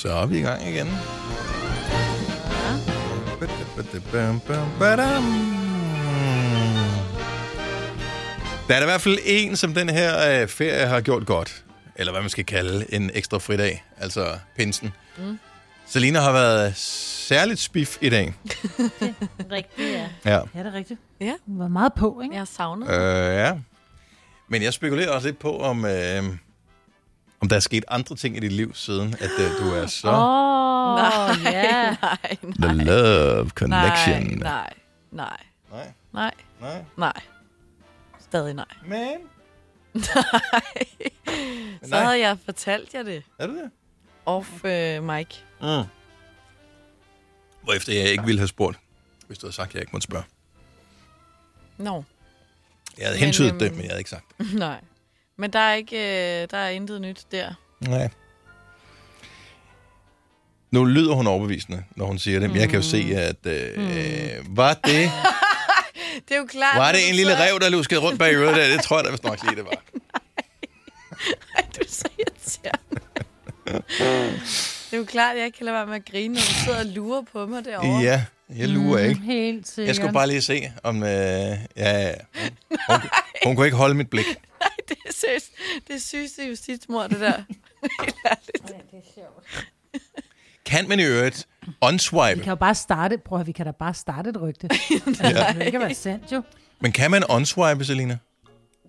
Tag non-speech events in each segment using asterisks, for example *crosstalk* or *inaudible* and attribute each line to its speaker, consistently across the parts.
Speaker 1: Så er vi i gang igen. Der er da i hvert fald en, som den her øh, ferie har gjort godt. Eller hvad man skal kalde en ekstra fridag. Altså pinsen.
Speaker 2: Mm.
Speaker 1: Mm. Selina har været særligt spif i dag.
Speaker 3: Rigtigt, ja.
Speaker 1: Ja.
Speaker 3: Ja, det er rigtigt.
Speaker 2: Ja.
Speaker 3: Hun var meget på, ikke?
Speaker 2: Jeg har savnet.
Speaker 1: Øh, ja. Men jeg spekulerer også lidt på, om, øh, om der er sket andre ting i dit liv, siden at øh, du er så...
Speaker 3: Åh, oh,
Speaker 2: nej,
Speaker 3: ja.
Speaker 2: nej,
Speaker 1: The
Speaker 2: nej.
Speaker 1: Love Connection.
Speaker 2: Nej, nej,
Speaker 1: nej.
Speaker 2: nej,
Speaker 1: nej.
Speaker 2: nej. Stadig nej.
Speaker 1: Men...
Speaker 2: Så
Speaker 1: nej.
Speaker 2: havde jeg fortalt jer det
Speaker 1: Er det det?
Speaker 2: off øh, mic.
Speaker 1: Mm. Hvorefter jeg ikke ville have spurgt, hvis du havde sagt, at jeg ikke måtte spørge.
Speaker 2: Nå, *laughs*
Speaker 1: Jeg havde
Speaker 2: Men,
Speaker 1: hentydet
Speaker 2: øhm,
Speaker 1: det, men jeg havde ikke sagt det.
Speaker 2: nej. Men der er ikke, øh, der er intet nyt der. *laughs*
Speaker 1: Nej. Nu lyder hun overbevisende, når hun siger det, men jeg kan jo se, at... Øh, var det...
Speaker 2: Det er jo klart.
Speaker 1: Var
Speaker 2: når
Speaker 1: det
Speaker 2: du
Speaker 1: en lille
Speaker 2: sidder-
Speaker 1: rev, der luskede rundt bag øret der? Det tror jeg da vist nok lige, det var.
Speaker 2: Ej, *laughs* du er så irriterende. Det er jo klart, at jeg ikke kan lade være med at grine, når du sidder og lurer på mig derovre.
Speaker 1: Ja, jeg lurer ikke.
Speaker 3: Mm, helt sikkert.
Speaker 1: Jeg skulle bare lige se, om... Øh, ja, ja, ja. Hun, hun kunne ikke holde mit blik.
Speaker 2: *laughs* Nej, det er seriøst. Det er sygeste justitsmord, det der. *laughs*
Speaker 1: Kan man i øvrigt
Speaker 3: Vi
Speaker 1: unswipe?
Speaker 3: kan jo bare starte, prøv at høre, vi kan da bare starte et
Speaker 2: *laughs*
Speaker 3: rygte. altså, det kan jo ikke være sandt, jo.
Speaker 1: Men kan man unswipe, Selina?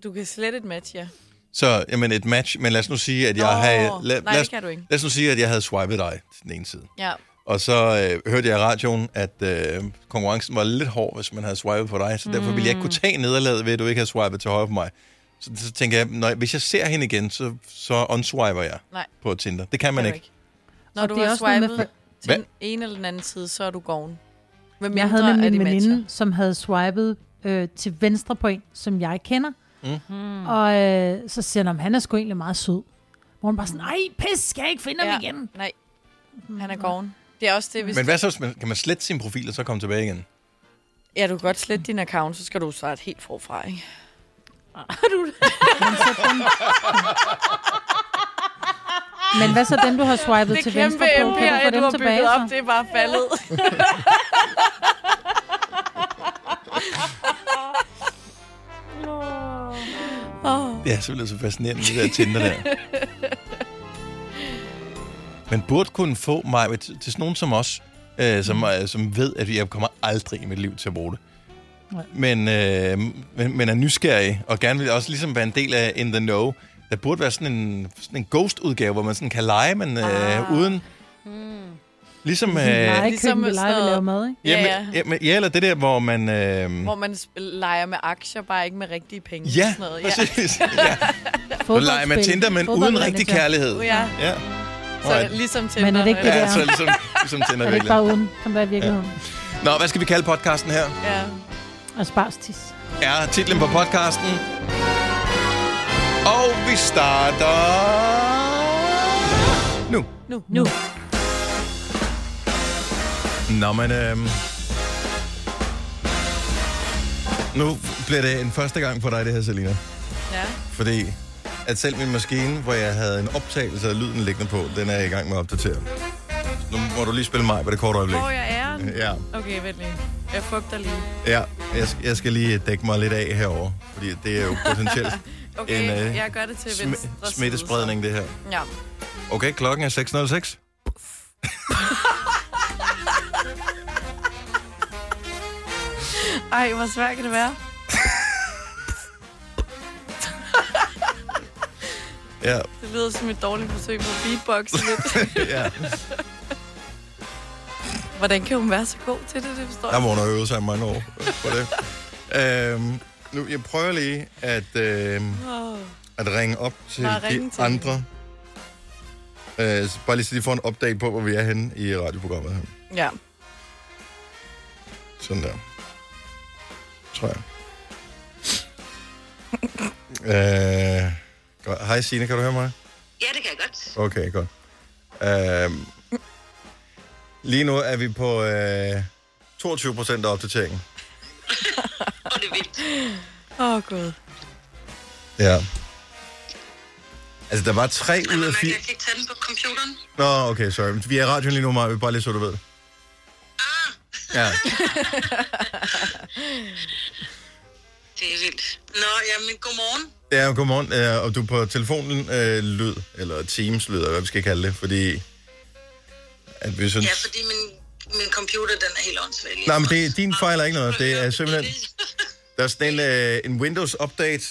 Speaker 2: Du kan slet et match, ja.
Speaker 1: Så, jamen et match, men lad os nu sige, at jeg
Speaker 2: Nå,
Speaker 1: havde... Lad,
Speaker 2: nej,
Speaker 1: lad,
Speaker 2: det
Speaker 1: os,
Speaker 2: kan du ikke.
Speaker 1: lad os nu sige, at jeg havde swipet dig til den ene side.
Speaker 2: Ja,
Speaker 1: Og så øh, hørte jeg i radioen, at øh, konkurrencen var lidt hård, hvis man havde swipet på dig. Så derfor ville jeg
Speaker 2: Mm.
Speaker 1: ikke kunne tage nederlaget ved, at du ikke havde swipet til højre på mig. Så, så tænker jeg, når, hvis jeg ser hende igen, så, så unswiper jeg
Speaker 2: nej.
Speaker 1: på Tinder. Det kan man
Speaker 2: kan du
Speaker 1: ikke.
Speaker 2: Når
Speaker 3: Og
Speaker 2: du
Speaker 3: det er
Speaker 2: har
Speaker 3: også noget med
Speaker 2: swipet til
Speaker 1: Hvad?
Speaker 2: den ene eller den anden side, så er du gården. Hvem
Speaker 3: Jeg havde med min veninde, som havde swipet øh, til venstre på en, som jeg kender. Mm. Og øh, så siger han, at han er sgu egentlig meget sød. Hvor hun bare sådan, nej, pis, skal jeg ikke finde ham igen?
Speaker 2: Nej, han er gården. Det er også det, hvis...
Speaker 1: Men hvad så, hvis man, kan man slette sin profil og så komme tilbage igen?
Speaker 2: Ja, du kan godt slette din account, så skal du starte helt forfra, ikke?
Speaker 3: Men hvad så dem, du har swipet
Speaker 2: Ah. Det
Speaker 3: til
Speaker 2: kæmpe
Speaker 3: venstre på? Kan du få
Speaker 2: imperium, du
Speaker 3: dem
Speaker 2: har
Speaker 3: tilbage?
Speaker 2: bygget op,
Speaker 3: Så?
Speaker 2: det er bare faldet.
Speaker 1: Det er simpelthen så fascinerende,
Speaker 2: *laughs*
Speaker 1: det der Tinder der. Man burde kunne få mig med- til til sådan nogen som os, øh,
Speaker 3: Mm.
Speaker 1: som, øh, som ved, at jeg kommer aldrig i mit liv til at bruge det.
Speaker 3: Nej.
Speaker 1: Men, øh, men, men er nysgerrig, og gerne vil også ligesom være en del af In The Know. Der burde være sådan en, sådan en ghost-udgave, hvor man sådan kan lege, men øh,
Speaker 2: Ah.
Speaker 1: uden...
Speaker 3: Mm.
Speaker 1: Ligesom... Øh,
Speaker 3: Nej,
Speaker 2: Ligesom
Speaker 3: ligesom vi leger,
Speaker 2: sådan
Speaker 3: vi
Speaker 2: noget-
Speaker 3: laver mad, ikke?
Speaker 1: jamen,
Speaker 2: Ja, ja.
Speaker 1: jamen, ja, eller det der, hvor man... Øh,
Speaker 2: Hvor man sp- leger med aktier, bare ikke med rigtige penge.
Speaker 1: ja,
Speaker 2: Sådan noget. Ja.
Speaker 1: præcis. Ja. Du leger med
Speaker 3: Fodboldspil.
Speaker 1: Tinder, men uden
Speaker 3: Fodboldmanager.
Speaker 1: rigtig kærlighed.
Speaker 2: Ja.
Speaker 1: Ja.
Speaker 2: Så
Speaker 1: Alright.
Speaker 2: ligesom til
Speaker 3: Men er det ikke det
Speaker 1: Ja,
Speaker 3: der?
Speaker 1: så ligesom, ligesom
Speaker 3: Er
Speaker 1: Tinder
Speaker 3: det ikke
Speaker 1: virkelig.
Speaker 3: bare uden, som der er i virkeligheden?
Speaker 1: Nå, hvad skal vi kalde podcasten her?
Speaker 2: Ja.
Speaker 3: Og sparstis.
Speaker 1: Er titlen på podcasten. Og vi starter... Nu.
Speaker 2: Nu.
Speaker 3: Nu.
Speaker 1: Nå, men... Øhm... Nu bliver det en første gang for dig, det her, Selina.
Speaker 2: Ja.
Speaker 1: Fordi at selv min maskine, hvor jeg havde en optagelse af lyden liggende på, den er jeg i gang med at opdatere. Nu må du lige spille mig på det korte øjeblik.
Speaker 2: Hvor jeg er den?
Speaker 1: Ja.
Speaker 2: Okay, vent lige. Jeg fugter lige.
Speaker 1: Ja, jeg, sk- jeg skal lige dække mig lidt af herover, fordi det er jo
Speaker 2: *laughs*
Speaker 1: potentielt
Speaker 2: Okay,
Speaker 1: En, øh,
Speaker 2: jeg gør det til venstre
Speaker 1: sm-
Speaker 2: side,
Speaker 1: smittespredning, det her.
Speaker 2: så.
Speaker 1: *laughs*
Speaker 2: Ja.
Speaker 1: Okay, klokken er 6.06.
Speaker 2: Ej, hvor svært kan det
Speaker 1: *laughs*
Speaker 2: være?
Speaker 1: Ja,
Speaker 2: Det lyder som et dårligt forsøg på at beatboxe lidt.
Speaker 1: *laughs* ja.
Speaker 2: Hvordan kan hun være så god til det, det forstår
Speaker 1: Der
Speaker 2: jeg.
Speaker 1: må hun have øvet sig i mange år øh, på
Speaker 2: *laughs*
Speaker 1: det. Øhm, nu, jeg prøver lige at, øhm,
Speaker 2: Åh.
Speaker 1: at ringe op til
Speaker 2: Bare ringe
Speaker 1: de
Speaker 2: til
Speaker 1: andre. Øh, så bare lige så de får en update på, hvor vi er henne i radioprogrammet. her.
Speaker 2: Ja.
Speaker 1: Sådan der.
Speaker 2: *laughs*
Speaker 1: Tror jeg. Øh, godt. Hej Signe, kan du høre mig?
Speaker 4: Ja, det kan jeg godt.
Speaker 1: Okay, godt. Øhm, lige nu er vi på øh, 22 procent af opdateringen.
Speaker 4: Og det er vildt.
Speaker 2: Åh, oh, gud.
Speaker 1: Ja. Altså, der var tre ud af
Speaker 4: Man kan
Speaker 1: fire...
Speaker 4: altså ikke tage den på computeren.
Speaker 1: Nå, okay, sorry. Vi er i radioen lige nu, Maja. Bare lige så du ved.
Speaker 4: Ah.
Speaker 1: Ja.
Speaker 4: *laughs* Det er vildt. Nå, jamen, godmorgen.
Speaker 1: Ja, godmorgen. Øh, og du er på telefonen øh, lyd, eller Teams-lyd, eller hvad vi skal kalde det, fordi... At vi synes...
Speaker 4: Ja, fordi min, min computer, den er helt åndssvag. lige
Speaker 1: Nej, men
Speaker 4: nu.
Speaker 1: det, din fejl er ikke noget. Det er simpelthen... Der er sådan en, øh, en Windows-update,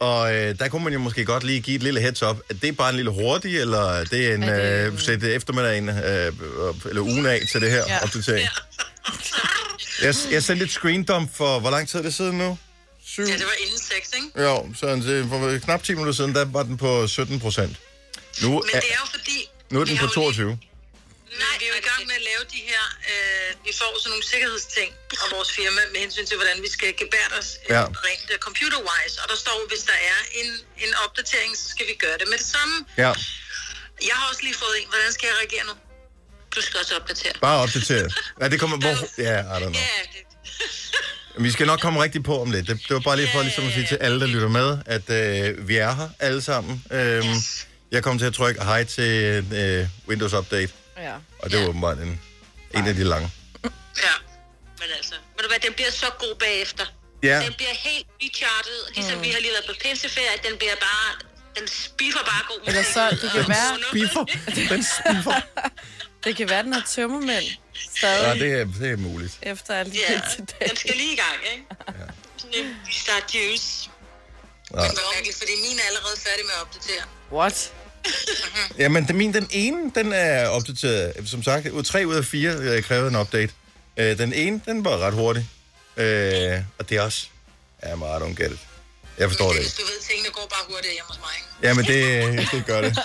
Speaker 1: og øh, der kunne man jo måske godt lige give et lille heads up. at det er bare en lille hurtig, eller det er en...
Speaker 2: Er det-
Speaker 1: Øh, sæt eftermiddagen, øh, op- eller ugen af til det her
Speaker 2: Ja.
Speaker 1: ja. opdatering. Jeg, jeg sendte et screendump for... Hvor lang tid er det siden nu? Syv?
Speaker 4: Ja, det var inden sex, ikke?
Speaker 1: Jo, så en- det- for knap 10 minutter siden, der var den på 17 procent. Nu
Speaker 4: Men
Speaker 1: er,
Speaker 4: det er jo fordi...
Speaker 1: nu er
Speaker 4: vi
Speaker 1: den
Speaker 4: har
Speaker 1: på
Speaker 4: jo
Speaker 1: 22.
Speaker 4: Lige, nej, vi er jo i gang med at lave de her... Øh, vi får sådan nogle sikkerhedsting fra vores firma med hensyn til, hvordan vi skal gebære os øh,
Speaker 1: Ja.
Speaker 4: rent øh, computer-wise. Og der står, hvis der er en, en opdatering, så skal vi gøre det med det samme.
Speaker 1: Ja,
Speaker 4: Jeg har også lige fået en. Hvordan skal jeg reagere nu? Du skal også opdatere.
Speaker 1: bare opdateret. Nej, det kommer... Hvor, ja, I don't know.
Speaker 4: Ja, det,
Speaker 1: Vi skal nok komme rigtig på om lidt. Det, det var bare lige for ligesom at sige til alle, der lytter med, at øh, vi er her alle sammen. Øhm, jeg kom til at trykke hej til øh, Windows Update,
Speaker 2: Ja.
Speaker 1: og det var åbenbart en, en af de lange.
Speaker 4: ja. Men altså,
Speaker 5: Ved du hvad, den bliver så god bagefter.
Speaker 1: Ja,
Speaker 5: Den bliver helt rechartet, ligesom mm. vi har lige været på pinseferie, den bliver bare, den spiffer bare god.
Speaker 2: Eller så, det kan være,
Speaker 1: biffer. Den spiffer.
Speaker 2: *laughs* det kan være den har tømmermænd
Speaker 1: Ja,
Speaker 2: stadig
Speaker 1: det er, det er muligt.
Speaker 2: efter alle de
Speaker 5: Ja,
Speaker 2: yeah. til dag.
Speaker 5: den skal lige i gang, ikke? Ja. Vi starter juice.
Speaker 4: det var mærkeligt, fordi min er allerede færdig med at opdatere.
Speaker 2: What?
Speaker 1: *laughs* Ja, men den, min, den ene, den er opdateret. Som sagt, ud- tre ud af fire øh, krævede en update. Øh, den ene, den var ret hurtig. Øh, og det er også... Ja, meget don't get it. Jeg forstår det
Speaker 4: Men hvis
Speaker 1: ikke.
Speaker 4: du ved, tingene går bare hurtigt hjemme hos mig. ikke?
Speaker 1: Ja, men det, det gør det.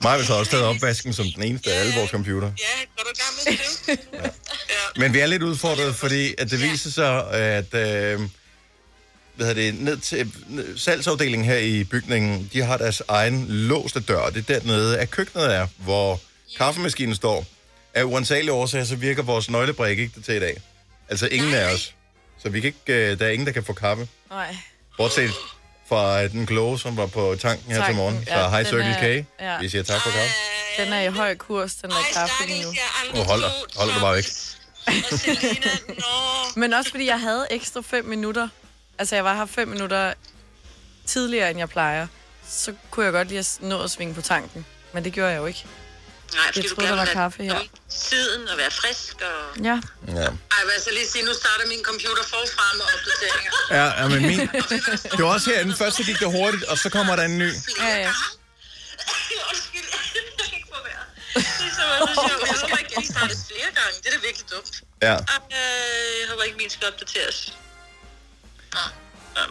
Speaker 1: Maja har også taget opvasken som den eneste af alle vores computer.
Speaker 4: Ja, går du i gang med det? ja.
Speaker 1: Men vi er lidt udfordret, fordi at det viser sig, at øh, hvad hedder det, ned til, ned- salgsafdelingen her i bygningen, de har deres egen låste dør, og det er dernede, at køkkenet er, hvor kaffemaskinen står. Af uansagelige årsager, så virker vores nøglebrik ikke til i dag. Altså ingen af os. Så vi kan ikke, øh, der er ingen, der kan få kaffe.
Speaker 2: Nej.
Speaker 1: Bortset fra øh, den kloge, som var på tanken her
Speaker 2: Tanken,
Speaker 1: til morgen. Så
Speaker 2: ja,
Speaker 1: hej
Speaker 2: den
Speaker 1: Circle
Speaker 2: er-
Speaker 1: K.
Speaker 2: ja.
Speaker 1: Vi siger tak for kaffe.
Speaker 5: Øh,
Speaker 2: Den er i høj kurs, den der kaffe lige nu.
Speaker 1: Og hold, hold dig bare væk.
Speaker 4: Og Selina, nå.
Speaker 2: Men også fordi jeg havde ekstra fem minutter. Altså, jeg var her fem minutter tidligere, end jeg plejer. Så kunne jeg godt lige have nået at svinge på tanken. Men det gjorde jeg jo ikke.
Speaker 5: Nej, skal
Speaker 2: Jeg
Speaker 5: du
Speaker 2: troede, der
Speaker 5: gerne
Speaker 2: var
Speaker 5: være
Speaker 2: kaffe her.
Speaker 5: om tiden og være frisk og...
Speaker 2: Ja.
Speaker 1: Ja.
Speaker 4: Ej, hvad så lige sige, nu starter min computer forfra med
Speaker 2: *laughs*
Speaker 4: opdateringer.
Speaker 1: Ja, ja, men min... Det var også her, den første gik det hurtigt, og så kommer der en ny.
Speaker 2: Ja, ja.
Speaker 4: *laughs* Undskyld, jeg kan ikke få vejret. Det er så meget, det er sjovt. Jeg håber ikke, jeg starter flere gange. Det er da virkelig dumt.
Speaker 1: Ja.
Speaker 4: Øh, jeg håber ikke, min skal opdateres.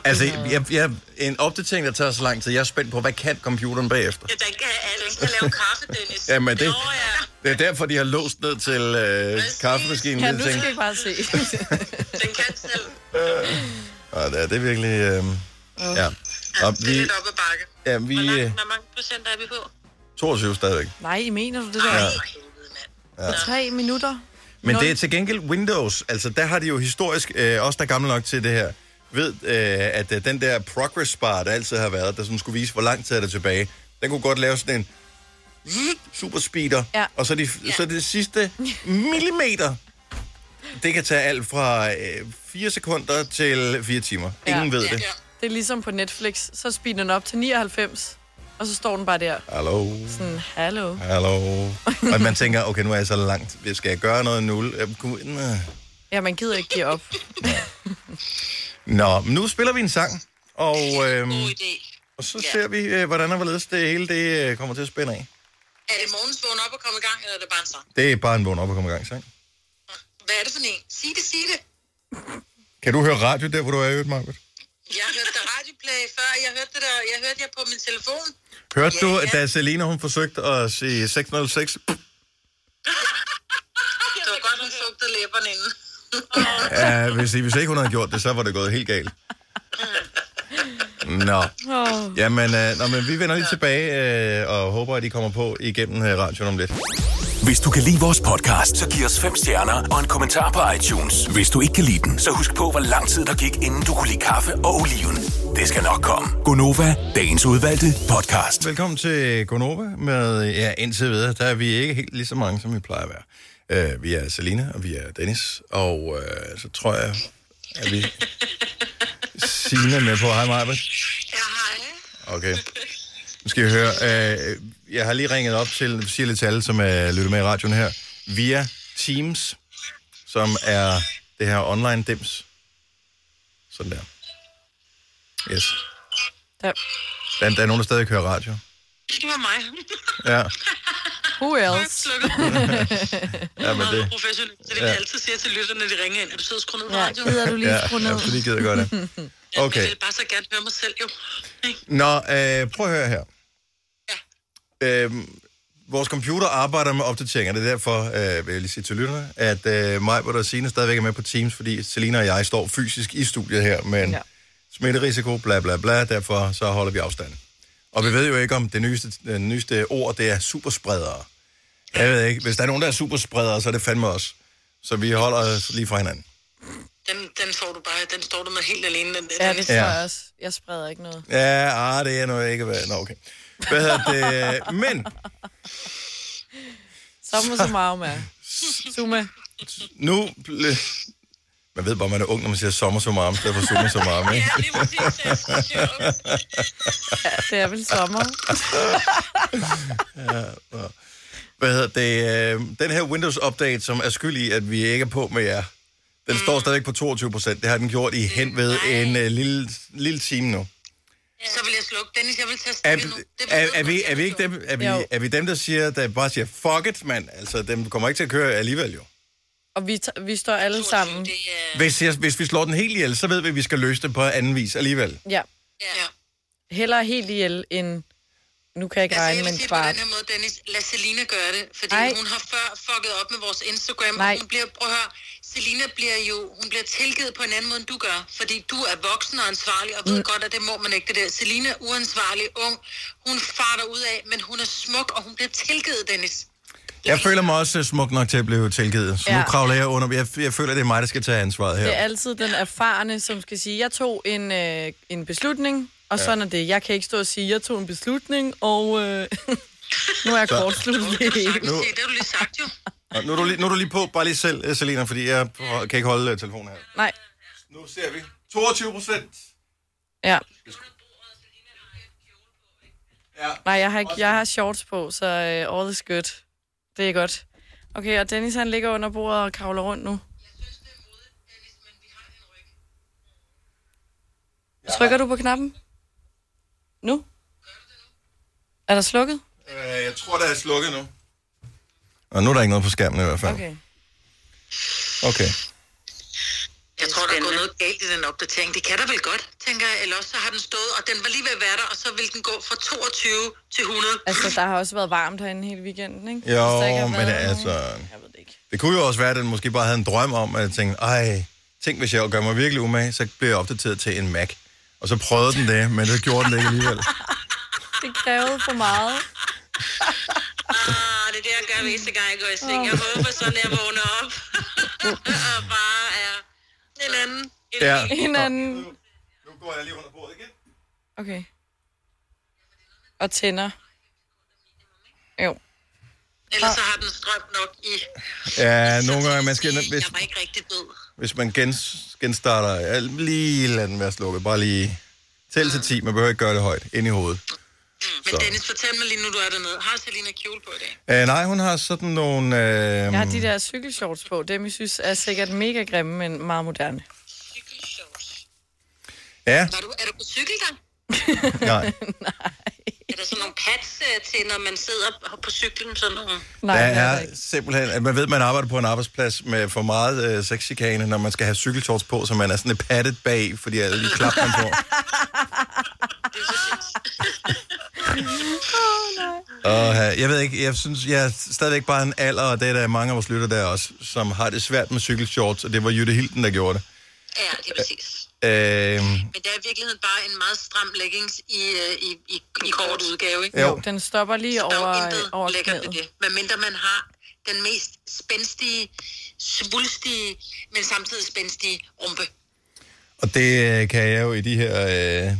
Speaker 1: Altså, jeg, jeg, en opdatering, der tager så lang tid, jeg er spændt på, hvad kan computeren bagefter?
Speaker 4: Ja, den kan, den kan lave kaffe, Dennis.
Speaker 1: Jamen, det-
Speaker 4: Nå, ja.
Speaker 1: Det er derfor, de har låst ned til øh, kaffemaskinen.
Speaker 2: Ja,
Speaker 1: Ja,
Speaker 2: nu skal vi bare se.
Speaker 4: *laughs* Den kan selv.
Speaker 1: ja, det er- det er virkelig... Øh, ja. Og
Speaker 4: Det er
Speaker 1: vi,
Speaker 4: lidt op ad bakke.
Speaker 1: ja, vi
Speaker 5: Hvor
Speaker 1: øh,
Speaker 5: langt- Hvor mange procent er vi på?
Speaker 1: 22 stadigvæk.
Speaker 2: Nej, mener du det der?
Speaker 4: Ej,
Speaker 2: Ja.
Speaker 4: for helvede, mand.
Speaker 2: Tre minutter?
Speaker 1: Men
Speaker 2: Nul.
Speaker 1: det er til gengæld Windows. Altså, der har de jo historisk, øh, også der er gamle nok til det her, ved, øh, at øh, den der progress bar, der altid har været, der sådan skulle vise, hvor lang tid er der tilbage, den kunne godt lave sådan en zzz, super speeder,
Speaker 2: Ja.
Speaker 1: og så, de, så det sidste millimeter, det kan tage alt fra øh, 4 sekunder til 4 timer.
Speaker 2: Ja.
Speaker 1: Ingen ved det.
Speaker 4: Ja.
Speaker 2: Det er ligesom på Netflix. Så speeder den op til 99, og så står den bare der.
Speaker 1: Hallo,
Speaker 2: Sådan, hallo.
Speaker 1: hallo. Og man tænker, okay, nu er jeg så langt. Skal jeg gøre noget nu? Øh, kunne- Næh.
Speaker 2: Ja, man gider ikke give op.
Speaker 1: Nå, men nu spiller vi en sang, og... øhm,
Speaker 4: God idé.
Speaker 1: Og så
Speaker 4: Ja.
Speaker 1: ser vi, øh, hvordan og hvorledes det hele det øh, kommer til at spænde af.
Speaker 4: Er det morgens vågen op og komme i gang, eller er det bare en sang?
Speaker 1: Det er bare en vågen op og komme i gang, sang.
Speaker 4: Hvad er det for en? Sig det, sig det.
Speaker 1: Kan du høre radio der, hvor du er i øvrigt, Margot?
Speaker 4: Jeg hørte der radioplay før, jeg hørte det der, jeg hørte det på min telefon.
Speaker 1: Hørte
Speaker 4: Ja,
Speaker 1: du,
Speaker 4: ja.
Speaker 1: da Selina hun forsøgte at sige 606?
Speaker 4: Det var godt, hun fugtede læberne inden.
Speaker 1: Ja, hvis, hvis ikke hun havde gjort det, så var det gået helt galt.
Speaker 4: Mm.
Speaker 1: Nå,
Speaker 2: Oh.
Speaker 1: jamen, øh, nå, men vi vender lige tilbage øh, og håber, at I kommer på igennem øh, radioen om lidt.
Speaker 6: Hvis du kan lide vores podcast, så giv os fem stjerner og en kommentar på iTunes. Hvis du ikke kan lide den, så husk på, hvor lang tid der gik, inden du kunne lide kaffe og oliven. Det skal nok komme. Gonova, dagens udvalgte podcast.
Speaker 1: Velkommen til Gonova med, ja, indtil videre, der er vi ikke helt lige så mange, som vi plejer at være. Uh, vi er Selina, og vi er Dennis, og uh, så tror jeg, at vi... Signe er med på. Hej, Maja.
Speaker 5: Ja, hej.
Speaker 1: Okay. Nu skal jeg høre. Øh, jeg har lige ringet op til, siger lidt til alle, som øh, lytter med i radioen her, via Teams, som er det her online dims. Sådan der. Yes.
Speaker 2: Der.
Speaker 1: Der, der er nogen, der stadig hører radio.
Speaker 5: Det var mig.
Speaker 1: Ja,
Speaker 2: Who else?
Speaker 5: Slukket.
Speaker 2: *laughs*
Speaker 1: ja men
Speaker 5: Meget
Speaker 1: det...
Speaker 5: professionelt. Det er det,
Speaker 1: Ja.
Speaker 5: vi altid siger til lytterne, når de ringer ind. Er du siddet og skruet ned på
Speaker 2: Ja,
Speaker 5: radioen?
Speaker 2: gider du lige
Speaker 1: Ja,
Speaker 2: skrue
Speaker 1: ja,
Speaker 2: ned?
Speaker 1: fordi gider
Speaker 5: *laughs*
Speaker 1: godt det. Okay.
Speaker 5: Jeg vil bare så gerne høre mig selv, jo. Ikke?
Speaker 1: Nå, øh, prøv at høre her. Ja. Øh, vores computer arbejder med opdateringer. Det er derfor, øh, vil jeg lige sige til lytterne, at øh, mig, hvor der Signe stadigvæk er med på Teams, fordi Selina og jeg står fysisk i studiet her, men ja.
Speaker 2: Ja.
Speaker 1: smitterisiko, bla bla bla, derfor så holder vi afstand. Og vi ved jo ikke, om det nyeste, det nyeste ord, det er superspredere. Jeg ved ikke. Hvis der er nogen, der er superspredere, så er det fandme os. Så vi holder os lige fra hinanden.
Speaker 5: Den, den, får du bare, den står du med helt alene. Den,
Speaker 2: Ja,
Speaker 5: den,
Speaker 2: det
Speaker 5: den,
Speaker 2: tror
Speaker 1: Ja.
Speaker 2: jeg også. Jeg spreder ikke noget.
Speaker 1: Ja, ah, det er nu ikke... hvad- Nå, okay. Hvad hedder det? Men
Speaker 2: Sommer så meget med. Suma.
Speaker 1: nu... Ble... Man ved bare, man er ung, når man siger sommer så meget, i stedet for sommer så meget. Ikke?
Speaker 5: ja, lige præcis. ja. Jo.
Speaker 2: Ja, det er vel sommer.
Speaker 1: *laughs* Hvad hedder det? øh, Den her Windows-update, som er skyld i, at vi ikke er på med jer, den står
Speaker 5: Mm.
Speaker 1: stadigvæk på 22 procent. Det har den gjort i hen ved en uh, lille, lille time nu.
Speaker 5: Så vil jeg slukke. Dennis, jeg vil tage
Speaker 1: Er,
Speaker 5: stikket nu. Det
Speaker 1: er,
Speaker 5: betyder
Speaker 1: er, vi,
Speaker 5: mig,
Speaker 1: er, vi ikke
Speaker 5: jeg
Speaker 1: dem, er, vi,
Speaker 2: Jo.
Speaker 1: er vi dem, der siger, der bare siger, fuck it, mand? Altså, dem kommer ikke til at køre alligevel, jo.
Speaker 2: Og vi, t- vi står alle
Speaker 5: forstår.
Speaker 2: sammen.
Speaker 5: Det er...
Speaker 1: Hvis, jeg, hvis vi slår den helt ihjel, så ved vi, at vi skal løse det på anden vis alligevel.
Speaker 2: Ja.
Speaker 5: Ja.
Speaker 2: Hellere helt ihjel end... Nu kan jeg ikke
Speaker 5: Altså, jeg
Speaker 2: regne,
Speaker 5: vil
Speaker 2: men
Speaker 5: sige det på
Speaker 2: kvart.
Speaker 5: den her måde, Dennis. Lad Selina gøre det, fordi
Speaker 2: Ej.
Speaker 5: Ej. hun har før fucket op med vores Instagram,
Speaker 2: Nej.
Speaker 5: og hun bliver, prøv at høre, Selina bliver jo, hun bliver tilgivet på en anden måde, end du gør, fordi du er voksen og ansvarlig, og ved mm. godt, at det må man ikke, det der. Selina er uansvarlig, ung, hun farter ud af, men hun er smuk, og hun bliver tilgivet, Dennis.
Speaker 1: Jeg føler mig også øh, smuk nok til at blive tilgivet, så ja. nu
Speaker 2: Ja.
Speaker 1: kravler jeg under. Jeg, jeg føler, det er mig, der skal tage ansvaret her.
Speaker 2: Det er altid den erfarne, som skal sige, jeg tog en, øh, en beslutning, og ja. sådan er det. Jeg kan ikke stå og sige, jeg tog en beslutning, og øh, *laughs* nu er jeg kortsluttet.
Speaker 5: Det har du sagt,
Speaker 1: Nu-
Speaker 5: Se, det har du lige sagt jo.
Speaker 1: Nå, Nu er, du lige, nu er du lige på, bare lige selv, øh, Selina, fordi jeg prøver- kan ikke holde øh, telefonen her.
Speaker 2: Nej,
Speaker 1: Nu ser vi. 22 procent.
Speaker 2: ja.
Speaker 1: Ja.
Speaker 2: Nej, jeg har, ikke, jeg har shorts på, så uh, all is good. Det er godt. Okay, og Dennis han ligger under bordet og kravler rundt nu. Trykker du på knappen? Nu? Er der slukket?
Speaker 1: Øh, jeg tror, der er slukket nu. Og nu er der ikke noget på skærmen i hvert fald.
Speaker 2: Okay.
Speaker 1: okay.
Speaker 5: Jeg tror, der er gået noget galt i den opdatering. Det kan der vel godt, tænker jeg. Eller også så har den stået, og den var lige ved at være der, og så vil den gå fra 22 til 100.
Speaker 2: Altså, der har også været varmt herinde hele weekenden, ikke? Hvis der ikke har
Speaker 1: Jo,
Speaker 2: været
Speaker 1: men det, er
Speaker 2: nogen-
Speaker 1: altså...
Speaker 2: Jeg ved det ikke.
Speaker 1: Det kunne jo også være, at den måske bare havde en drøm om, at tænke, ej, tænk hvis jeg gør mig virkelig umage, så bliver jeg opdateret til en Mac. Og så prøvede den det, men det gjorde den ikke
Speaker 2: *laughs*
Speaker 1: alligevel.
Speaker 2: Det krævede for meget.
Speaker 5: Ah, det er det, jeg gør hver eneste gang, jeg går i seng. Jeg håber sådan, jeg vågner op. *laughs* og bare er en anden. En
Speaker 1: Ja.
Speaker 5: anden.
Speaker 2: En anden...
Speaker 1: Nu går jeg lige under bordet igen.
Speaker 2: Okay. Og tænder. Jo. Ah.
Speaker 5: Ellers så har den strøm nok i.
Speaker 1: Ja, nogle gange, man skal, hvis,
Speaker 5: Jeg var ikke rigtig død.
Speaker 1: hvis man gens, genstarter, ja, lige lad den være slukket, bare lige tæl til 10, man behøver ikke gøre det højt, ind i hovedet.
Speaker 5: Mm. Men
Speaker 1: Så.
Speaker 5: Dennis, fortæl mig lige nu, du er dernede. Har Selina kjole på i dag?
Speaker 1: Øh, nej, hun har sådan nogle... Øh,
Speaker 2: Jeg har de der cykelshorts på. Dem, jeg synes, er sikkert mega grimme, men meget moderne. *laughs*
Speaker 1: Ja,
Speaker 5: Var du, er du på cykel der?
Speaker 1: nej.
Speaker 5: Er der sådan nogle pads øh, til, når man sidder på cyklen? Sådan nogle?
Speaker 2: *laughs* Nej,
Speaker 1: der
Speaker 2: det er der
Speaker 1: er
Speaker 2: ikke.
Speaker 1: simpelthen, at man ved, at man arbejder på en arbejdsplads med for meget øh, sexchikane, når man skal have cykelshorts på, så man er sådan lidt pattet bag, fordi alle de klap, man på. Og, øh, jeg ved ikke, jeg synes, jeg er stadigvæk bare en alder, og det er der mange af vores lytter der også, som har det svært med cykelshorts, og det var Jytte Hilden, der gjorde det.
Speaker 5: Ja, det er præcis.
Speaker 1: Øh,
Speaker 5: Men det er i virkeligheden bare en meget stram leggings i, øh, i, i, i kort udgave, ikke?
Speaker 1: jo,
Speaker 2: Den stopper lige
Speaker 5: Der er jo
Speaker 2: over,
Speaker 5: intet
Speaker 2: over
Speaker 5: lækkert ved
Speaker 2: knæet.
Speaker 5: det. Hvad mindre man har den mest spændstige, svulstige, men samtidig spændstige rumpe.
Speaker 1: Og det øh, kan jeg jo i de her øh,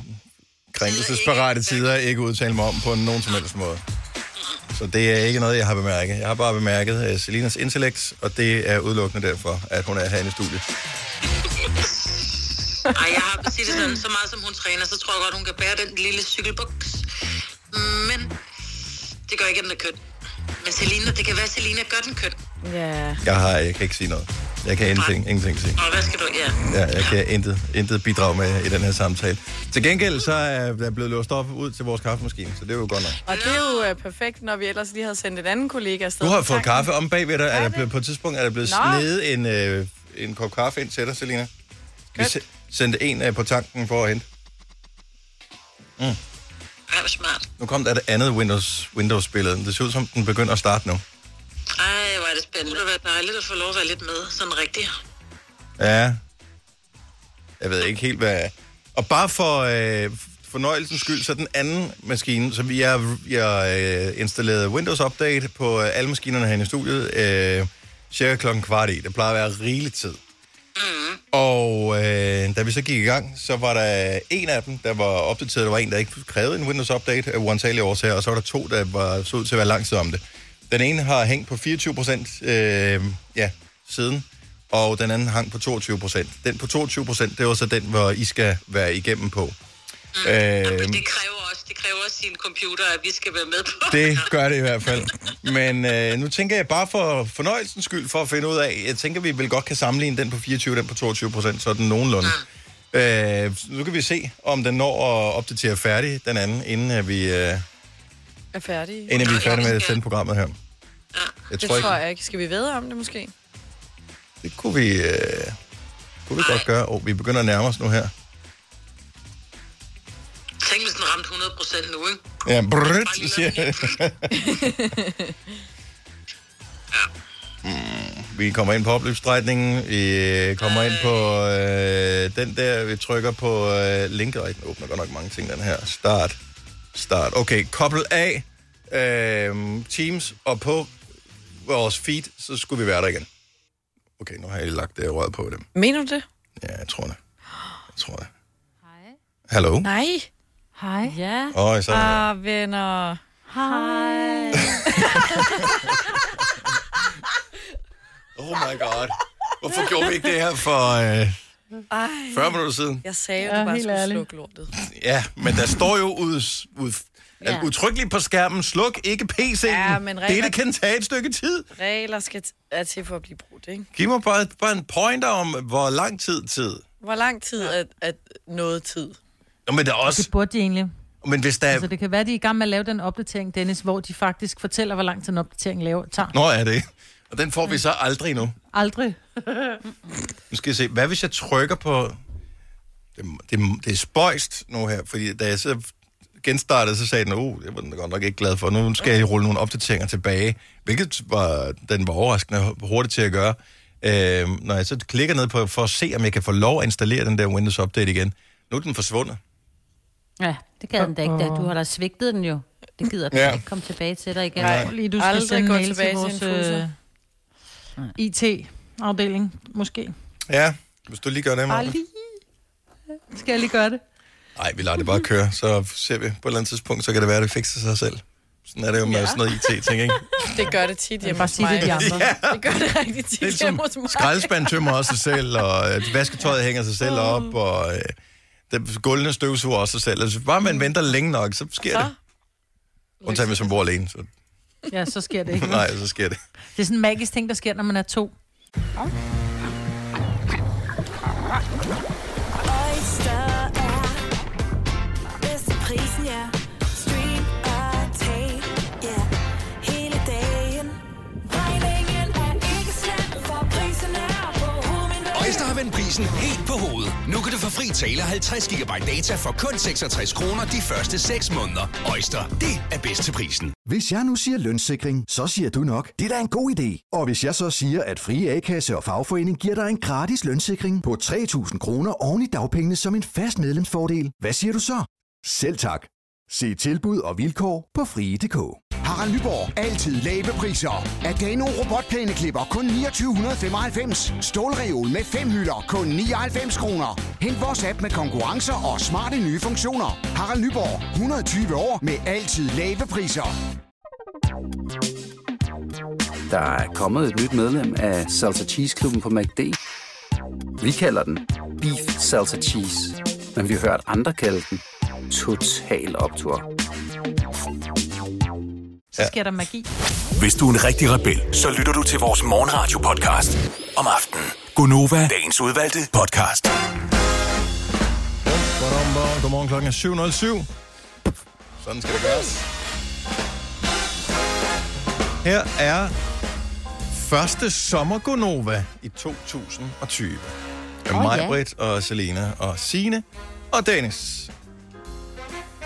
Speaker 1: krænkelsesparate tider ikke udtale mig om på nogen som helst måde. Så det er ikke noget, jeg har bemærket. Jeg har bare bemærket øh, Selinas intellekt, og det er udelukkende derfor, at hun er herinde i studiet.
Speaker 5: Ej, jeg har sige det sådan, så meget som hun træner, så tror jeg godt, hun kan bære den lille cykelbuks. Men det gør ikke, at den er køn. Men Selina, det kan være, at Selina gør den køn.
Speaker 2: Ja.
Speaker 1: Jeg, har, jeg kan ikke sige noget. Jeg kan ingenting, ingenting sige.
Speaker 5: Og hvad skal du... Ja.
Speaker 1: Ja, jeg kan intet, intet bidrage med i den her samtale. Til gengæld så er der blevet låst op ud til vores kaffemaskine, så det er jo godt nok.
Speaker 2: Og det er jo øh, perfekt, når vi ellers lige havde sendt en anden kollega afsted.
Speaker 1: Du har
Speaker 2: på
Speaker 1: fået
Speaker 2: tanken.
Speaker 1: kaffe om bagved dig. Er der
Speaker 2: det?
Speaker 1: blevet, på et tidspunkt er der blevet
Speaker 2: Nå.
Speaker 1: snedet en, øh, en kop kaffe ind til dig, Selina. Vi se- sendte en øh, på tanken for at hente. Mm.
Speaker 5: Ej, hvor smart.
Speaker 1: Nu kom der det andet Windows, Windows-billede. Det ser ud som, den begynder at starte nu.
Speaker 5: Ej, hvor er det spændende. Det være dejligt at få lov at være lidt med, sådan rigtigt.
Speaker 1: Ja. Jeg ved ikke helt, hvad... Og bare for øh, fornøjelsens skyld, så den anden maskine, som vi har jeg, øh, installeret Windows Update på øh, alle maskinerne herinde i studiet, øh, cirka klokken kvart i. Det plejer at være rigelig tid. Og øh, da vi så gik i gang, så var der en af dem, der var opdateret. Der var en, der ikke krævede en Windows-update af uantagelige årsager, og så var der to, der var, så ud til at være lang tid om det. Den ene har hængt på 24 procent øh, ja, siden, og den anden hang på 22 procent. Den på 22 procent, det var så den, hvor I skal være igennem på.
Speaker 2: Mm.
Speaker 1: Øh,
Speaker 5: Det kræver også, det kræver også sin computer, at vi skal være med på.
Speaker 1: det gør det i hvert fald. Men øh, nu tænker jeg bare for fornøjelsens skyld, for at finde ud af, jeg tænker, vi vel godt kan sammenligne den på 24, den på 22 procent, så er den nogenlunde.
Speaker 2: Mm.
Speaker 1: Øh, nu kan vi se, om den når at opdatere færdig, den anden, inden at vi, øh,
Speaker 2: Er færdige.
Speaker 1: inden vi er færdige med at sende programmet her. Jeg
Speaker 2: Det
Speaker 1: tror
Speaker 2: tror
Speaker 1: ikke,
Speaker 2: jeg ikke. Skal vi vide om det måske?
Speaker 1: det kunne vi, øh, kunne vi godt gøre. Oh, vi begynder at nærme os nu her.
Speaker 5: Tænk, hvis den ramte 100% nu, ikke?
Speaker 1: Ja, brrrt, siger jeg. *laughs* Mm, Vi kommer ind på opløbsstrækningen, vi kommer ind på øh, den der, vi trykker på øh, linket, og den åbner godt nok mange ting, den her. Start, start. Okay, koblet af øh, Teams, og på vores feed, så skulle vi være der igen. Okay, nu har jeg lagt det røret på dem.
Speaker 2: Mener du det?
Speaker 1: Ja, jeg tror det. Jeg tror det. Hallo? Åh,
Speaker 2: Nej.
Speaker 3: Hej.
Speaker 7: Ja.
Speaker 1: oh, Uh. så er
Speaker 2: Ah, venner.
Speaker 3: Hej.
Speaker 2: *laughs*
Speaker 1: Oh my god. Hvorfor gjorde vi ikke det her for øh,
Speaker 2: Ej.
Speaker 1: 40 minutter siden?
Speaker 2: Jeg sagde, at
Speaker 3: Mm. Ja,
Speaker 2: du bare
Speaker 3: helt
Speaker 2: skulle
Speaker 3: ærligt.
Speaker 2: slukke lortet.
Speaker 1: Ja, men der står jo ud, ud, ja. udtrykkeligt på skærmen, sluk ikke PC'en.
Speaker 2: Ja, men
Speaker 1: Dette
Speaker 2: Rebek-
Speaker 1: kan tage et stykke tid.
Speaker 2: Regler skal t- er til for at blive brugt, ikke?
Speaker 1: Giv mig bare, bare en pointer om, hvor lang tid tid.
Speaker 2: Hvor lang tid er, er noget tid?
Speaker 1: Nå, men, der er også,
Speaker 3: Det burde de egentlig.
Speaker 1: men hvis der
Speaker 3: Så
Speaker 1: er...
Speaker 3: Altså, det kan være, de er i gang med at lave den opdatering, Dennis, hvor de faktisk fortæller, hvor lang tid en opdatering laver. tager.
Speaker 1: Nå, er det. Og den får vi så aldrig nu.
Speaker 3: Aldrig.
Speaker 1: Nu skal jeg se, hvad hvis jeg trykker på... Det, det, det er spøjst nu her, fordi da jeg så genstartede, så sagde den, oh, det var den godt nok ikke glad for. Nu skal jeg rulle nogle opdateringer tilbage, hvilket var, den var overraskende hurtigt til at gøre. Øh, når jeg så klikker ned på, for at se, om jeg kan få lov at installere den der Windows Update igen, nu er den forsvundet.
Speaker 7: Ja, det gad den da ikke. Da. Du har da svigtet den jo. Det gider den
Speaker 1: Ja.
Speaker 7: ja. ikke komme tilbage til dig igen.
Speaker 1: Nej.
Speaker 7: Nej.
Speaker 3: Tror *laughs* Lige, du skal
Speaker 2: Aldrig
Speaker 3: sende
Speaker 2: gå
Speaker 3: mail til
Speaker 2: tilbage til
Speaker 3: vores
Speaker 2: en fuser.
Speaker 3: øh, IT-afdeling, måske.
Speaker 1: Ja, hvis du lige gør det,
Speaker 3: Bare
Speaker 1: Marve.
Speaker 3: lige. Skal jeg lige gøre det?
Speaker 1: Nej, vi lader det bare køre, så ser vi på et eller andet tidspunkt, så kan det være, at det fikser sig selv. Sådan er det jo med ja. sådan noget IT-ting, ikke?
Speaker 2: *laughs* Det gør det tit hjemme
Speaker 3: bare
Speaker 2: hos
Speaker 3: sige det
Speaker 2: mig.
Speaker 3: til de andre.
Speaker 2: Det gør det rigtig tit
Speaker 1: Det er
Speaker 2: hjemme
Speaker 1: som
Speaker 2: hos mig.
Speaker 1: skraldespand tømmer også sig selv, og øh, vasketøjet hænger sig selv op, og øh, der, gulvene støvsuger også sig selv. Altså, bare man venter længe nok, så sker
Speaker 2: Mm. Så?
Speaker 1: det. Undtagen hvis man bor alene, så
Speaker 3: Ja, så
Speaker 1: *laughs*
Speaker 3: sker det ikke.
Speaker 1: nej, så sker det.
Speaker 3: Det er sådan en magisk ting, der sker, når man er to.
Speaker 8: Oyster er bedst til prisen, ja. Stream og tag, ja. Hele dagen. Regningen er ikke slem, for prisen er på hovedet.
Speaker 6: Øjster har vendt prisen helt på hovedet. Nu kan du få fri tale 50 GB data for kun 66 kroner de første 6 måneder. Øjster, det er bedst til prisen.
Speaker 9: Hvis jeg nu siger lønssikring, så siger du nok, det er da en god idé. Og hvis jeg så siger, at frie A-kasse og fagforening giver dig en gratis lønssikring på 3.000 kroner oven i dagpengene som en fast medlemsfordel, hvad siger du så? Selv tak. Se tilbud og vilkår på frie.dk. Har
Speaker 10: Harald Nyborg. Altid lave priser. Adano robotplæneklipper kun 2995. Stålreol med fem hylder kun 99 kroner. Hent vores app med konkurrencer og smarte nye funktioner. Harald Nyborg. 120 år med altid lave priser.
Speaker 11: Der er kommet et nyt medlem af Salsa Cheese Klubben på MACD. Vi kalder den Beef Salsa Cheese, men vi har hørt andre kalde den Total Optor.
Speaker 3: Så sker der magi.
Speaker 6: Hvis du er en rigtig rebel, så lytter du til vores morgenradio-podcast om aftenen. Gunova, dagens udvalgte podcast.
Speaker 1: Godmorgen, Godmorgen klokken er 7.07. Sådan skal det gøres. Her er første sommergonova i 2020. Med
Speaker 2: Åh, ja.
Speaker 1: oh, mig, Britt og Selena og Sine og Dennis.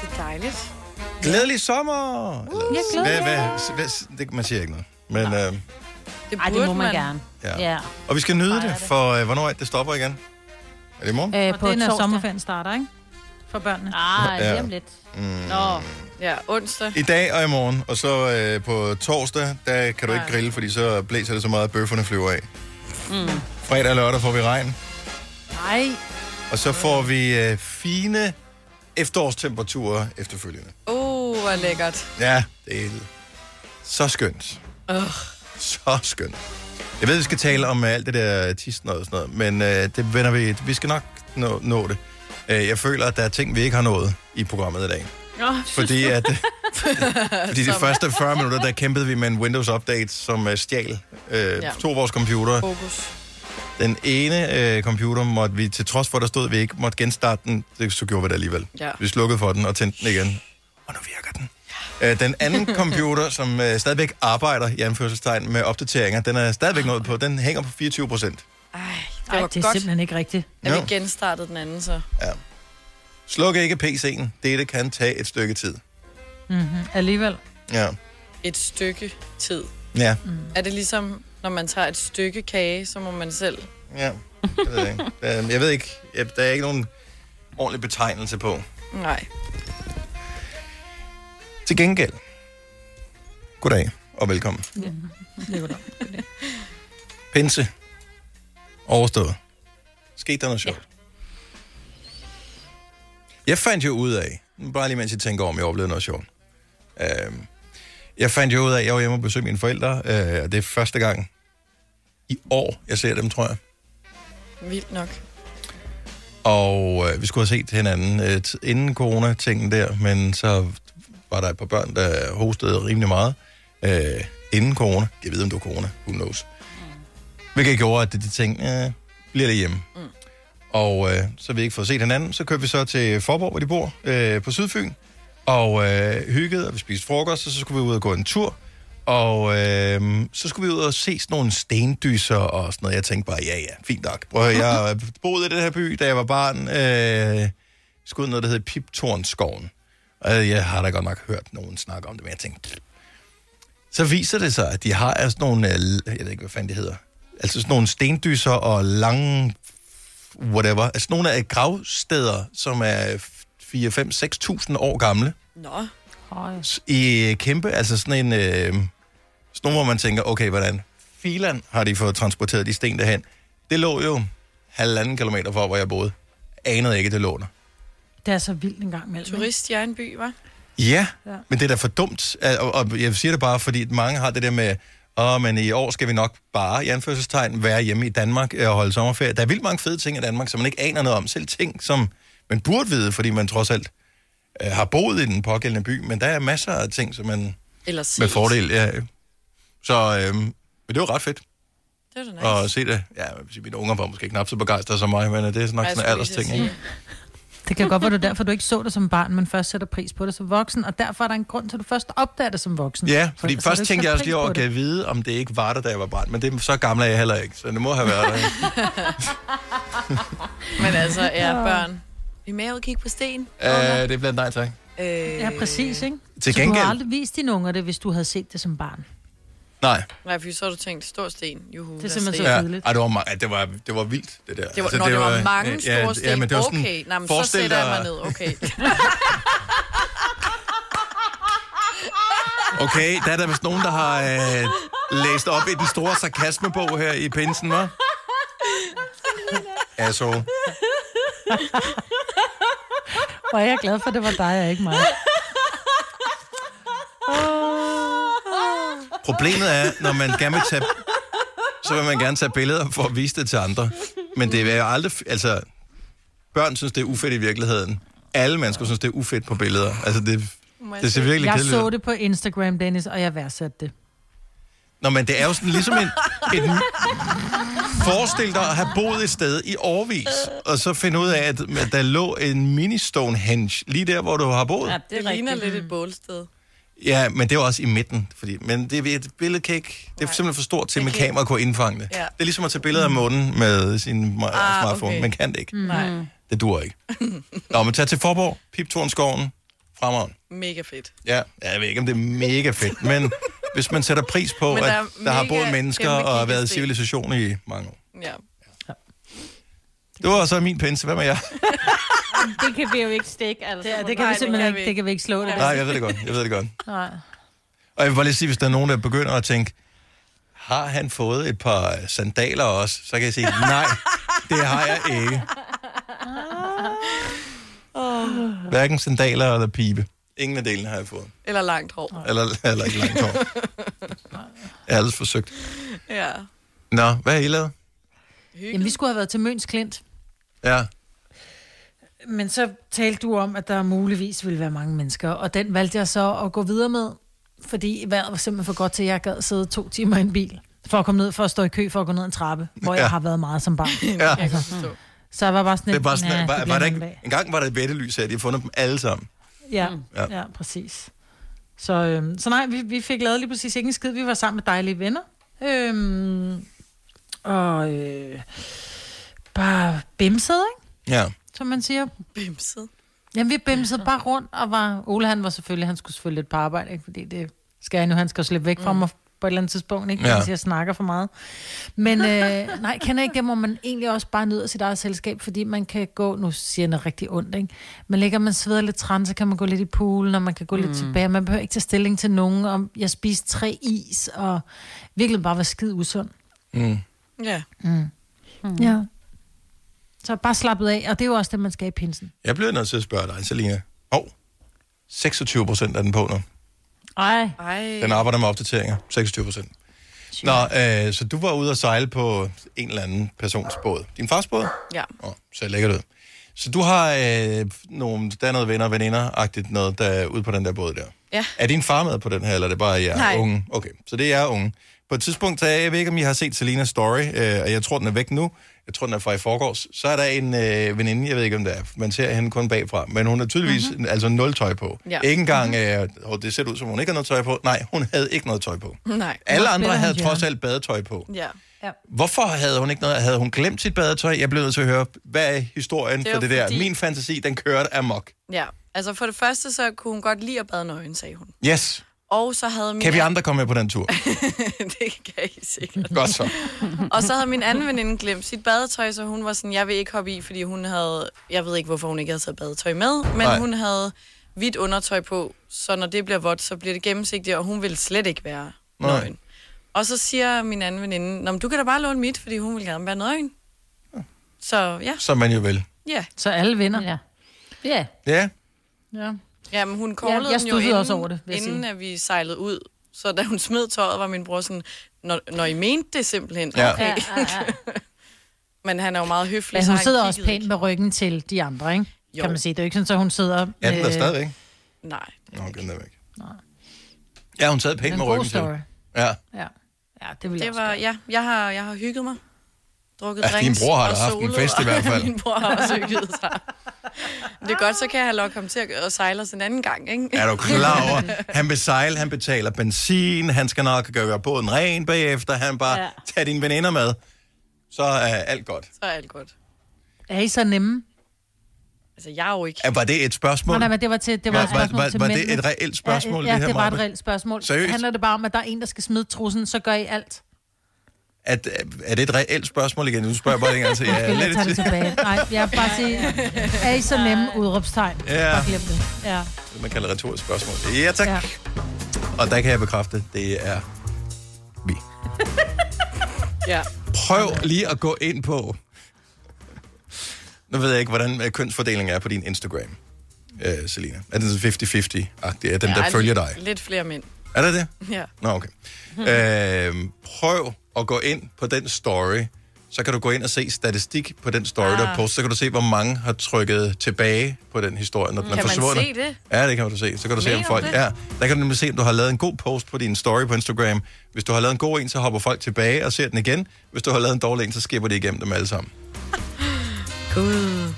Speaker 2: Det er dejligt.
Speaker 1: Glædelig sommer! Eller-
Speaker 2: jeg
Speaker 1: hvad,
Speaker 2: glæder mig.
Speaker 1: hvad, hvad, det, man siger ikke noget. Men, øh,
Speaker 2: Det,
Speaker 7: Ej, det
Speaker 2: burde
Speaker 7: må man gerne.
Speaker 1: ja.
Speaker 7: Ja.
Speaker 1: Og vi skal nyde det, for øh, hvornår er det, det stopper igen? Er det i morgen?
Speaker 7: Øh,
Speaker 3: Og det er, når sommerferien starter, ikke? For børnene.
Speaker 7: Ah,
Speaker 1: Ja.
Speaker 7: lige om lidt.
Speaker 1: Mm.
Speaker 7: Nå.
Speaker 2: Ja, onsdag.
Speaker 1: I dag og i morgen, og så øh, på torsdag, der kan du ikke
Speaker 2: Nej.
Speaker 1: grille, fordi så blæser det så meget, at bøfferne flyver af.
Speaker 2: Mm.
Speaker 1: Fredag og lørdag får vi regn,
Speaker 3: Nej.
Speaker 1: og så får vi øh, fine efterårstemperaturer efterfølgende.
Speaker 2: Uh, hvor lækkert.
Speaker 1: Ja, det er så skønt.
Speaker 2: Uh.
Speaker 1: Så skønt. Jeg ved, vi skal tale om øh, alt det der tisten og sådan noget, men øh, det vender vi... Vi skal nok nå, nå det. Øh, jeg føler, at der er ting, vi ikke har nået i programmet i dag.
Speaker 2: Nå,
Speaker 1: Fordi
Speaker 8: *laughs*
Speaker 1: at... Fordi
Speaker 2: Altså,
Speaker 1: de første 40 minutter, der kæmpede vi med en Windows-update, som øh, stjal øh,
Speaker 2: Ja.
Speaker 1: ja. to af vores computere.
Speaker 2: Fokus.
Speaker 1: Den ene øh, computer måtte vi, til trods for, at der stod, at vi ikke måtte genstarte den, det, så gjorde vi det alligevel.
Speaker 2: Ja.
Speaker 1: Vi slukkede for den og tændte den igen. Og nu virker den. Øh, den
Speaker 2: *laughs*
Speaker 1: anden computer, som øh, stadigvæk arbejder i anførselstegn med opdateringer, den er stadigvæk nået på. Den hænger på 24 procent.
Speaker 2: Det
Speaker 3: Ej,
Speaker 2: var
Speaker 3: det er
Speaker 2: godt,
Speaker 3: simpelthen ikke rigtigt.
Speaker 2: at
Speaker 1: Jo.
Speaker 2: vi genstartede den anden, så.
Speaker 1: Sluk ikke PC'en. Det, det kan tage et stykke tid.
Speaker 3: Mm-hmm. Alligevel.
Speaker 1: Ja.
Speaker 2: Et stykke tid.
Speaker 1: Ja.
Speaker 3: Mm.
Speaker 2: Er det ligesom, når man tager et stykke kage, så må man selv...
Speaker 1: Ja. Jeg ved,
Speaker 2: *laughs*
Speaker 1: ikke. Der, jeg ved ikke. Jeg, der er ikke nogen ordentlig betegnelse på.
Speaker 2: Nej.
Speaker 1: Til gengæld. Goddag og velkommen.
Speaker 3: Ja. Det er godt.
Speaker 1: Pinse. Overstået. Skete der noget sjovt? Jeg fandt jo ud af, bare lige mens jeg tænker om, jeg oplevede noget sjovt. Øhm, jeg fandt jo ud af, at jeg var hjemme og besøgte mine forældre, øh, og det er første gang i år, jeg ser dem, tror jeg.
Speaker 2: Vildt nok.
Speaker 1: Og øh, vi skulle have set hinanden øh, t- inden corona-tingen der, men så var der et par børn, der hostede rimelig meget øh, inden corona. Jeg ved, om det var corona. Who knows? Hvilket gjorde, at det, de tænkte, øh, bliver det hjemme. Mm. Og øh, så vi ikke fået set hinanden. Så kørte vi så til Forborg, hvor de bor, øh, på Sydfyn. Og øh, hyggede, og vi spiste frokost, og så skulle vi ud og gå en tur. Og øh, så skulle vi ud og se sådan nogle stendyser og sådan noget. Jeg tænkte bare, ja ja, fint nok. Prøv at høre, jeg boede i den her by, da jeg var barn. Øh, vi skulle ud i noget, der hedder Piptornskoven. Og jeg har da godt nok hørt nogen snakke om det, men jeg tænkte... pff. Så viser det sig, at de har altså nogle... øh, Jeg ved ikke, hvad fanden det hedder. Altså sådan nogle stendyser og lange... Whatever. Altså nogle af gravsteder, som er 4, 5, 6.000 år gamle
Speaker 2: Nå.
Speaker 3: Høj.
Speaker 1: i øh, kæmpe, altså sådan en... Øh, sådan nogle, hvor man tænker, okay, hvordan filan har de fået transporteret de sten derhen? Det lå jo halvanden kilometer fra, hvor jeg boede. Anede ikke, det lå der.
Speaker 3: Det er så vildt en gang imellem. ikke?
Speaker 2: Turist, jeg er en by, hva'?
Speaker 1: Ja,
Speaker 3: Ja.
Speaker 1: ja, men det er da for dumt. Al- Og, og jeg siger det bare, fordi at mange har det der med, åh, men i år skal vi nok bare, i anførselstegn, være hjemme i Danmark øh, og holde sommerferie. Der er vildt mange fede ting i Danmark, som man ikke aner noget om. Selv ting, som man burde vide, fordi man trods alt øh, har boet i den pågældende by. Men der er masser af ting, som man
Speaker 2: Eller ses.
Speaker 1: med fordel, ja. Så øhm, men det var ret fedt
Speaker 2: Det er da nice.
Speaker 1: nice. at se det. Ja, jeg vil sige, mine unger var måske knap så begejstrede som mig, men øh, det er sådan nok
Speaker 2: Ej, jeg
Speaker 1: sådan en
Speaker 2: skulle lige til at
Speaker 1: aldersting. Ikke?
Speaker 2: sige.
Speaker 3: Det kan godt være, du derfor, du ikke så det som barn, men først sætter pris på det som voksen, og derfor er der en grund til, at du først opdager det som voksen.
Speaker 1: Ja,
Speaker 3: For
Speaker 1: fordi
Speaker 3: ellers har du
Speaker 1: først
Speaker 3: ikke
Speaker 1: tænkte
Speaker 3: sat
Speaker 1: jeg også
Speaker 3: pris
Speaker 1: lige
Speaker 3: på
Speaker 1: over,
Speaker 3: det.
Speaker 1: kan jeg vide, om det ikke var der, da jeg var barn. Men det, så gammel er jeg heller ikke, så det må have været der. ikke?
Speaker 2: Men altså, ja, børn. Vi er med ud og kigge på sten.
Speaker 1: Øh, det er blandt nej, tak.
Speaker 2: Øh,
Speaker 3: Ja, præcis, ikke?
Speaker 1: Til
Speaker 3: Så du
Speaker 1: gengæld-
Speaker 3: har aldrig vist dine unger det, hvis du havde set det som barn.
Speaker 1: Nej,
Speaker 2: Nej, for så har du tænkt, stor sten, juhu.
Speaker 3: Det er simpelthen
Speaker 1: ja.
Speaker 3: så kedeligt.
Speaker 1: Ej, det, var, ma- det, var, det var vildt, det der.
Speaker 2: Det var, altså, når det, var, mange
Speaker 1: øh,
Speaker 2: store sten. Ja, men det var sådan, okay, nej, men så
Speaker 1: forestil
Speaker 2: sætter jeg
Speaker 1: dig-
Speaker 2: mig ned. Okay.
Speaker 1: *laughs* Okay, der er der vist nogen, der har øh, læst op i den store sarkasmebog her i pinsen,
Speaker 8: Ah. *laughs*
Speaker 1: hva'? Asshole.
Speaker 3: Hvor er jeg glad for, at det var dig og ikke mig.
Speaker 1: Problemet er, når man gerne vil tage... Så vil man gerne tage billeder for at vise det til andre. Men det er jo aldrig... Altså, børn synes, det er ufedt i virkeligheden. Alle mennesker synes, det er ufedt på billeder. Altså, det, det ser virkelig
Speaker 3: jeg
Speaker 1: kedeligt
Speaker 3: så
Speaker 1: ud.
Speaker 3: det på Instagram, Dennis, og jeg værdsatte det.
Speaker 1: Nå, men det er jo sådan ligesom en... en forestil dig at have boet et sted i årvis, og så finde ud af, at der lå en mini Stonehenge lige der, hvor du har boet.
Speaker 2: Ja, det, det ligner lidt
Speaker 3: Mm.
Speaker 2: et bålsted.
Speaker 1: Ja, men det er jo også i midten. Fordi, men det er et billede kan ikke, det er simpelthen for stort til, at mit kamera kunne indfange det.
Speaker 2: Ja.
Speaker 1: Det er ligesom at tage billeder af månen med sin ma-
Speaker 2: Ah,
Speaker 1: smartphone.
Speaker 2: okay.
Speaker 1: Man kan det
Speaker 3: Mm.
Speaker 1: ikke.
Speaker 2: Nej.
Speaker 1: Det dur
Speaker 2: *laughs*
Speaker 1: ikke. Nå, men tag til Forborg, Piptornskoven, fremad.
Speaker 2: Mega fedt.
Speaker 1: Ja, jeg ved ikke, om det er mega fedt, men hvis man sætter pris på,
Speaker 2: Men
Speaker 1: der
Speaker 2: der er
Speaker 1: at der har
Speaker 2: mega
Speaker 1: boet mennesker
Speaker 2: kæmpe
Speaker 1: og været
Speaker 2: kiggesten.
Speaker 1: civilisation i mange år.
Speaker 2: Ja.
Speaker 1: Det var så min pense. Hvad med jer?
Speaker 7: Det kan vi jo ikke stikke, altså.
Speaker 3: Ja, det kan vi simpelthen ikke. Det kan vi ikke slå det.
Speaker 1: Nej, jeg ved det godt. Jeg ved det godt.
Speaker 3: Nej.
Speaker 1: Og jeg vil bare lige sige, hvis der er nogen, der begynder at tænke, har han fået et par sandaler også? Så kan jeg sige, nej, det har jeg ikke. Hverken sandaler eller pibe. Ingen af delene har jeg fået.
Speaker 2: Eller langt hår. *laughs*
Speaker 1: Eller, eller ikke
Speaker 3: *laughs*
Speaker 1: langt hår. Jeg har ellers forsøgt.
Speaker 2: Ja.
Speaker 1: Nå, hvad har I lavet?
Speaker 3: Jamen, vi skulle have været til Møns Klint,
Speaker 1: Ja.
Speaker 3: men så talte du om, at der muligvis ville være mange mennesker, og den valgte jeg så at gå videre med, fordi vejret var simpelthen for godt til, at jeg gad sidde to timer i en bil, for at komme ned, for at stå i kø, for at gå ned en trappe, hvor ja.
Speaker 1: Ja.
Speaker 3: jeg har været meget som barn. Altså,
Speaker 1: Ja. Jeg kan
Speaker 2: forstå.
Speaker 3: Så jeg var bare sådan,
Speaker 1: Det er bare sådan,
Speaker 3: "Næh,
Speaker 1: var,
Speaker 3: det
Speaker 1: var der
Speaker 3: bliver en anden
Speaker 1: ikke,
Speaker 3: dag."
Speaker 1: en gang var der et bættelys her, de har fundet dem alle sammen.
Speaker 3: Ja,
Speaker 1: Ja.
Speaker 3: ja. ja præcis. Så, øhm, så nej, vi, vi fik lavet lige præcis ikke en skid. Vi var sammen med dejlige venner. Øhm, og øh, bare bimsede, ikke?
Speaker 1: Ja.
Speaker 3: Som man siger.
Speaker 2: Bimset.
Speaker 3: Jamen, vi bimsede bare rundt, og var... Ole, han var selvfølgelig... Han skulle selvfølgelig lidt på arbejde, ikke? Fordi det skal han jo. Han skal jo slippe væk fra mig på et eller andet tidspunkt, ikke?
Speaker 7: Ja.
Speaker 3: Ja. Hvis jeg snakker for meget. Men øh, *laughs* nej, kender ikke det, hvor man egentlig også bare nyder sit eget selskab, fordi man kan gå... Nu siger jeg noget rigtig ondt, ikke? Men ligger man sveder lidt træn, så kan man gå lidt i poolen, og man kan gå mm. lidt tilbage. Man behøver ikke tage stilling til nogen, om jeg spiste tre is, og virkelig bare var skide usund.
Speaker 1: Mm.
Speaker 2: Ja.
Speaker 3: Mm. Mm. Ja. Så bare slappet af, og det er jo også det, man skal i pinsen.
Speaker 1: Jeg bliver nødt til at spørge dig, Selina. Og 26 procent er den på nu.
Speaker 3: Ej.
Speaker 2: Ej.
Speaker 1: Den arbejder med opdateringer. 26 procent. Nå, øh, så du var ude og sejle på en eller anden persons båd. Din fars båd?
Speaker 2: Ja.
Speaker 1: Åh, så lækkert ud. Så du har øh, nogle, der er noget venner og veninder-agtigt noget, der er ude på den der båd der.
Speaker 2: Ja.
Speaker 1: Er din far med på den her, eller er det bare jer
Speaker 2: Nej.
Speaker 1: unge? Okay, så det er jer unge. På et tidspunkt, så jeg ved ikke, om I har set Selinas story, øh, og jeg tror, den er væk nu. Jeg tror, den er fra i forgårs. Så er der en øh, veninde, jeg ved ikke, om det er. Man ser hende kun bagfra, men hun har tydeligvis mm-hmm. altså nul tøj på.
Speaker 2: Mhm. Ja. Mhm.
Speaker 1: Ikke engang, øh, "Åh, det ser ud som, hun ikke har noget tøj på. Nej, hun havde ikke noget tøj på.
Speaker 2: Nej.
Speaker 1: Alle andre havde trods alt badetøj på.
Speaker 2: Ja. ja.
Speaker 1: Hvorfor havde hun ikke noget? Havde hun glemt sit badetøj? Jeg blev nødt til at høre, hvad er historien
Speaker 2: Det
Speaker 1: det
Speaker 2: var
Speaker 1: for det der?
Speaker 2: fordi-
Speaker 1: Min fantasi, den kørte amok.
Speaker 2: Ja. Altså for det første, så kunne hun godt lide at bade nøgen, sagde hun.
Speaker 1: Yes.
Speaker 2: Og så havde min...
Speaker 1: Kan vi andre komme med på den tur?
Speaker 2: *laughs* det kan I sikkert.
Speaker 1: Godt så.
Speaker 2: Og så havde min anden veninde glemt sit badetøj, så hun var sådan, jeg vil ikke hoppe i, fordi hun havde, jeg ved ikke, hvorfor hun ikke havde taget badetøj med, men
Speaker 1: Nej.
Speaker 2: Nej. hun havde hvidt undertøj på, så når det bliver vådt, så bliver det gennemsigtigt, og hun ville slet ikke være
Speaker 1: Nej.
Speaker 2: nøgen. Og så siger min anden veninde, Nå, men du kan da bare låne mit, fordi hun vil gerne være nøgen. Så ja,
Speaker 1: Som man jo vil.
Speaker 2: ja.
Speaker 3: Så alle vinder. Ja.
Speaker 7: Ja.
Speaker 1: Ja.
Speaker 3: Ja.
Speaker 2: Jamen, hun callede
Speaker 3: Ja, jeg
Speaker 2: den jo
Speaker 3: studsede
Speaker 2: inden,
Speaker 3: også over det, vil jeg
Speaker 2: inden
Speaker 3: sige.
Speaker 2: at vi sejlede ud. Så da hun smed tøjet, var min bror sådan, når, når I mente det simpelthen.
Speaker 1: Ja.
Speaker 2: Okay.
Speaker 1: Ja,
Speaker 2: *laughs* Men han er jo meget høflig,
Speaker 3: Men
Speaker 2: så
Speaker 3: Altså, hun
Speaker 2: han
Speaker 3: sidder også
Speaker 2: kiggede
Speaker 3: pænt med ryggen til de andre, ikke?
Speaker 2: Jo.
Speaker 3: Jo. Kan man sige. Det er jo ikke sådan, at hun sidder...
Speaker 1: Er den der
Speaker 3: øh,
Speaker 1: stadigvæk?
Speaker 2: Nej.
Speaker 1: Nå, den er væk. Ja, hun sad pænt
Speaker 3: Men
Speaker 1: med
Speaker 3: god
Speaker 1: ryggen til.
Speaker 3: story.
Speaker 1: Ja.
Speaker 3: Ja. Ja, det vil jeg
Speaker 2: Det var, ja, jeg har, jeg har hygget mig. Drukket
Speaker 1: Ja, din
Speaker 2: drinks
Speaker 1: bror har
Speaker 2: og
Speaker 1: da haft en
Speaker 2: solet,
Speaker 1: fest i hvert fald.
Speaker 2: og *laughs* min bror har også hygget sig. Det er godt, så kan jeg have lukket ham til at, at sejle os en anden gang, ikke?
Speaker 1: Er du klar
Speaker 2: *laughs*
Speaker 1: over? Han vil sejle, han betaler benzin, han skal nok gøre båden ren bagefter, han bare ja.
Speaker 2: Ja.
Speaker 1: tager dine veninder med. Så er alt godt.
Speaker 2: Så er alt godt.
Speaker 3: Er I så nemme?
Speaker 2: Altså, jeg er jo ikke...
Speaker 1: Ja, Var det et spørgsmål?
Speaker 3: Nej, nej, men det var til, det var,
Speaker 1: Var-
Speaker 3: et spørgsmål
Speaker 1: var- var-
Speaker 3: til
Speaker 1: var det
Speaker 3: mændene.
Speaker 1: et reelt spørgsmål,
Speaker 3: Ja,
Speaker 1: det
Speaker 3: ja
Speaker 1: her,
Speaker 3: det var et
Speaker 1: Maja?
Speaker 3: reelt spørgsmål.
Speaker 1: Seriøst?
Speaker 3: Seriøst? Handler det bare om, at der er en, der skal smide trussen, så gør I alt.
Speaker 1: At, øh, er det et reelt spørgsmål igen? Nu spørger jeg bare en gang til. Altså, Ja,
Speaker 3: Eller
Speaker 1: lidt
Speaker 3: tager det
Speaker 1: til. *laughs*
Speaker 3: tilbage. Nej, jeg vil bare sige, er I så nemme? Udråbstegn.
Speaker 1: Ja.
Speaker 3: Bare glem det. Ja.
Speaker 1: Det, man kalder retorisk spørgsmål. Ja, tak. Ja. Og der kan jeg bekræfte, det er
Speaker 2: Ja.
Speaker 1: Prøv lige at gå ind på... Nu ved jeg ikke, hvordan øh, kønsfordelingen er på din Instagram, øh, Selina. Er den sådan 50-50-agtig? Er den, ja, der følger dig?
Speaker 2: Lidt, lidt flere mænd.
Speaker 1: Er det det?
Speaker 2: Ja.
Speaker 1: Nå, okay. Øh, prøv at gå ind på den story. Så kan du gå ind og se statistik på den story, ah. der er
Speaker 2: Ah.
Speaker 1: postet. Så kan du se, hvor mange har trykket tilbage på den historie, når den
Speaker 2: Kan
Speaker 1: er
Speaker 2: man
Speaker 1: forsvundet.
Speaker 2: se det?
Speaker 1: Ja, det kan du se. Så kan du se, om
Speaker 2: Mener
Speaker 1: folk...
Speaker 2: du det?
Speaker 1: Ja, der kan du nemlig se, om du har lavet en god post på din story på Instagram. Hvis du har lavet en god en, så hopper folk tilbage og ser den igen. Hvis du har lavet en dårlig en, så skipper de igennem dem alle sammen.
Speaker 2: Gud.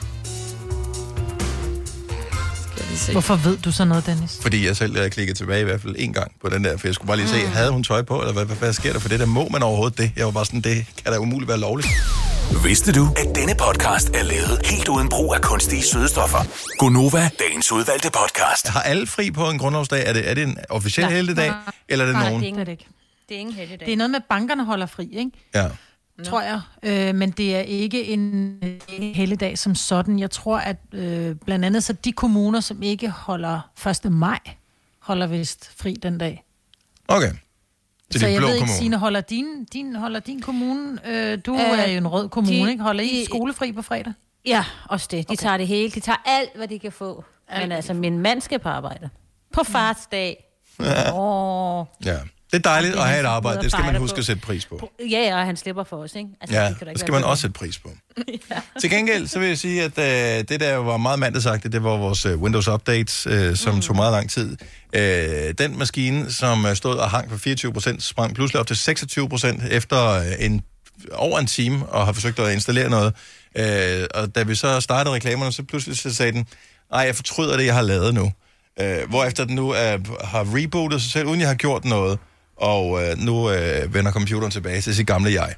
Speaker 2: Se.
Speaker 3: Hvorfor ved du så noget, Dennis?
Speaker 1: Fordi jeg selv øh, klikkede tilbage i hvert fald en gang på den der, for jeg skulle bare lige se, mm. havde hun tøj på, eller hvad, hvad, hvad sker der for det der? Må man overhovedet det? Jeg var bare sådan, det kan da umuligt være lovligt.
Speaker 6: Vidste du, at denne podcast er lavet helt uden brug af kunstige sødestoffer? Gonova, dagens udvalgte podcast.
Speaker 1: Har alle fri på en grundlovsdag? Er det, er det en officiel
Speaker 3: Nej.
Speaker 1: helligdag, eller er det
Speaker 3: Nej,
Speaker 1: nogen?
Speaker 3: det er det ikke.
Speaker 7: Det er ingen heldig dag.
Speaker 3: Det er noget med, at bankerne holder fri, ikke?
Speaker 1: Ja.
Speaker 3: No. tror jeg. Øh, men det er ikke en, en helligdag som sådan. Jeg tror, at øh, blandt andet så de kommuner, som ikke holder 1. maj, holder vist fri den dag.
Speaker 1: Okay. Til
Speaker 3: så
Speaker 1: din
Speaker 3: jeg
Speaker 1: blå
Speaker 3: ved ikke,
Speaker 1: kommune.
Speaker 3: Signe, holder din, din, holder din kommune? Øh, du
Speaker 7: Øh,
Speaker 3: øh, er jo en rød kommune,
Speaker 7: de-
Speaker 3: ikke? Holder I
Speaker 7: de-
Speaker 3: skolefri på fredag?
Speaker 7: Ja, også det. De okay. tager det hele. De tager alt, hvad de kan få. Alt, Men altså, min mand skal på arbejde.
Speaker 3: Mm.
Speaker 7: På fars dag.
Speaker 1: Ja.
Speaker 7: Åh.
Speaker 1: Ja. Det er dejligt
Speaker 7: Det er
Speaker 1: at have et
Speaker 7: han, som
Speaker 1: arbejde.
Speaker 7: sidder
Speaker 1: Det skal
Speaker 7: og
Speaker 1: man
Speaker 7: fejler
Speaker 1: huske
Speaker 7: på.
Speaker 1: at sætte pris på.
Speaker 7: Ja, og han slipper for os, ikke? Altså,
Speaker 1: Ja,
Speaker 7: det kan da
Speaker 1: det
Speaker 7: ikke
Speaker 1: skal
Speaker 7: være
Speaker 1: man
Speaker 7: bedre.
Speaker 1: også sætte pris på. Til gengæld, så vil jeg sige, at øh, det der var meget mandagsagtigt, det var vores øh, Windows Update, øh, som mm. tog meget lang tid. Øh, den maskine, som øh, stod og hang på 24%, sprang pludselig op til 26% efter øh, en, over en time, og har forsøgt at installere noget. Øh, og da vi så startede reklamerne, så pludselig så sagde den, nej, jeg fortryder det, jeg har lavet nu. Øh, hvorefter den nu øh, har rebootet sig selv, uden jeg har gjort noget, og øh, nu øh, vender computeren tilbage til sit gamle jeg.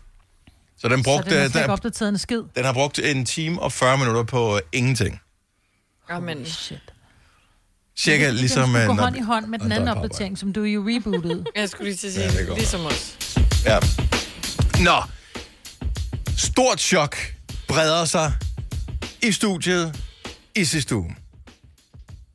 Speaker 1: Så den brugte... øh,
Speaker 3: så den er slet
Speaker 1: den-
Speaker 3: ikke opdateret en skid.
Speaker 1: den har brugt en time og 40 minutter på øh, ingenting.
Speaker 2: Amen.
Speaker 1: Cirka ligesom...
Speaker 3: Den
Speaker 1: øh,
Speaker 3: skulle gå
Speaker 1: når-
Speaker 3: hånd i hånd med den
Speaker 1: når
Speaker 3: anden
Speaker 1: der er på
Speaker 3: opdatering, som du jo rebootede.
Speaker 2: Jeg skulle lige til at
Speaker 1: Ja, det er
Speaker 2: sige,
Speaker 1: godt.
Speaker 2: ja, ligesom os.
Speaker 1: Ja. Nå. Stort chok breder sig i studiet i sidste uge.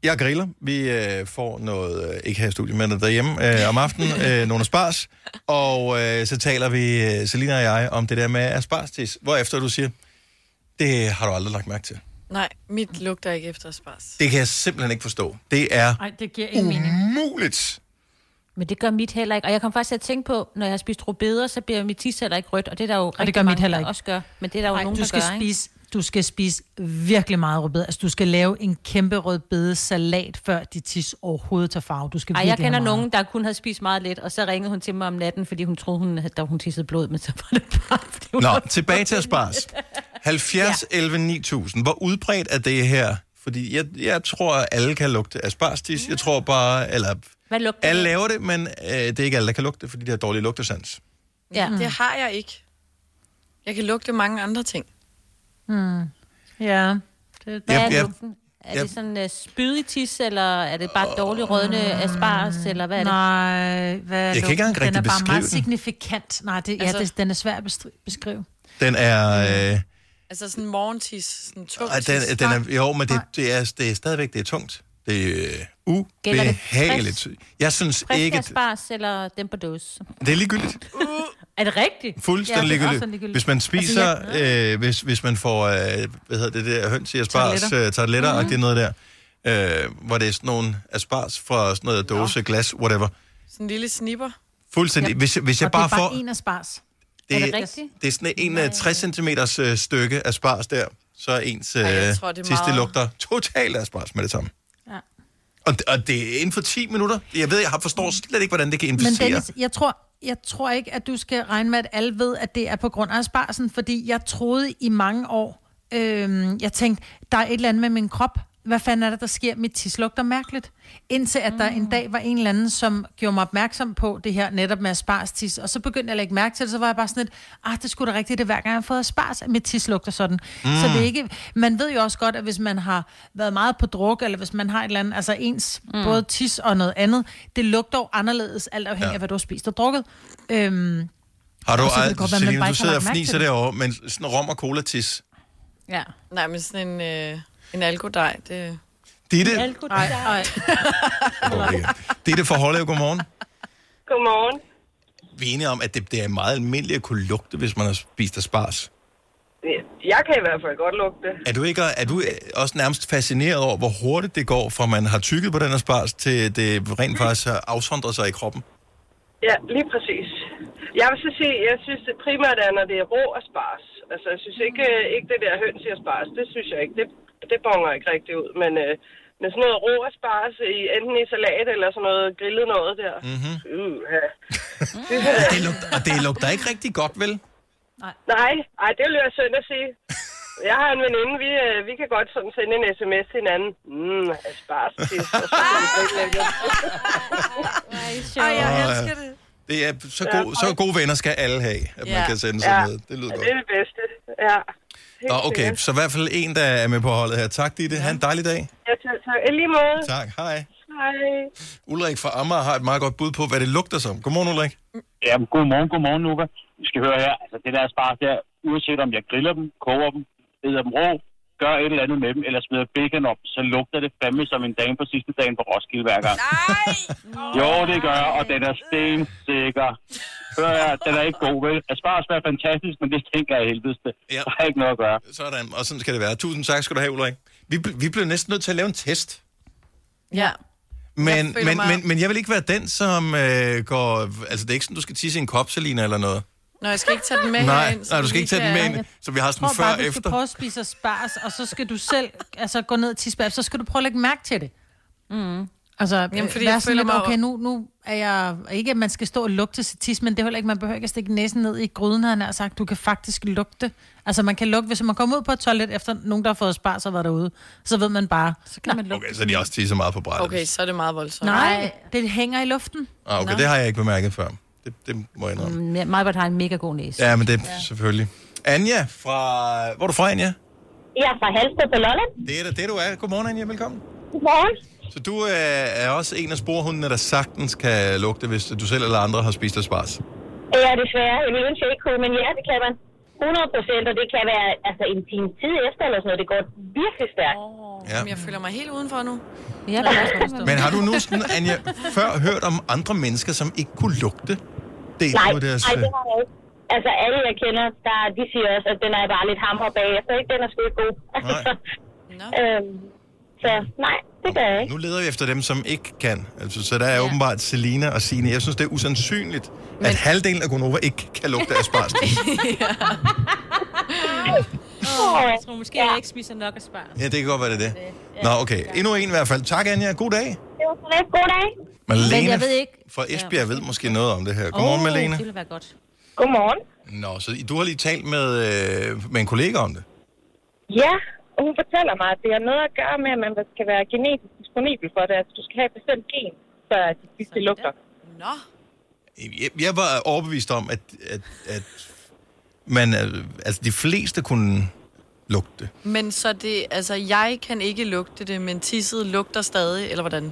Speaker 1: Jeg griller. Vi øh, får noget, øh, ikke her i studiet, men derhjemme øh, om aftenen,
Speaker 3: *laughs*
Speaker 1: øh, nogle spars. Og øh, så taler vi, øh, Selina og jeg, om det der med asparstis. Hvorefter du siger, det har du aldrig lagt mærke til.
Speaker 2: Nej, mit lugter ikke efter spars.
Speaker 1: Det kan jeg simpelthen ikke forstå. Det er
Speaker 3: Nej, det giver ingen
Speaker 1: Mm.
Speaker 3: mening.
Speaker 1: umuligt.
Speaker 7: Men det gør mit heller ikke. Og jeg kom faktisk til at tænke på, når jeg har spist rubeder, så bliver mit tis heller ikke rødt. Og det er der jo
Speaker 3: Og det gør
Speaker 7: rigtig
Speaker 3: mit
Speaker 7: mange,
Speaker 3: heller
Speaker 7: der
Speaker 3: ikke.
Speaker 7: også gør. Men det er der jo
Speaker 3: Ej,
Speaker 7: nogen,
Speaker 3: du
Speaker 7: der
Speaker 3: skal
Speaker 7: gør, ikke?
Speaker 3: spise, Du skal spise virkelig meget rødbede. Altså, du skal lave en kæmpe rødbede salat, før de tis overhovedet tager farve. Du skal
Speaker 7: Ej, jeg
Speaker 3: virkelig
Speaker 7: kender
Speaker 3: have meget.
Speaker 7: nogen, der kun havde spist meget lidt, og så ringede hun til mig om natten, fordi hun troede, hun, at der hun tissede blod, men så var det bare... Fordi hun
Speaker 1: Nå, tilbage til
Speaker 7: *laughs*
Speaker 1: Aspars. 70, ja. 11, 9000. Hvor udbredt er det her? Fordi jeg, jeg tror, at alle kan lugte asparstis. Jeg tror bare, eller
Speaker 7: Hvad lugter
Speaker 1: alle laver det, men øh, det er ikke alle, der kan lugte det, fordi de har dårlig lugtesans.
Speaker 7: Ja.
Speaker 2: Det har jeg ikke. Jeg kan lugte mange andre ting.
Speaker 3: Mm. Ja. Det,
Speaker 7: Hvad
Speaker 1: Jeg-
Speaker 7: er
Speaker 1: jeg-
Speaker 7: lugten? Er
Speaker 1: jeg-
Speaker 7: det sådan uh, spydig tis, eller er det bare dårlig rødne asparges, eller hvad er det?
Speaker 3: Øh, nej, hvad er
Speaker 1: Jeg kan ikke engang
Speaker 3: lugten? Den er
Speaker 1: rigtig
Speaker 3: bare meget
Speaker 1: beskrive den.
Speaker 3: signifikant. Nej, det, ja,
Speaker 2: Altså-
Speaker 3: det, den er svær at bestri- beskrive.
Speaker 1: Den er...
Speaker 7: Mm.
Speaker 1: Øh,
Speaker 2: Altså sådan morgentis, sådan tung
Speaker 1: og den, den er jo, men det, det, er, det er stadigvæk det er tungt. Det er øh,
Speaker 7: Gælder det
Speaker 1: ubehageligt. Jeg synes
Speaker 7: Frisk
Speaker 1: ikke...
Speaker 7: asparges, eller dem på dåse?
Speaker 1: Det er ligegyldigt.
Speaker 7: Er det rigtigt?
Speaker 1: Øh. Fuldstændig
Speaker 7: Ja, det er
Speaker 1: ligegyldigt.
Speaker 7: også ligegyldigt.
Speaker 1: Hvis man spiser,
Speaker 7: Altså,
Speaker 1: altså, ja. øh, hvis, hvis man får, øh, hvad hedder det der, høns i asparges,
Speaker 3: Tarteletter. Mhm.
Speaker 1: øh, tarteletter, mm-hmm. og det er noget der, øh, hvor det er sådan nogle asparges fra sådan noget dåse, glas, whatever.
Speaker 2: Sådan en lille snipper.
Speaker 1: Fuldstændig. Ja. Hvis, hvis jeg
Speaker 3: og
Speaker 1: bare,
Speaker 3: det er bare
Speaker 1: får...
Speaker 3: en af spars.
Speaker 1: det,
Speaker 7: Er det rigtigt?
Speaker 1: det er sådan en øh, 60 cm øh, stykke asparges der, så er ens øh,
Speaker 2: jeg tror, det er
Speaker 1: sidste
Speaker 2: meget.
Speaker 1: lugter totalt asparges med det samme.
Speaker 3: Ja.
Speaker 1: Og, og det er inden for 10 minutter. Jeg ved, jeg har- forstår slet ikke, hvordan det kan
Speaker 3: Men
Speaker 1: inficere.
Speaker 3: Dennis, jeg tror, jeg tror ikke, at du skal regne med, at alle ved, at det er på grund af asparsen, fordi jeg troede i mange år, øhm, jeg tænkte, der er et eller andet med min krop. Hvad fanden er det, der sker? Mit tis lugter mærkeligt. Indtil at der en dag var en eller anden, som gjorde mig opmærksom på det her netop med asparstis. Og så begyndte jeg at lægge mærke til det, så var jeg bare sådan lidt, ah, det skulle da rigtigt, det er hver gang jeg har fået aspars, at mit tis lugter sådan. Mm. Så det er ikke, man ved jo også godt, at hvis man har været meget på druk, eller hvis man har et eller andet, altså ens mm. både tis og noget andet, det lugter jo anderledes, alt afhængig
Speaker 1: Ja.
Speaker 3: ja. af, hvad du har spist og drukket. Øhm,
Speaker 1: Har du,
Speaker 3: Og så kan det
Speaker 1: ald-
Speaker 3: godt være, man
Speaker 1: Selina, du
Speaker 3: bare ikke har
Speaker 1: sidder og
Speaker 3: lagt mærke
Speaker 1: fniser
Speaker 3: til det.
Speaker 1: derovre, men sådan rom og cola-tis.
Speaker 7: Ja.
Speaker 2: Nej, men sådan en, øh, en algodej, det...
Speaker 1: Ditte,
Speaker 7: Algodej.
Speaker 3: ej, ej.
Speaker 1: Okay. Ditte fra Hårlev, godmorgen.
Speaker 12: Godmorgen.
Speaker 1: Vi er enige om, at det, det er meget almindeligt at kunne lugte, hvis man har spist asparges.
Speaker 12: Jeg kan i hvert fald godt lugte det.
Speaker 1: Er du, ikke, er du øh, også nærmest fascineret over, hvor hurtigt det går, fra man har tykket på den asparges, til det rent faktisk har afsondret sig i kroppen?
Speaker 12: Ja, lige præcis. Jeg vil så sige, jeg synes det primært er, når det er rå og spars. Altså, jeg synes ikke, øh, ikke det der høns i spars, det synes jeg ikke. Det, det bonger ikke rigtig ud, men... Øh, men sådan noget rå spars i enten i salat eller sådan noget grillet noget der.
Speaker 1: Mhm.
Speaker 12: Uh, ja.
Speaker 1: Og det, lugter, og det lugter ikke rigtig godt, vel?
Speaker 12: Nej. Nej, ej, det ville være synd at sige. Jeg har en veninde, vi, øh, vi kan godt sådan sende en sms til hinanden. Mm, asparges.
Speaker 2: Ej, jeg
Speaker 1: Åh, ja.
Speaker 2: elsker det.
Speaker 1: Det er, så, god, så gode venner skal alle have, at man kan sende sådan noget. Det lyder
Speaker 12: ja,
Speaker 1: godt.
Speaker 12: det er det bedste. Ja. Helt
Speaker 1: Nå, okay,
Speaker 12: sikkert.
Speaker 1: så i hvert fald en, der er med på holdet her. Tak, Ditte. Ha' en dejlig dag.
Speaker 12: Ja, tak, tak. I lige måde.
Speaker 1: Tak, hej.
Speaker 12: Hej.
Speaker 1: Ulrik fra Amager har et meget godt bud på, hvad det lugter som. Godmorgen, Ulrik.
Speaker 4: Ja, godmorgen, godmorgen, Luca. Vi skal høre her, altså det der spars der, uanset om jeg griller dem, koger dem, æder dem rå, gør et eller andet med dem, eller smider bacon op, så lugter det fandme som en dame på sidste dagen på Roskilde hver gang. Nej! Jo, det gør, og den er stensikker. Hør her, den er ikke god, vel? Altså, Asparges er fantastisk, men det stinker af helvedes det.
Speaker 1: Ja.
Speaker 4: Der er ikke noget at gøre.
Speaker 1: Sådan, og sådan skal det være. Tusind tak skal du have, Ulrik. Vi, bl- vi blev næsten nødt til at lave en test.
Speaker 2: Ja.
Speaker 1: Men,
Speaker 2: føler
Speaker 1: men,
Speaker 2: mig-
Speaker 1: men, men jeg vil ikke være den, som øh, går... Altså, det er ikke sådan, du skal tisse i en kop, Selina, eller noget.
Speaker 2: Nå, jeg skal ikke tage den med
Speaker 1: Nej,
Speaker 2: herind, så
Speaker 1: nej, du
Speaker 2: vi
Speaker 1: skal ikke
Speaker 2: lige
Speaker 1: tage den med
Speaker 2: kan-
Speaker 1: ind. Så vi har sådan
Speaker 3: Prøv
Speaker 1: før
Speaker 3: bare,
Speaker 1: og
Speaker 3: du skal
Speaker 1: efter.
Speaker 3: prøve at spise og spars, og så skal du selv altså, gå ned til spars, så skal du prøve at lægge mærke til det.
Speaker 2: Mm.
Speaker 3: Altså,
Speaker 2: Jamen,
Speaker 3: Jamen,
Speaker 2: fordi
Speaker 3: fordi
Speaker 2: jeg
Speaker 3: vær sådan
Speaker 2: føler
Speaker 3: lidt,
Speaker 2: mig-
Speaker 3: okay, nu, nu er jeg... Ikke, at man skal stå og lugte sit tis, men det er heller ikke, man behøver ikke at stikke næsen ned i gryden, han har sagt. Du kan faktisk lugte. Altså, man kan lugte, hvis man kommer ud på et toilet efter nogen, der har fået spars og været derude, så ved man bare... Så kan man
Speaker 1: Okay, så er Altså, de også tisse meget på brættet.
Speaker 2: Okay, så er det meget voldsomt.
Speaker 3: Nej, det hænger i luften.
Speaker 1: Ah, okay,
Speaker 3: Nå.
Speaker 1: det har jeg ikke bemærket før. Det, det må jeg indrømme.
Speaker 7: Mm, Majbert har en mega god
Speaker 2: Mm.
Speaker 7: næse.
Speaker 1: Ja, men det er ja. selvfølgelig. Anja fra... Hvor er du fra, Anja?
Speaker 8: Jeg er fra Halsted på Lolland.
Speaker 1: Det er da det, du er. Godmorgen, Anja. Velkommen.
Speaker 8: Godmorgen.
Speaker 1: Så du øh, er også en af sporhundene, der sagtens kan lugte, hvis du selv eller andre har spist asparges.
Speaker 8: Ja, desværre. Jeg ville ønske, jeg ikke kunne, men ja, det kan man. 100 procent, og det kan være altså, en time tid efter eller sådan noget. Det går virkelig stærkt.
Speaker 1: Ja.
Speaker 2: Jeg føler mig helt udenfor nu.
Speaker 7: Ja,
Speaker 8: det er
Speaker 1: Men har du nu sådan, Anja, før hørt om andre mennesker, som ikke kunne lugte det
Speaker 8: nej,
Speaker 1: på deres... øh,
Speaker 8: nej, det har jeg ikke. Altså, alle jeg kender, der, de siger også, at den er bare lidt hammer bagefter. Ikke? Den er sgu ikke god. *laughs* øhm, så nej, det gør
Speaker 7: *laughs*
Speaker 8: jeg ikke.
Speaker 1: Nu leder vi efter dem, som ikke kan. Altså, så der er ja. åbenbart Selina og Signe. Jeg synes, det er usandsynligt, Men... at halvdelen af Gonova ikke kan lugte
Speaker 8: *laughs*
Speaker 1: asparges.
Speaker 7: Åh, jeg tror måske, jeg ikke spiser nok og spars.
Speaker 1: ja, det kan godt være, det er det. Nå, okay. Endnu en i hvert fald. Tak, Anja. God dag.
Speaker 8: Det var så lidt. God dag.
Speaker 1: Malene
Speaker 7: Men jeg ved ikke-
Speaker 1: fra Esbjerg ved måske noget om det her. Godmorgen,
Speaker 7: Åh,
Speaker 1: Malene.
Speaker 7: Det ville være godt. *laughs*
Speaker 8: Godmorgen.
Speaker 1: Nå, så du har lige talt med, øh, med en kollega om det.
Speaker 8: Ja, og hun fortæller mig, at det har noget at gøre med, at man skal være genetisk disponibel for det. Altså, du skal have et bestemt gen, så de sidste lugter.
Speaker 2: Nå.
Speaker 1: Jeg, jeg var overbevist om, at, at, at man, øh, altså, de fleste kunne lugte det.
Speaker 2: Men så det, altså jeg kan ikke lugte det, men tisset lugter stadig, eller hvordan?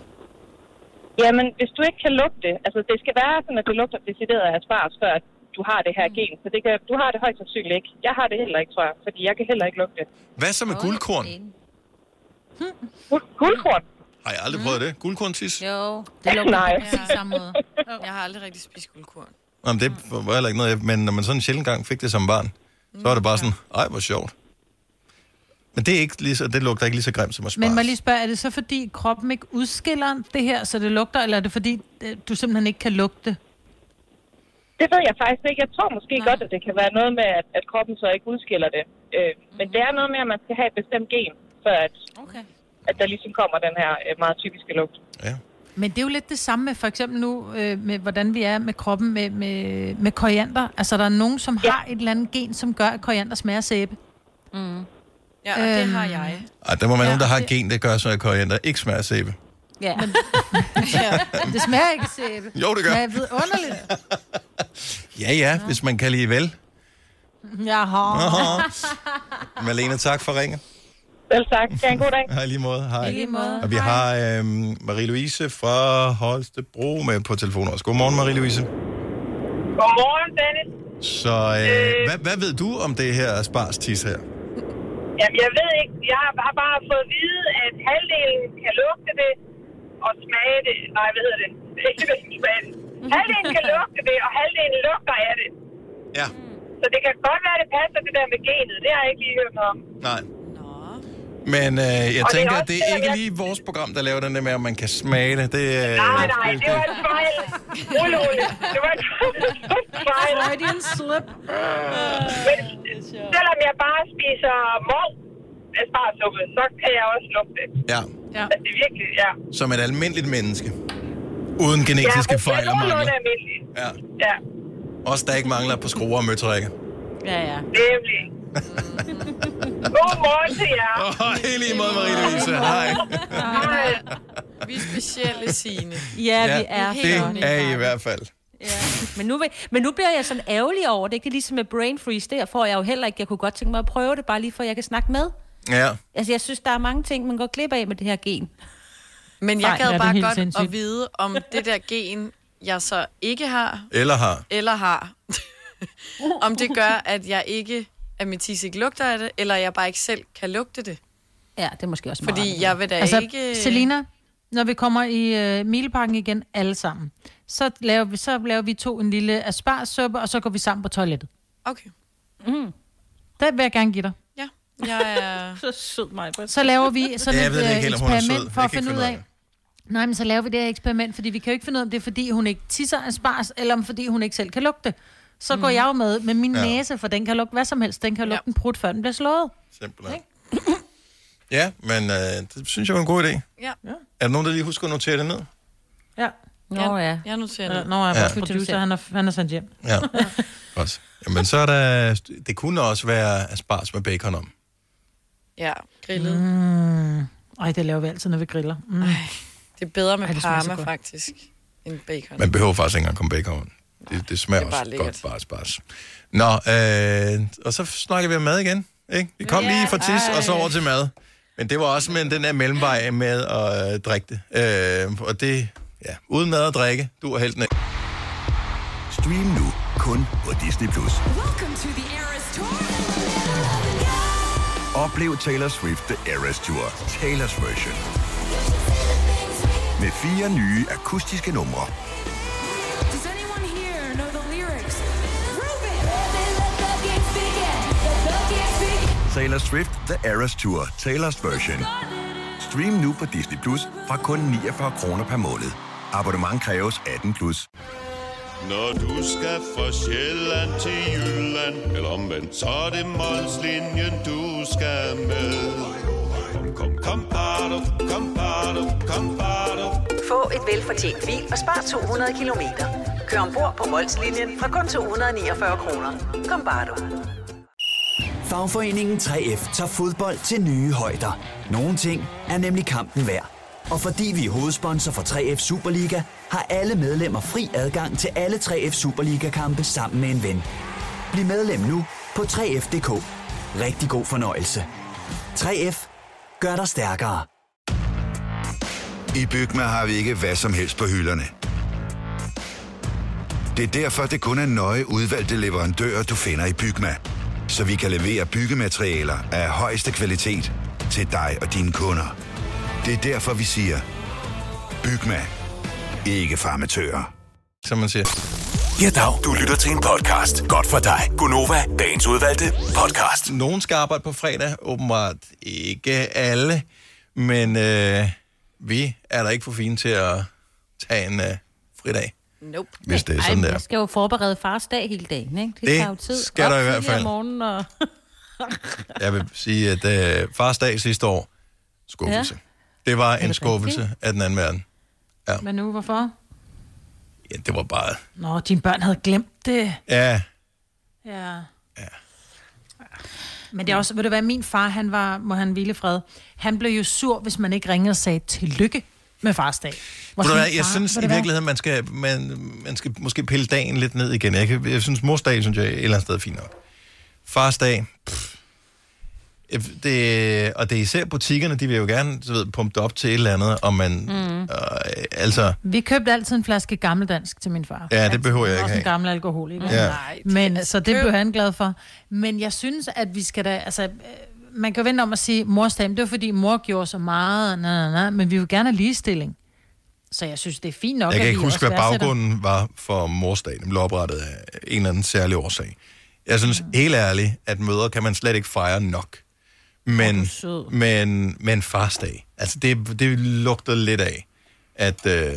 Speaker 8: Jamen, hvis du ikke kan lugte det, altså det skal være sådan, at det lugter decideret af asparges, før at du har det her gen. Så det kan, du har det højst sandsynligt ikke. Jeg har det heller ikke, tror jeg, fordi jeg kan heller ikke lugte det.
Speaker 1: Hvad så med guldkorn?
Speaker 8: Guldkorn?
Speaker 1: Har jeg aldrig prøvet det? Guldkorn tis?
Speaker 7: Jo,
Speaker 8: det lugter Nej. på
Speaker 2: præcis samme måde. Jeg har aldrig rigtig spist guldkorn.
Speaker 1: Jamen, det var heller ikke noget, jeg- men når man sådan en sjældent gang fik det som barn, så var det bare sådan, ej, hvor sjovt. Men det, er ikke lige så, det lugter ikke lige så grimt som at
Speaker 3: Men
Speaker 1: spare.
Speaker 3: må jeg lige spørge, er det så fordi kroppen ikke udskiller det her, så det lugter, eller er det fordi, øh, du simpelthen ikke kan lugte det?
Speaker 8: Det ved jeg faktisk ikke. Jeg tror måske Nej. godt, at det kan være noget med, at, at kroppen så ikke udskiller det. Øh, men det er noget med, at man skal have et bestemt gen, før at,
Speaker 7: okay.
Speaker 8: at der ligesom kommer den her øh, meget typiske lugt.
Speaker 3: Men det er jo lidt det samme med for eksempel nu, øh, med hvordan vi er med kroppen med, med, med koriander. Altså, der er nogen, som ja. har et eller andet gen, som gør, at koriander smager af sæbe. Øhm, Mm.
Speaker 2: Ja, og det har jeg.
Speaker 1: Ej, der må være ja, nogen, der har et gen, der gør, så at koriander ikke smager af sæbe.
Speaker 7: Ja.
Speaker 2: *laughs*
Speaker 3: Men, ja. Det smager ikke af sæbe.
Speaker 1: Jo, det gør.
Speaker 3: Men jeg ved underligt.
Speaker 1: Ja, ja, hvis man kan lige vel.
Speaker 3: Jaha.
Speaker 1: Jaha. Malene, tak for ringen.
Speaker 8: Selv tak. Ha' en god dag.
Speaker 1: Hej i lige måde. Hej.
Speaker 8: I lige måde.
Speaker 1: Og vi har øh, Marie-Louise fra Holstebro med på telefonen også. Godmorgen, Marie-Louise.
Speaker 12: Godmorgen, Dennis.
Speaker 1: Så øh, hvad, hvad ved du om det her sparstis her?
Speaker 12: Jamen, jeg ved ikke. Jeg har har bare fået at vide, at halvdelen kan lugte det og smage det. Nej, hvad hedder det? Ikke det, smage det. Halvdelen kan lugte det, og halvdelen lugter af det.
Speaker 1: Ja.
Speaker 12: Så det kan godt være, det passer det der med genet. Det har jeg ikke lige hørt noget om.
Speaker 1: Nej. Men øh, jeg
Speaker 12: Og det er
Speaker 1: tænker,
Speaker 12: også
Speaker 1: at det er
Speaker 12: selvom
Speaker 1: ikke
Speaker 12: jeg-
Speaker 1: lige vores program, der laver den der med, om man kan smage det. det øh,
Speaker 12: Nej, nej, det var en fejl. Rulle, Rulle. Det var en fejl.
Speaker 8: Freudian
Speaker 12: slip.
Speaker 2: Øh,
Speaker 12: Men selvom jeg bare spiser mor, aspargesuppe, så kan jeg også lugte det.
Speaker 1: Ja,
Speaker 12: Ja. Altså, det er virkelig, ja.
Speaker 1: som et almindeligt menneske. Uden genetiske
Speaker 12: ja,
Speaker 1: ja, fejl og
Speaker 12: Ja,
Speaker 1: mangler.
Speaker 12: almindeligt.
Speaker 1: Ja.
Speaker 12: Ja,
Speaker 1: Også der ikke mangler på skruer og møtrikker.
Speaker 7: Ja, ja. *laughs*
Speaker 12: nemlig. Godmorgen til jer.
Speaker 1: Åh, helt i måde, Marie-Louise. Hej.
Speaker 2: Vi er specielle, Signe.
Speaker 7: Ja, vi er.
Speaker 1: Det er i hvert fald.
Speaker 7: Men nu, vil- men nu bliver jeg sådan ærgerlig over det. Ikke? Det er ligesom med brain freeze. Der får jeg jo heller ikke. Jeg kunne godt tænke mig at prøve det, bare lige for at jeg kan snakke med.
Speaker 1: Ja.
Speaker 7: Altså, jeg synes, der er mange ting, man går glip af med det her gen.
Speaker 2: Men jeg gad bare godt at vide, om det der gen, jeg så ikke har,
Speaker 1: Eller har.
Speaker 2: eller har, *laughs* om det gør, at jeg ikke, at min tis ikke lugter af det, eller jeg bare ikke selv kan lugte det.
Speaker 7: Ja, det er måske også
Speaker 2: Fordi
Speaker 7: meget.
Speaker 2: jeg vil da
Speaker 3: altså,
Speaker 2: ikke-
Speaker 3: Selina, når vi kommer i øh, Mileparken igen alle sammen, så laver, vi, så laver vi to en lille asparsuppe, og så går vi sammen på toilettet.
Speaker 2: Okay.
Speaker 3: Mm. Det vil jeg gerne give dig.
Speaker 2: Ja, jeg
Speaker 7: *laughs*
Speaker 2: er... så sød mig.
Speaker 3: Så laver vi sådan
Speaker 2: Ja, jeg
Speaker 3: et
Speaker 2: ved det
Speaker 3: øh,
Speaker 2: ikke heller, hun er sød.
Speaker 3: eksperiment for
Speaker 2: Jeg
Speaker 3: at
Speaker 2: kan ikke
Speaker 3: finde ud
Speaker 2: finde ud
Speaker 3: af. Nej, men så laver vi det her eksperiment, fordi vi kan jo ikke finde ud af, om det er, fordi hun ikke tisser af spars, eller om fordi hun ikke selv kan lugte. Så går jeg jo med med min
Speaker 1: Ja.
Speaker 3: næse, for den kan lugte hvad som helst. Den kan lugte en prut, før den bliver slået.
Speaker 1: Simpelthen. Ja, men øh, det synes jeg var en god idé.
Speaker 2: Ja.
Speaker 1: Er der nogen, der lige husker at notere det ned?
Speaker 3: Ja.
Speaker 7: Nå ja.
Speaker 2: Jeg noterer
Speaker 3: det.
Speaker 2: det.
Speaker 3: Nå ja, vores
Speaker 1: Ja.
Speaker 3: producer, han er, han er sendt hjem.
Speaker 1: Ja. Godt. Jamen, så er der... Det kunne også være asparges med bacon om.
Speaker 2: Ja, grillet.
Speaker 3: Mm. Ej, det laver vi altid, når vi griller. Mm.
Speaker 2: Det er bedre med
Speaker 3: Ej,
Speaker 2: Ej,
Speaker 3: det smager så
Speaker 2: parma,
Speaker 3: godt.
Speaker 2: faktisk, end bacon.
Speaker 1: Man behøver faktisk ikke engang komme bacon om. Det, det smager
Speaker 2: Det er bare
Speaker 1: også
Speaker 2: lækkert.
Speaker 1: godt, bare asparges. Nå, øh, og så snakker vi om mad igen. Ikke? Vi kom
Speaker 2: Ja.
Speaker 1: lige fra tis
Speaker 2: Ej.
Speaker 1: og så over til mad. Men det var også med den der mellemvej med at øh, drikke det. Øh, og det, ja, uden mad og drikke, du er helten af.
Speaker 6: Stream nu kun på Disney+. Plus.
Speaker 8: Welcome to the Eras Tour.
Speaker 6: Oplev Taylor Swift The Eras Tour, Taylor's version. Med fire nye akustiske numre.
Speaker 8: Does anyone here know the lyrics?
Speaker 6: Taylor Swift The Eras Tour, Taylor's version. Stream nu på Disney Plus fra kun 49 kroner per måned. Abonnement kræves 18 plus.
Speaker 13: Når du skal fra Sjælland til Jylland, eller omvendt, så er det Molslinjen, du skal med. Kom, kom, kom, bado, kom, bado, kom, bado.
Speaker 14: Få et velfortjent bil og spar 200 kilometer. Kør ombord på Molslinjen fra kun 249 kroner. Kom bare du.
Speaker 15: Fagforeningen 3F tager fodbold til nye højder. Nogle ting er nemlig kampen værd. Og fordi vi er hovedsponsor for 3F Superliga, har alle medlemmer fri adgang til alle 3F Superliga-kampe sammen med en ven. Bliv medlem nu på 3F.dk. Rigtig god fornøjelse. 3F gør dig stærkere.
Speaker 16: I Bygma har vi ikke hvad som helst på hylderne. Det er derfor, det kun er nøje udvalgte leverandører, du finder i Bygma. Så vi kan levere byggematerialer af højeste kvalitet til dig og dine kunder. Det er derfor, vi siger, Bygma. Ikke farmatører.
Speaker 1: Som man siger.
Speaker 6: Ja, dag. Du lytter til en podcast. Godt for dig. Gunova, dagens udvalgte podcast.
Speaker 1: Nogen skal arbejde på fredag, åbenbart ikke alle. Men øh, vi er da ikke for fine til at tage en øh, fridag.
Speaker 2: Nope.
Speaker 1: Hvis det er sådan
Speaker 7: Ej, men
Speaker 1: der.
Speaker 7: Jeg skal jo forberede fars dag hele dagen, ikke?
Speaker 1: Det
Speaker 7: tager jo tid.
Speaker 1: skal der i
Speaker 7: Op
Speaker 1: hvert
Speaker 7: tidligt om
Speaker 1: fald.
Speaker 7: morgenen og...
Speaker 1: Jeg vil sige, at øh, fars dag sidste år, skuffelse. Ja. Det var en skuffelse af den anden verden. Ja.
Speaker 3: Men nu, hvorfor?
Speaker 1: Ja, det var bare...
Speaker 3: Nå, dine børn havde glemt det.
Speaker 1: Ja,
Speaker 3: Ja. ja. Men det er også, ved du hvad, min far, han var, må han hvile i fred, han blev jo sur, hvis man ikke ringede og sagde tillykke med fars dag. Hvor
Speaker 1: Ved du
Speaker 3: sådan,
Speaker 1: hvad, jeg
Speaker 3: far,
Speaker 1: synes i
Speaker 3: ved du hvad?
Speaker 1: virkeligheden, man skal, man, man skal måske pille dagen lidt ned igen. Jeg, kan, jeg synes, morsdag, synes jeg, et eller andet sted er fint nok. Fars dag, pff. If det, og det er især butikkerne, de vil jo gerne du ved, pumpe det op til et eller andet, og man, mm.
Speaker 3: Mm.
Speaker 1: øh, altså,
Speaker 3: Vi købte altid en flaske gammeldansk til min far.
Speaker 1: Ja, det behøver jeg
Speaker 3: Han
Speaker 1: ikke
Speaker 3: var Også en
Speaker 1: have.
Speaker 3: gammel alkoholiker.
Speaker 1: Ja.
Speaker 3: Nej,
Speaker 5: altså,
Speaker 3: Men, så det blev han glad for. Men jeg synes, at vi skal da... Altså, øh, man kan jo vente om at sige, mors dag, men det var fordi mor gjorde så meget, na, na, na, men vi vil gerne have ligestilling. Så jeg synes, det er fint nok,
Speaker 1: Jeg
Speaker 3: at
Speaker 1: kan ikke
Speaker 3: vi
Speaker 1: huske,
Speaker 3: også
Speaker 1: hvad
Speaker 3: værdsætter-
Speaker 1: baggrunden var for morsdagen. Den blev oprettet af en eller anden særlig årsag. Jeg synes helt ærligt, at møder kan man slet ikke fejre nok. Men, men, men farsdag, altså det, det lugter lidt af, at øh,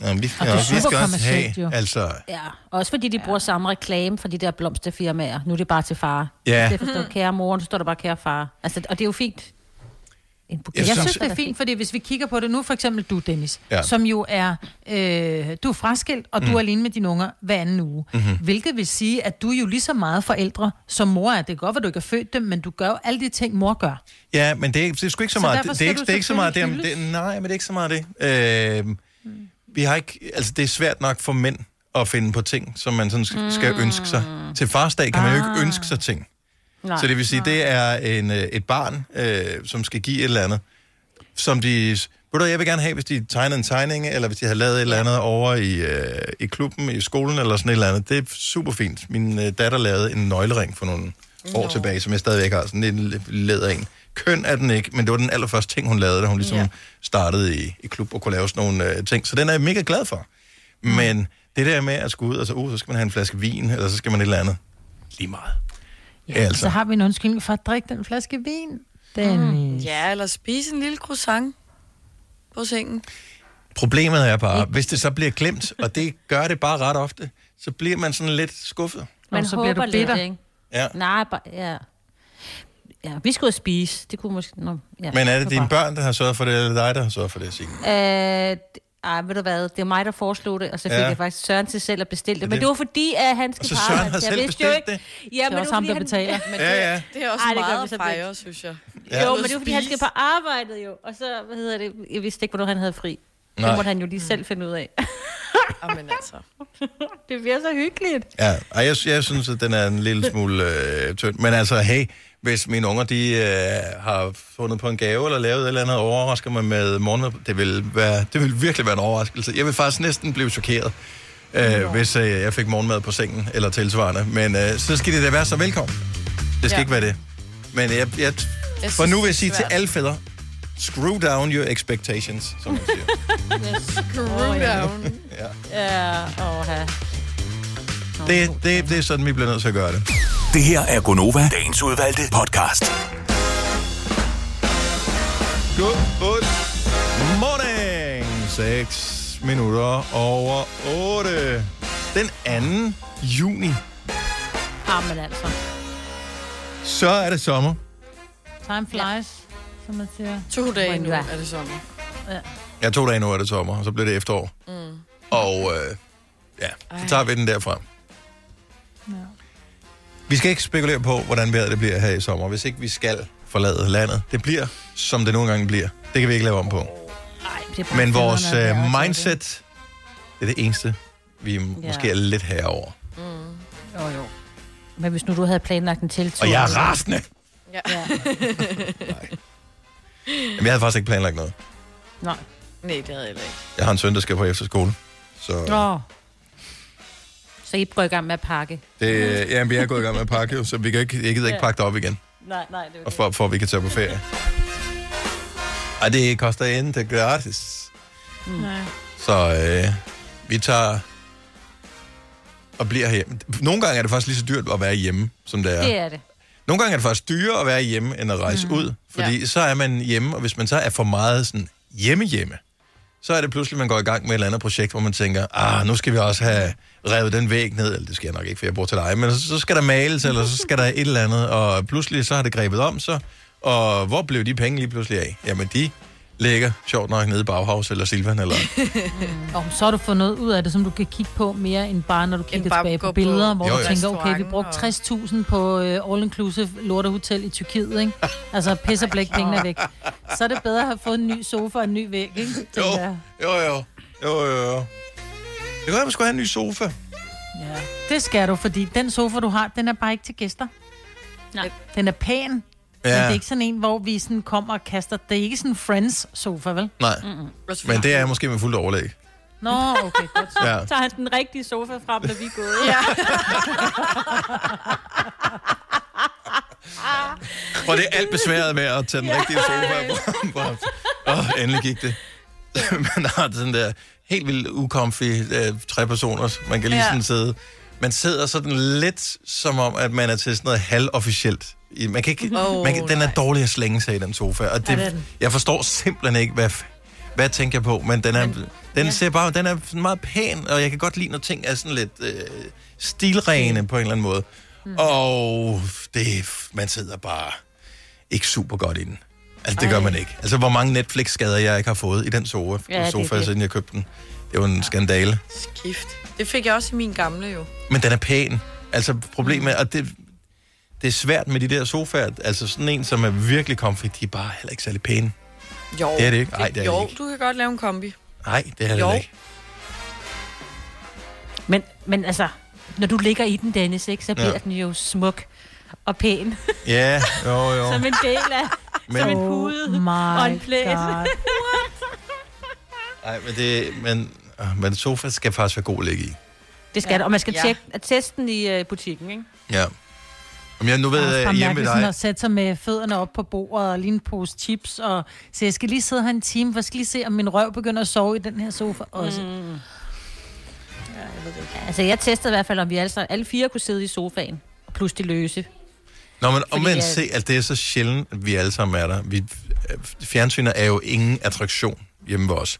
Speaker 1: jamen, vi, skal,
Speaker 7: Og det er
Speaker 1: ja, vi skal også
Speaker 7: superkommercielt,
Speaker 1: have,
Speaker 7: jo.
Speaker 1: altså,
Speaker 7: Ja, også fordi de bruger samme reklame for de der blomsterfirmaer. Nu er det bare til far.
Speaker 1: Ja. Mm.
Speaker 7: Det forstår kære mor, nu står der bare kære far. Altså, og det er jo fint. En buket.
Speaker 3: Jeg, jeg synes, det er fint, fordi hvis vi kigger på det nu, for eksempel du, Dennis,
Speaker 7: Ja.
Speaker 3: ja. som jo er, øh, du er fraskilt, og mm. du
Speaker 7: Mm.
Speaker 3: er alene med dine unger hver anden uge.
Speaker 7: Mhm.
Speaker 3: Mm-hmm. Hvilket vil sige, at du er jo lige så meget forældre, som mor er. Det er godt, at du ikke har født dem, men du gør jo alle de ting, mor gør.
Speaker 1: ja, men det er, ikke- det er sgu ikke så
Speaker 3: Så
Speaker 1: meget.
Speaker 3: derfor
Speaker 1: Det, det,
Speaker 3: skal
Speaker 1: er ikke,
Speaker 3: du
Speaker 1: det er ikke så meget det, om-
Speaker 3: selvfølgelig
Speaker 1: det, nej, men det er ikke så meget det. Øh, vi har ikke, altså det er svært nok for mænd at finde på ting, som man sådan skal, skal ønske sig. Til farsdag kan man jo ikke ønske sig ting. Nej, så det vil sige, nej. det er en, øh, et barn, øh, som skal give et eller andet, som de... s- Ved du, hvad, jeg vil gerne have, hvis de tegner en tegning, eller hvis de har lavet et eller andet over i, øh, i klubben, i skolen, eller sådan et eller andet. Det er super fint. Min øh, datter lavede en nøglering for nogle år
Speaker 17: Nå.
Speaker 1: tilbage, som jeg stadigvæk har. Sådan en l- læder en. Køn er den ikke, men det var den allerførste ting, hun lavede, da hun ligesom
Speaker 17: Ja.
Speaker 1: ja. startede i, i klub og kunne lave sådan nogle øh, ting. Så den er jeg mega glad for. Men det der med at skulle ud, altså, uh, så skal man have en flaske vin, eller så skal man et eller andet. Lige meget.
Speaker 3: Ja, altså. Så har vi en undskyldning for at drikke den flaske vin. Dennis. Mm.
Speaker 2: Ja, eller spise en lille croissant på sengen.
Speaker 1: Problemet er bare, hvis det så bliver glemt, og det gør det bare ret ofte, så bliver man sådan lidt skuffet.
Speaker 7: Man
Speaker 3: Og så
Speaker 7: håber
Speaker 3: bliver du bitter.
Speaker 7: Lidt, ikke?
Speaker 1: Ja.
Speaker 7: Nej, bare, ja. ja. vi skulle jo spise. Det kunne måske... Nå, ja.
Speaker 1: Men er det dine
Speaker 7: bare-
Speaker 1: børn, der har sørget for det, eller dig, der har sørget for det, Signe?
Speaker 7: Øh, ej, ved du hvad, det var mig, der foreslog det, og så fik
Speaker 1: Ja.
Speaker 7: ja. jeg faktisk Søren til selv at bestille det. Men
Speaker 1: det-
Speaker 7: det var fordi, at han skal
Speaker 1: så Søren har selv bestilt
Speaker 7: det? Ja, men
Speaker 3: også
Speaker 7: var,
Speaker 3: ham,
Speaker 7: fordi
Speaker 3: der
Speaker 7: han-
Speaker 3: betaler.
Speaker 2: Men
Speaker 1: Ja,
Speaker 2: det,
Speaker 1: ja.
Speaker 2: det er også
Speaker 7: Ej,
Speaker 2: Ej,
Speaker 7: det
Speaker 2: det
Speaker 7: gør vi
Speaker 2: meget
Speaker 7: så
Speaker 2: at fejre, synes jeg.
Speaker 7: Ja.
Speaker 8: *laughs*
Speaker 7: Jo, men det var fordi, han skal på arbejde jo. Og så, hvad hedder det, jeg vidste ikke, hvornår han havde fri. Nej.
Speaker 1: Nej.
Speaker 7: Det måtte han jo lige selv finde ud *laughs* af.
Speaker 2: Jamen altså.
Speaker 7: *laughs* det bliver så hyggeligt.
Speaker 1: Ja, og jeg, jeg synes, at den er en lille smule øh, tynd. Men altså, hey, hvis mine unger, de øh, har fundet på en gave, eller lavet et eller andet, overrasker mig med morgenmad, det vil, være, det vil virkelig være en overraskelse. Jeg vil faktisk næsten blive chokeret, øh, hvis øh, jeg fik morgenmad på sengen, eller tilsvarende. Men øh, så skal det da være så velkommen. Det skal
Speaker 2: Ja.
Speaker 1: ja. ikke være det. Men jeg, jeg, jeg for
Speaker 2: synes,
Speaker 1: nu
Speaker 2: det
Speaker 1: vil
Speaker 2: er
Speaker 1: jeg sige til
Speaker 2: svært.
Speaker 1: alle fædre, screw down your expectations, som man siger.
Speaker 8: Oh,
Speaker 7: Screw
Speaker 2: down. Oh,
Speaker 1: ja.
Speaker 7: Ja, åh, ja.
Speaker 1: Det, det, det er sådan, vi bliver nødt til at gøre det.
Speaker 6: Det her er Gonova, dagens udvalgte podcast.
Speaker 1: Good morning. 6 minutter over 8. Den 2. juni,
Speaker 7: Jamen altså.
Speaker 1: så er det sommer.
Speaker 3: Time flies, ja. som man siger.
Speaker 2: To dage nu
Speaker 3: Wonder.
Speaker 2: er det sommer.
Speaker 3: Ja.
Speaker 1: Ja, to dage nu er det sommer, og så bliver det efterår.
Speaker 2: Mm.
Speaker 1: Og øh, ja, så tager vi den derfra. Vi skal ikke spekulere på, hvordan vejret det bliver her i sommer, hvis ikke vi skal forlade landet. Det bliver, som det nogle gange bliver. Det kan vi ikke lave om på.
Speaker 7: Det er bare
Speaker 1: Men vores
Speaker 7: federe, når det er
Speaker 1: øh,
Speaker 7: også
Speaker 1: mindset, det er det eneste, vi måske er lidt herover.
Speaker 7: det. Jo, jo. Men hvis nu du havde planlagt en tiltur...
Speaker 1: Og jeg er rasende.
Speaker 2: Ja.
Speaker 7: *laughs*
Speaker 1: Jamen, jeg havde faktisk ikke planlagt noget.
Speaker 7: Nej.
Speaker 2: Nej, det havde jeg heller ikke.
Speaker 1: Jeg har en søn, der skal på efterskole. Så
Speaker 7: Nå. Så I går i gang med at pakke.
Speaker 1: det, ja, vi er gået i gang med at pakke, jo, så vi kan ikke, jeg gider ikke pakke det op igen,
Speaker 7: Nej, nej, det er
Speaker 1: og for, for at vi kan tage på ferie. Ej, det koster ikke gratis.
Speaker 7: mm. Nej.
Speaker 1: Så øh, vi tager og bliver hjemme. Nogle gange er det faktisk lige så dyrt at være hjemme, som det er.
Speaker 7: Det er det.
Speaker 1: Nogle gange er det faktisk dyrere at være hjemme, end at rejse mm. ud. Fordi ja. så er man hjemme, og hvis man så er for meget sådan hjemme-hjemme, så er det pludselig, man går i gang med et eller andet projekt, hvor man tænker, ah, nu skal vi også have revet den væg ned, eller det skal jeg nok ikke, for jeg bor til dig, men så så skal der males, eller så skal der et eller andet, og pludselig så har det grebet om sig, og hvor blev de penge lige pludselig af? Jamen, de ligger sjovt nok nede i Bauhaus eller Silvan,
Speaker 3: *laughs*
Speaker 1: eller
Speaker 3: Mm. Og så har du fået noget ud af det, som du kan kigge på mere end bare, når du kigger
Speaker 2: bare
Speaker 3: tilbage
Speaker 2: gå
Speaker 3: på billeder,
Speaker 2: på
Speaker 3: hvor
Speaker 1: Jo,
Speaker 3: du
Speaker 1: jo.
Speaker 3: tænker, okay, vi
Speaker 2: restauranten
Speaker 3: brugte 60.000 på uh, All-Inclusive Lortehotel i
Speaker 1: *laughs*
Speaker 3: Tyrkiet, ikke? Altså, pis og blæk, pengene er væk. Så er det bedre at have fået en ny sofa og en ny væg, ikke?
Speaker 1: *laughs* Jo,
Speaker 3: Tænker jeg.
Speaker 1: jo, jo. Jo, jo, jo. Det kunne være, at man skulle have en ny sofa.
Speaker 3: Ja. Det skal du, fordi den sofa, du har, den er bare ikke til gæster.
Speaker 7: Nej.
Speaker 3: Den er pæn, ja. men det
Speaker 1: Ja.
Speaker 3: er ikke sådan en, hvor vi sådan kommer og kaster. Det er ikke sådan en Friends-sofa, vel?
Speaker 1: Nej. Men det er måske med fuldt overlæg.
Speaker 3: Nå, okay, godt.
Speaker 1: Ja.
Speaker 7: Så tager han den rigtige sofa frem, når vi er gået. *laughs*
Speaker 2: ja. *laughs*
Speaker 1: Og det er alt besværet med at tage den rigtige sofa frem. Og endelig gik det. *laughs* man har sådan der helt vildt ukomfy øh, tre personer. Man kan lige
Speaker 2: Ja.
Speaker 1: sådan sidde. Man sidder sådan lidt som om, at man er til sådan noget halvofficielt. I- Man kan ikke,
Speaker 2: Åh,
Speaker 1: oh, man kan, den er dårlig at slænge sig i den sofa. Og
Speaker 2: Ja,
Speaker 1: det,
Speaker 2: det er den.
Speaker 1: jeg forstår simpelthen ikke, hvad, f- hvad tænker jeg på, men den er, men, den ja. ser bare, den er sådan meget pæn, og jeg kan godt lide, når ting er sådan lidt øh, stilrene på en eller anden måde. Mm. Og det, man sidder bare ikke super godt i den. Altså, det Ej. gør man ikke. Altså, hvor mange Netflix-skader jeg ikke har fået i den sofa,
Speaker 2: Ja, det
Speaker 1: ja,
Speaker 2: er
Speaker 1: sofa
Speaker 2: det.
Speaker 1: siden jeg købte den. Det var en ja. skandale.
Speaker 2: Gift. Det fik jeg også i min gamle jo.
Speaker 1: Men den er pæn. Altså, problemet er, og det, det er svært med de der sofaer. Altså, sådan en, som er virkelig comfy, de er bare heller ikke særlig pæne.
Speaker 2: Jo.
Speaker 1: Det er det ikke. Ej, det er det
Speaker 2: jo,
Speaker 1: ikke.
Speaker 2: du kan godt lave en kombi.
Speaker 1: Nej, det er
Speaker 2: Jo.
Speaker 1: det ikke.
Speaker 7: Men, men altså, når du ligger i den, Dennis, ikke, så bliver
Speaker 1: Ja.
Speaker 7: ja. den jo smuk og pæn.
Speaker 1: Ja, jo,
Speaker 2: *laughs*
Speaker 1: jo.
Speaker 7: som en del af,
Speaker 1: Men-
Speaker 7: men, som en
Speaker 1: Oh
Speaker 7: pude
Speaker 3: my
Speaker 7: og en plæt.
Speaker 3: God.
Speaker 1: Nej, men det... Men, øh, men sofa skal faktisk være god at ligge i.
Speaker 7: det skal ja. og man skal
Speaker 3: Ja.
Speaker 7: ja. tjekke, at teste den i uh, butikken, ikke?
Speaker 1: Ja. Om jeg nu ved jeg, hjemme ved dig...
Speaker 3: Og sætte sig med fødderne op på bordet og lige en pose chips. Og så jeg skal lige sidde her en time, for jeg skal lige se, om min røv begynder at sove i den her sofa også. Mm.
Speaker 7: Altså, jeg testede i hvert fald, om vi alle, sammen- alle fire kunne sidde i sofaen, plus de løse.
Speaker 1: Nå, men
Speaker 7: Fordi
Speaker 1: omvendt
Speaker 7: jeg-
Speaker 1: se, at det er så sjældent, at vi alle sammen er der. Vi, øh, fjernsynet er jo ingen attraktion hjemme ved os.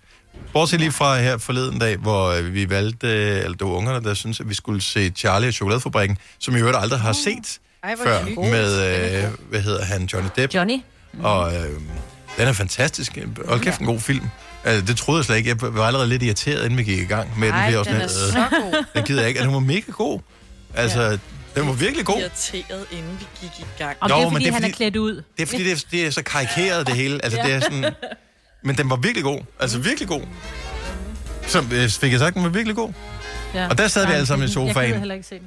Speaker 1: Bortset lige fra her forleden dag, hvor øh, vi valgte, øh, eller det var ungerne, der syntes, at vi skulle se Charlie og Chokoladefabrikken, som jeg øvrigt aldrig har set
Speaker 7: Ej, hvor
Speaker 1: før,
Speaker 7: hyggeligt.
Speaker 1: med, øh, hvad hedder han, Johnny Depp.
Speaker 7: Johnny.
Speaker 1: Og øh, den er fantastisk. Hold kæft, en god film. Altså, det troede jeg slet ikke. Jeg var allerede lidt irriteret, inden vi gik i gang med den.
Speaker 2: Ej,
Speaker 1: Vi også
Speaker 2: den
Speaker 1: lidt, øh,
Speaker 2: er så
Speaker 8: *laughs*
Speaker 2: god.
Speaker 1: Den gider jeg ikke, og den var mega god. Altså, ja. den var virkelig god.
Speaker 2: Irriteret, inden vi gik i gang.
Speaker 1: Om Nå, det er, fordi men det er, han er fordi-
Speaker 7: klædt ud.
Speaker 1: Det er fordi, det er, det er så karikeret det hele. Altså, det er sådan...
Speaker 2: *laughs*
Speaker 1: Men den var virkelig god. Altså, virkelig god. Så øh, fik jeg sagt, den var virkelig god.
Speaker 3: Ja.
Speaker 1: Og der sad vi
Speaker 3: Nej,
Speaker 1: alle sammen i
Speaker 3: jeg gider
Speaker 1: sofaen.
Speaker 3: heller ikke se den.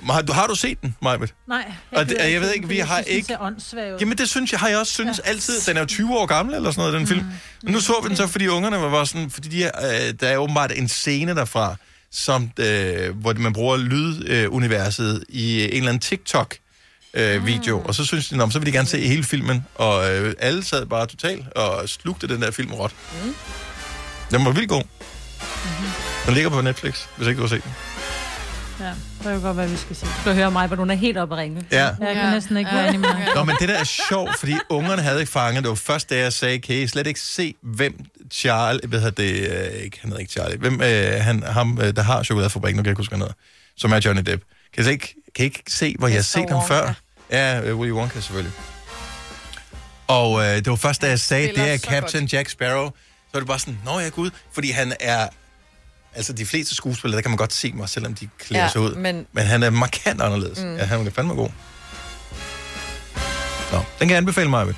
Speaker 1: Men Har du, har du set den, Majbet?
Speaker 3: Nej.
Speaker 1: Og det-
Speaker 3: gider
Speaker 1: jeg ved
Speaker 3: se den,
Speaker 1: ikke, vi
Speaker 3: fordi jeg
Speaker 1: har
Speaker 3: synes, den
Speaker 1: ikke-
Speaker 3: ser åndssvag ud.
Speaker 1: Jamen, det synes jeg, har jeg også synes ja. altid. Den er jo 20 år gammel, eller sådan noget, den film. Men nu så vi den så, fordi ungerne var var sådan... Fordi de, øh, der er åbenbart en scene derfra, som, øh, hvor man bruger lyduniverset øh, universet i en eller anden TikTok. Øh, video, og så synes de, om, så vil de gerne se hele filmen, og øh, alle sad bare totalt og slugte den der film råt.
Speaker 8: Mm.
Speaker 1: Den var vildt god. Mm-hmm. Den ligger på Netflix, hvis ikke du har set den.
Speaker 3: Ja, det kan godt være, vi skal se.
Speaker 7: Du kan høre mig, hvor hun er helt oppe at ringe.
Speaker 1: Ja.
Speaker 3: Jeg kan næsten ikke være enig med dig.
Speaker 1: Nå, men det der er sjovt, fordi ungerne havde ikke fanget. Det var først, da jeg sagde, kan I slet ikke se, hvem Charlie... Hvad hedder det? Øh, ikke, han hedder ikke Charlie. Hvem øh, han, ham, øh, der har chokoladefabrikken, nu kan jeg ikke huske, hvad han hedder, som er Johnny Depp. Kan I, slet ikke, kan I ikke se, hvor jeg har set ham før? Ja, øh, Willy Wonka selvfølgelig. Og øh, det var først, da jeg sagde, det
Speaker 6: spiller
Speaker 1: er
Speaker 6: så
Speaker 1: Captain Jack Sparrow, så var det bare sådan, nå ja, gud, fordi han er... Altså, de fleste skuespillere, der kan man godt se mig, selvom de klæder
Speaker 2: Ja,
Speaker 1: sig ud.
Speaker 2: men-
Speaker 1: men han er markant anderledes.
Speaker 2: Mm.
Speaker 1: Mm. Ja, han er fandme god. Nå, den kan jeg anbefale mig,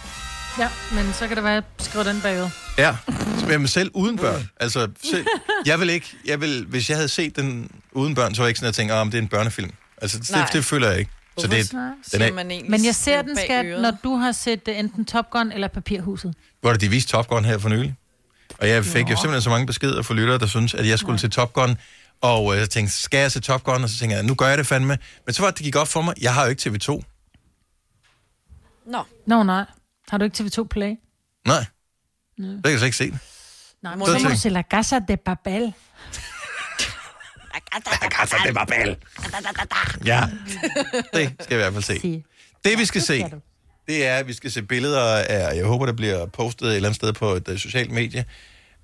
Speaker 3: Ja, men så kan det være, at jeg skriver den bagud.
Speaker 1: Ja, men selv uden børn. Altså, *laughs* selv, jeg vil ikke, jeg vil, hvis jeg havde set den uden børn, så var jeg ikke sådan at tænke, ah, men det er en børnefilm. Altså,
Speaker 3: Nej.
Speaker 1: det, det føler jeg ikke. Så det, den er,
Speaker 3: Men jeg ser den, skat, når du har set øh, enten Top Gun eller Papirhuset.
Speaker 1: hvor de viste Top Gun her for nylig. Og jeg fik jo simpelthen så mange beskeder fra lyttere, der synes at jeg skulle til Top Gun. Og øh, jeg tænkte, skal jeg til Top Gun? Og så tænkte jeg, nu gør jeg det fandme. Men så var det, det gik op for mig, jeg har jo ikke TV2.
Speaker 2: Nå.
Speaker 3: Nå, nej. Har du ikke TV2 Play?
Speaker 1: Nej,
Speaker 3: Nå.
Speaker 1: så kan jeg så ikke se den. *laughs*
Speaker 3: Nej,
Speaker 1: Så
Speaker 3: men så må
Speaker 1: tænk-
Speaker 3: du se La Casa de Papel.
Speaker 1: Øh. Kassa de Babel. Ja, det skal jeg i hvert fald se. Det vi skal se, det er, at vi skal se billeder af, jeg håber, det bliver postet et eller andet sted på et øh, socialt medie,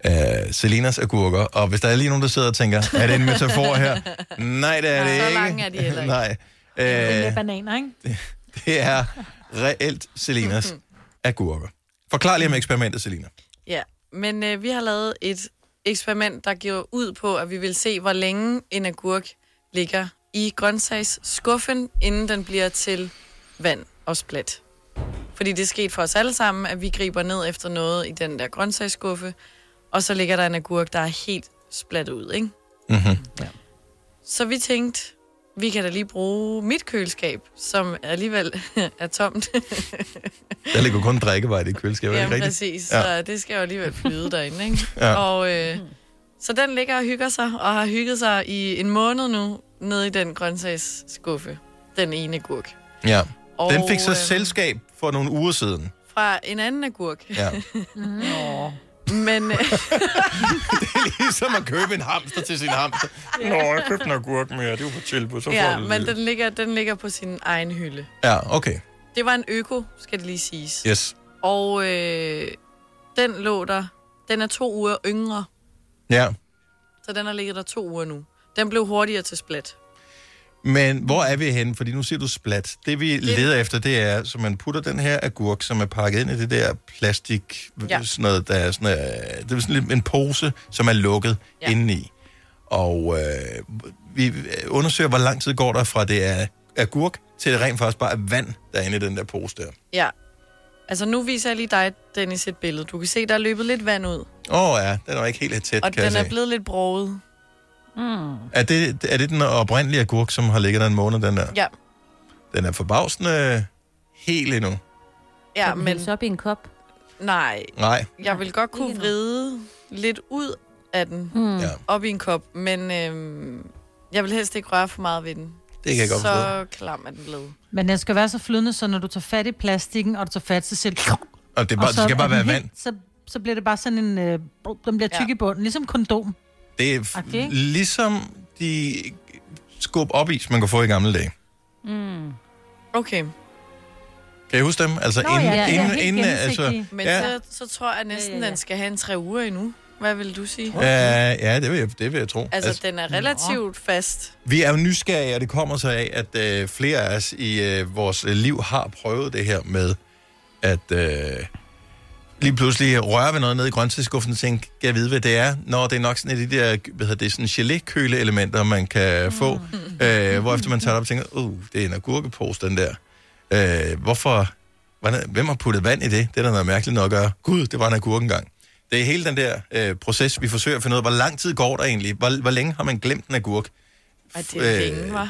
Speaker 1: af Selinas agurker. Og hvis der er lige nogen, der sidder og tænker, er det en metafor her? Nej, det er det
Speaker 3: Så
Speaker 1: ikke.
Speaker 3: lange er de heller ikke.
Speaker 1: Nej.
Speaker 3: Med
Speaker 1: Øh,
Speaker 3: bananer, ikke?
Speaker 1: det er reelt Selinas agurker. Forklar lige om eksperimentet, Selina.
Speaker 2: Ja, men øh, vi har lavet et eksperiment, der giver ud på, at vi vil se, hvor længe en agurk ligger i grøntsagsskuffen, inden den bliver til vand og splat. Fordi det er sket for os alle sammen, at vi griber ned efter noget i den der grøntsagsskuffe, og så ligger der en agurk, der er helt splat ud, ikke?
Speaker 8: Mm-hmm.
Speaker 2: Så vi tænkte, vi kan da lige bruge mit køleskab, som alligevel *laughs* er tomt.
Speaker 1: Der ligger kun drikkevarer i det køleskab, er det
Speaker 2: Ja,
Speaker 1: ikke rigtigt?
Speaker 2: præcis. Ja. Så det skal jo alligevel
Speaker 1: *laughs*
Speaker 2: flyde derinde, ikke?
Speaker 1: Ja.
Speaker 2: ja. Og øh, så den ligger og hygger sig, og har hygget sig i en måned nu, nede i den grøntsagsskuffe. Den ene agurk.
Speaker 1: Ja.
Speaker 2: Og,
Speaker 1: Den fik så
Speaker 2: øhm,
Speaker 1: selskab for nogle uger siden.
Speaker 2: *laughs* Fra en anden agurk.
Speaker 1: Ja.
Speaker 2: Nå.
Speaker 1: *laughs*
Speaker 2: Men... øh,
Speaker 1: det er ligesom at købe en hamster til sin hamster. Nå, jeg købte en agurk mere, det var på tilbud, så får
Speaker 2: ja,
Speaker 1: du det
Speaker 2: men
Speaker 1: lige.
Speaker 2: den ligger, den ligger på sin egen hylde.
Speaker 1: Ja, okay.
Speaker 2: Det var en øko, skal det lige siges.
Speaker 1: Yes.
Speaker 2: Og øh, den lå der... Den er to uger yngre,
Speaker 1: Ja.
Speaker 2: så den har ligget der to uger nu. Den blev hurtigere til splat.
Speaker 1: Men hvor er vi henne? Fordi nu siger du splat. Det vi leder efter, det er, så man putter den her agurk, som er pakket ind i det der plastik,
Speaker 2: Ja.
Speaker 1: ja. sådan noget, der er sådan, øh, det er sådan lidt en pose, som er lukket ja. indeni. Og øh, vi undersøger, hvor lang tid går der fra det er agurk, til det rent faktisk bare er vand, der er inde i den der pose der.
Speaker 2: Ja. Altså, nu viser jeg lige dig, Dennis, et billede. Du kan se, der er løbet lidt vand ud.
Speaker 1: Åh oh, ja, den er ikke helt tæt,
Speaker 2: og
Speaker 1: kan
Speaker 2: den
Speaker 1: jeg
Speaker 2: er
Speaker 1: se.
Speaker 2: blevet lidt broget. Mm.
Speaker 1: Er det, er det den oprindelige agurk, som har ligget der en måned, den der?
Speaker 2: Ja,
Speaker 1: Den er forbavsende helt endnu.
Speaker 2: ja
Speaker 7: den
Speaker 2: men...
Speaker 7: hældes op i en kop?
Speaker 2: Nej.
Speaker 1: Nej.
Speaker 2: Jeg vil godt kunne vride lidt ud af den,
Speaker 1: Mm.
Speaker 2: mm.
Speaker 1: Ja.
Speaker 2: op i en kop, men øhm, jeg vil helst ikke røre for meget ved den.
Speaker 1: Det kan jeg godt
Speaker 2: Så
Speaker 1: forstå.
Speaker 2: klam er den blevet.
Speaker 3: Men den skal være så flydende, så når du tager fat i plastikken, og du tager fat, så siger det...
Speaker 1: Og det, er bare,
Speaker 3: så
Speaker 1: det skal
Speaker 3: er
Speaker 1: bare
Speaker 3: den
Speaker 1: være
Speaker 3: helt-
Speaker 1: vand.
Speaker 3: Så, så bliver det bare sådan en... Øh, brug- den bliver tyk ja. i bunden, ligesom kondom.
Speaker 1: Det er f-
Speaker 3: Okay.
Speaker 1: okay. ligesom de skub op is, man kunne få i gamle dage.
Speaker 2: Mm. Okay.
Speaker 1: Kan I huske dem? Altså Nå, inden, ja, ja, inden, inden altså,
Speaker 2: Men
Speaker 1: ja,
Speaker 2: så, så tror jeg næsten, ja, ja, ja. den skal have en tre uger endnu. Hvad vil du sige?
Speaker 1: ja, ja, det vil jeg, det vil jeg tro.
Speaker 2: Altså, altså, den er relativt nå. fast.
Speaker 1: Vi er jo nysgerrige, og det kommer sig af, at øh, flere af os i øh, vores øh, liv har prøvet det her med, at øh, lige pludselig røre ved noget nede i grøntsagsskuffen og tænke, kan jeg vide, hvad det er? Når det er nok sådan et af de der, hvad hedder det, sådan gelé-køle-elementer, man kan få, øh, hvorefter man tager det op og tænker, uh, det er en agurkepose, den der. Øh, hvorfor? Hvordan, hvem har puttet vand i det? Det er da noget mærkeligt noget at gøre. Gud, det var en agurk engang. Det er hele den der øh, proces, vi forsøger at finde ud af, hvor lang tid går der egentlig? Hvor, hvor længe har man glemt en agurk?
Speaker 2: Ej, det er
Speaker 1: Øh,
Speaker 2: længe, hva'?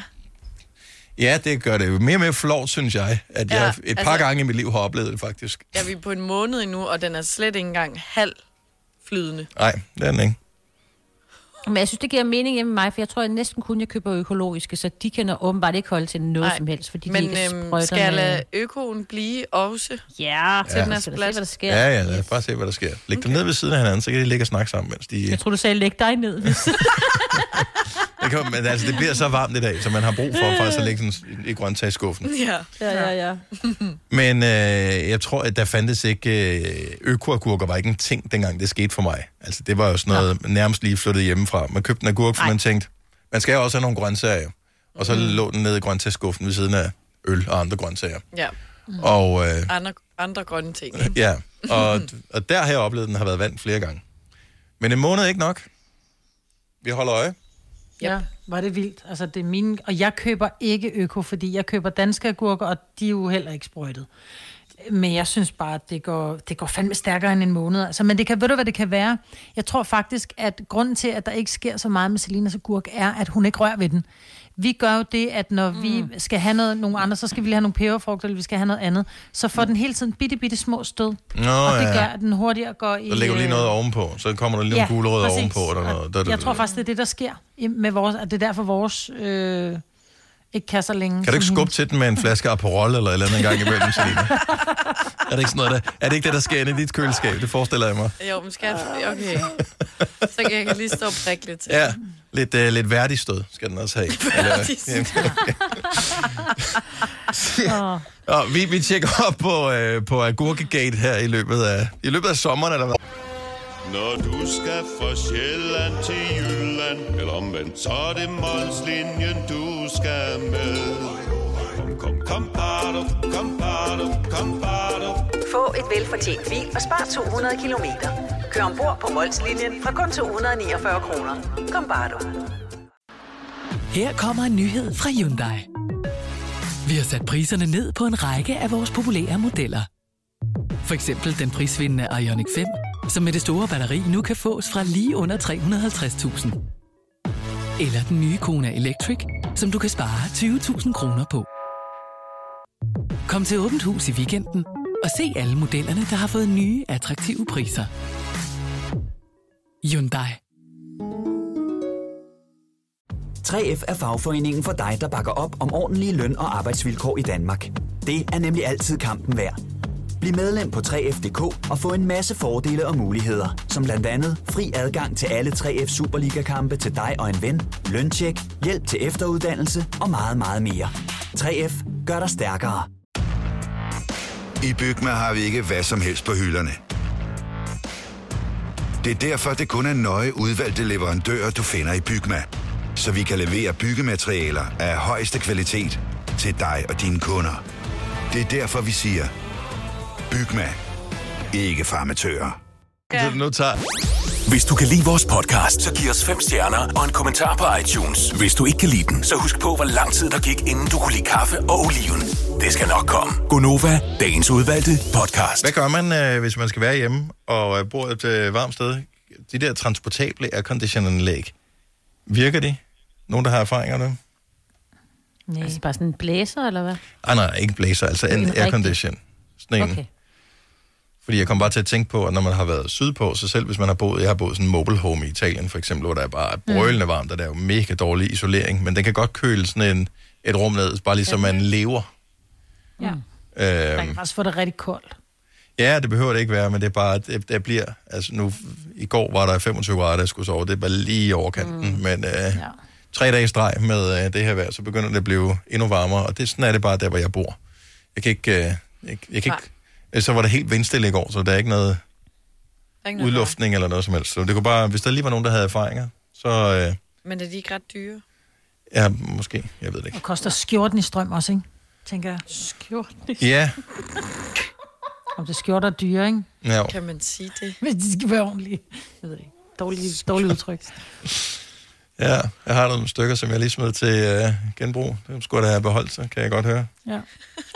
Speaker 1: Ja, det gør det jo mere og mere flot, synes jeg, at
Speaker 2: Ja,
Speaker 1: jeg et par
Speaker 2: altså-
Speaker 1: gange i mit liv har oplevet det faktisk.
Speaker 2: Ja, vi er på en måned endnu, og den er slet ikke engang halv flydende.
Speaker 1: Nej, det er den ikke.
Speaker 7: Men jeg synes, det giver mening hjemme med mig, for jeg tror jeg næsten kun, jeg køber økologiske, så de kan åbenbart ikke holde til noget
Speaker 2: Nej,
Speaker 7: Nej. som helst, fordi
Speaker 2: Men
Speaker 7: de ikke
Speaker 2: øhm,
Speaker 7: sprøjter
Speaker 2: skal jeg lade økoen blive også?
Speaker 7: Ja.
Speaker 2: Til den er
Speaker 1: Ja.
Speaker 2: splat. Se,
Speaker 7: sker.
Speaker 1: Ja, ja, lad os bare se, hvad der sker. Læg dem ned ved siden af hinanden, så kan de ligge og snakke sammen, mens de...
Speaker 7: Jeg tror, du sagde, læg dig ned. Hvis...
Speaker 1: Det, kan, men altså, det bliver så varmt i dag, så man har brug for faktisk at lægge den i grøntsagsskuffen.
Speaker 2: ja.
Speaker 7: ja,
Speaker 8: *laughs*
Speaker 7: ja, ja.
Speaker 1: Men øh, jeg tror, at der fandtes ikke... Øh, økoagurker var ikke en ting, dengang det skete for mig. Altså, det var jo sådan noget, nærmest lige flyttet hjemmefra. Man købte en agurk, for man tænkte, man skal jo også have nogle grøntsager. jo. Og så lå den nede i grøntsagsskuffen ved siden af øl og andre grøntsager.
Speaker 2: Ja.
Speaker 1: Og, øh,
Speaker 2: andre, andre grønne ting.
Speaker 1: *clears throat* Ja, og, og der har jeg oplevet, at den har været vand flere gange. Men en måned er ikke nok. Vi holder øje.
Speaker 3: Ja, var det vildt. Altså, det er mine... Og jeg køber ikke øko, fordi jeg køber danske agurker, og de er jo heller ikke sprøjtet. Men jeg synes bare, at det går, det går fandme stærkere end en måned. Altså, men det kan, ved du, hvad det kan være? Jeg tror faktisk, at grunden til, at der ikke sker så meget med Selinas agurk, er, at hun ikke rører ved den. Vi gør jo det, at når mm. vi skal have noget, nogle andre, så skal vi lige have nogle peberfrugter, eller vi skal have noget andet. Så får den hele tiden bitte, bitte små stød.
Speaker 1: Mm. Nå,
Speaker 3: og det
Speaker 1: ja.
Speaker 3: gør, at den hurtigere går i...
Speaker 1: Så lægger du lige
Speaker 3: øh,
Speaker 1: noget ovenpå. Så kommer der lige nogle gulerødder
Speaker 3: præcis.
Speaker 1: ovenpå. Eller noget. Da, da, da.
Speaker 3: Jeg tror faktisk, det er det, der sker i- med vores, at det er derfor vores øh, ikke kan så længe.
Speaker 1: Kan du ikke
Speaker 3: som
Speaker 1: skubbe til den med en flaske Aperol eller et eller andet en gang imellem, Selina? er det ikke sådan noget, der, er det ikke det, der sker inde i dit køleskab? Det forestiller jeg mig.
Speaker 2: Jo, men skal jeg... Okay.
Speaker 1: *laughs*
Speaker 2: Så kan jeg lige stå og prikke lidt *laughs* til.
Speaker 1: Ja, lidt, øh, lidt værdig stød skal den også
Speaker 3: *laughs*
Speaker 1: have.
Speaker 3: hende.
Speaker 1: Nå, vi, vi tjekker op på, øh, på Agurkegate her i løbet af, i løbet af sommeren. Eller hvad?
Speaker 13: Når du skal fra Sjælland til Jylland Eller omvendt, så er det Molslinjen, du skal med Kom, kom, kom, bado, kom, bado, kom, bado.
Speaker 14: Få et velfortjent bil og spar 200 kilometer. Kør ombord på Molslinjen fra kun 249 kroner. Kom bare du.
Speaker 17: Her kommer en nyhed fra Hyundai. Vi har sat priserne ned på en række af vores populære modeller. For eksempel den prisvindende Ioniq 5, som med det store batteri nu kan fås fra lige under 350.000. Eller den nye Kona Electric, som du kan spare 20.000 kroner på. Kom til Åbent Hus i weekenden og se alle modellerne, der har fået nye, attraktive priser. Hyundai.
Speaker 15: 3F er fagforeningen for dig, der bakker op om ordentlige løn- og arbejdsvilkår i Danmark. Det er nemlig altid kampen værd. Bliv medlem på 3F.dk og få en masse fordele og muligheder, som blandt andet fri adgang til alle 3F Superliga-kampe til dig og en ven, løntjek, hjælp til efteruddannelse og meget, meget mere. 3F gør dig stærkere.
Speaker 16: I Bygma har vi ikke hvad som helst på hylderne. Det er derfor, det kun er nøje udvalgte leverandører, du finder i Bygma. Så vi kan levere byggematerialer af højeste kvalitet til dig og dine kunder. Det er derfor, vi siger, Bygma. Ikke farmatører.
Speaker 1: Ja.
Speaker 2: er
Speaker 1: Så nu tager...
Speaker 6: Hvis du kan lide vores podcast, så giv os fem stjerner og en kommentar på iTunes. Hvis du ikke kan lide den, så husk på, hvor lang tid der gik, inden du kunne lide kaffe og oliven. Det skal nok komme.
Speaker 1: Gonova, dagens udvalgte podcast. Hvad gør man, øh, hvis man skal være hjemme og øh, bor et øh, varmt sted? De der transportable airconditionanlæg, virker de? Nogen, der har erfaringer med dem?
Speaker 7: Nej. Altså bare sådan en blæser, eller hvad?
Speaker 1: Ah, nej, ikke blæser, altså
Speaker 7: En
Speaker 1: en
Speaker 7: rigtig-
Speaker 1: aircondition. Sådan en. Okay.
Speaker 7: Okay.
Speaker 1: Fordi jeg kom bare til at tænke på, at når man har været sydpå, så selv hvis man har boet, jeg har boet i sådan en mobile home i Italien for eksempel, hvor der er bare brølende varmt, og der er jo mega dårlig isolering, men den kan godt køle sådan en, et rum ned, bare ligesom man lever.
Speaker 3: Ja. Man
Speaker 1: Øhm,
Speaker 3: kan faktisk få det rigtig koldt.
Speaker 1: ja, det behøver det ikke være, men det er bare, det, det bliver, altså nu, i går var der 25 grader, der skulle sove, det er bare lige i overkanten, mm. men øh, ja. tre dage i streg med øh, det her vejr, så begynder det at blive endnu varmere, og det, sådan er det bare der, hvor jeg bor. Jeg kan ikke, øh, jeg, jeg kan
Speaker 2: Nej.
Speaker 1: ikke øh, så var det helt vindstille i går, så der er ikke noget,
Speaker 2: Der er ikke noget
Speaker 1: udluftning eller noget som helst. Så det kunne bare, hvis der lige var nogen, der havde erfaringer, så øh,
Speaker 2: vej. Men er de ikke ret dyre?
Speaker 1: ja, måske, jeg ved det ikke.
Speaker 3: Og koster skjorten i strøm også, ikke? Tænker jeg. Skjorten i
Speaker 1: Ja,
Speaker 3: Om det er skjorter er dyre, ikke?
Speaker 1: ja.
Speaker 2: Kan man sige det?
Speaker 3: Hvis de skal være ordentlige. Jeg ved det ikke. Dårligt dårlig udtryk.
Speaker 1: ja, jeg har nogle stykker, som jeg lige smed til øh, genbrug. Dem skulle jeg da have beholdt, så kan jeg godt høre.
Speaker 3: Ja.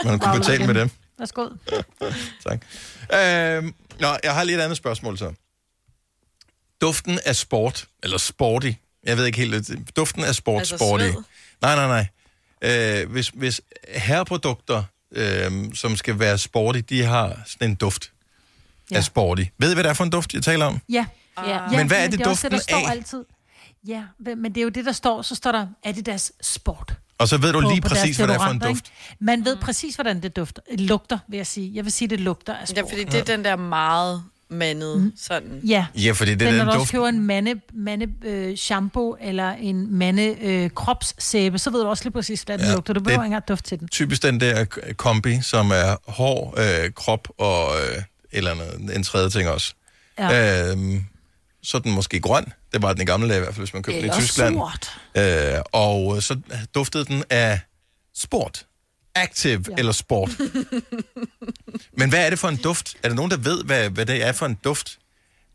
Speaker 1: Man kunne betale med dem.
Speaker 3: Værsgo.
Speaker 1: tak. Øh, nå, jeg har lige et andet spørgsmål så. Duften af sport, eller sporty, jeg ved ikke helt, øh, duften af sport,
Speaker 13: Altså
Speaker 1: sporty.
Speaker 13: sved?
Speaker 1: Nej, nej, nej. Øh, hvis, hvis herreprodukter, øh, som skal være sporty, de har sådan en duft ja. af sporty. Ved I, hvad det er for en duft, jeg taler om?
Speaker 3: Ja.
Speaker 1: Men
Speaker 3: ja.
Speaker 1: hvad er det
Speaker 3: er også det, der
Speaker 1: duften
Speaker 3: står
Speaker 1: af?
Speaker 3: altid. Ja, men det er jo det, der står. Så står der Adidas Sport.
Speaker 1: Og så ved du
Speaker 3: på-
Speaker 1: lige
Speaker 3: på deres
Speaker 1: præcis, hvad det er for en
Speaker 3: deodoranter,
Speaker 1: duft.
Speaker 3: ikke? Man ved præcis, hvordan det dufter. Lugter, vil jeg sige. Jeg vil sige, det lugter af sport. Mm.
Speaker 2: Ja, fordi det er den der meget mandede, sådan.
Speaker 3: Ja.
Speaker 1: Ja, fordi det er
Speaker 3: den,
Speaker 1: den
Speaker 3: når du
Speaker 1: duft-
Speaker 3: også køber en mande, mande øh, shampoo eller en mande øh, kropssæbe, så ved du også lige præcis, hvordan ja,
Speaker 1: Ja,
Speaker 3: den lugter. Du
Speaker 1: det-
Speaker 3: behøver ikke engang duft til den.
Speaker 1: Typisk den der k- kombi, som er hår, øh, krop og øh, eller andet, en tredje ting også.
Speaker 3: Ja.
Speaker 1: Øhm, så er den måske grøn. Det var den i gamle dage i hvert fald, hvis man købte den i
Speaker 3: Eller
Speaker 1: Tyskland.
Speaker 3: sort.
Speaker 1: Øh, og øh, så duftede den af sport. Active ja. eller
Speaker 3: *laughs*
Speaker 1: sport. Men hvad er det for en duft? Er der nogen, der ved, hvad, hvad det er for en duft?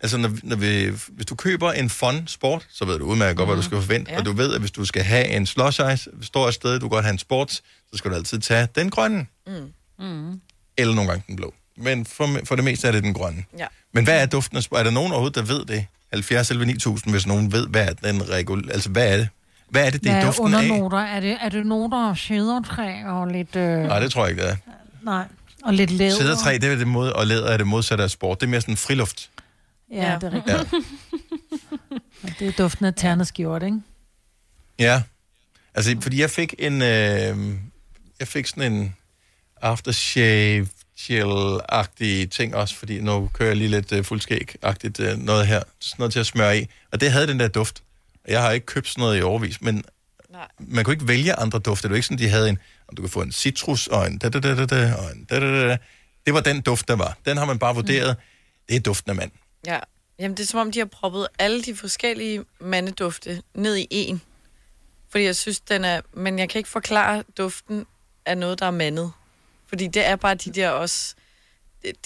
Speaker 1: Altså, når, når vi, hvis du køber en fun sport, så ved du udmærket godt, hvad
Speaker 3: Mm.
Speaker 1: du skal forvente. Ja. Og du ved, at hvis du skal have en slush ice, står et sted, du godt have en sport, så skal du altid tage den grønne,
Speaker 2: Mm. Mm.
Speaker 1: eller nogle gange den blå. Men for, for det meste er det den grønne.
Speaker 2: *laughs* Ja.
Speaker 1: Men hvad er duften af sport? Er der nogen overhovedet, der ved det? 70 eller 9000, hvis nogen ved, hvad er den regul... Altså, hvad er det? Hvad er det, det er
Speaker 3: Hvad
Speaker 1: duften af?
Speaker 3: undernoter? Er det, er det noter og sædertræ og lidt... Øh,
Speaker 1: Nej, det tror jeg ikke, det er.
Speaker 3: nej, og lidt læder.
Speaker 1: Sædertræ, det er det mod, og læder er det modsatte af sport. Det er mere sådan friluft.
Speaker 3: Ja, det er rigtigt.
Speaker 1: Ja.
Speaker 3: Ja. Det er duften af ternet skjort, ikke?
Speaker 1: Ja. Altså, fordi jeg fik en... Øh, jeg fik sådan en aftershave gel-agtig ting også, fordi nu kører jeg lige lidt øh, fuldskæg-agtigt øh, noget her. Sådan noget til at smøre i. Og det havde den der duft. Jeg har ikke købt sådan noget i overvis, men Nej. man kunne ikke vælge andre dufte. Det var ikke sådan, de havde en... om Du kan få en citrus og en da da da da da og en da da da da. Det var den duft, der var. Den har man bare vurderet. Det er duften af mand.
Speaker 2: Ja. Jamen, det er som om, de har proppet alle de forskellige mandedufte ned i en. Fordi jeg synes, den er... Men jeg kan ikke forklare duften af noget, der er mandet. Fordi det er bare de der også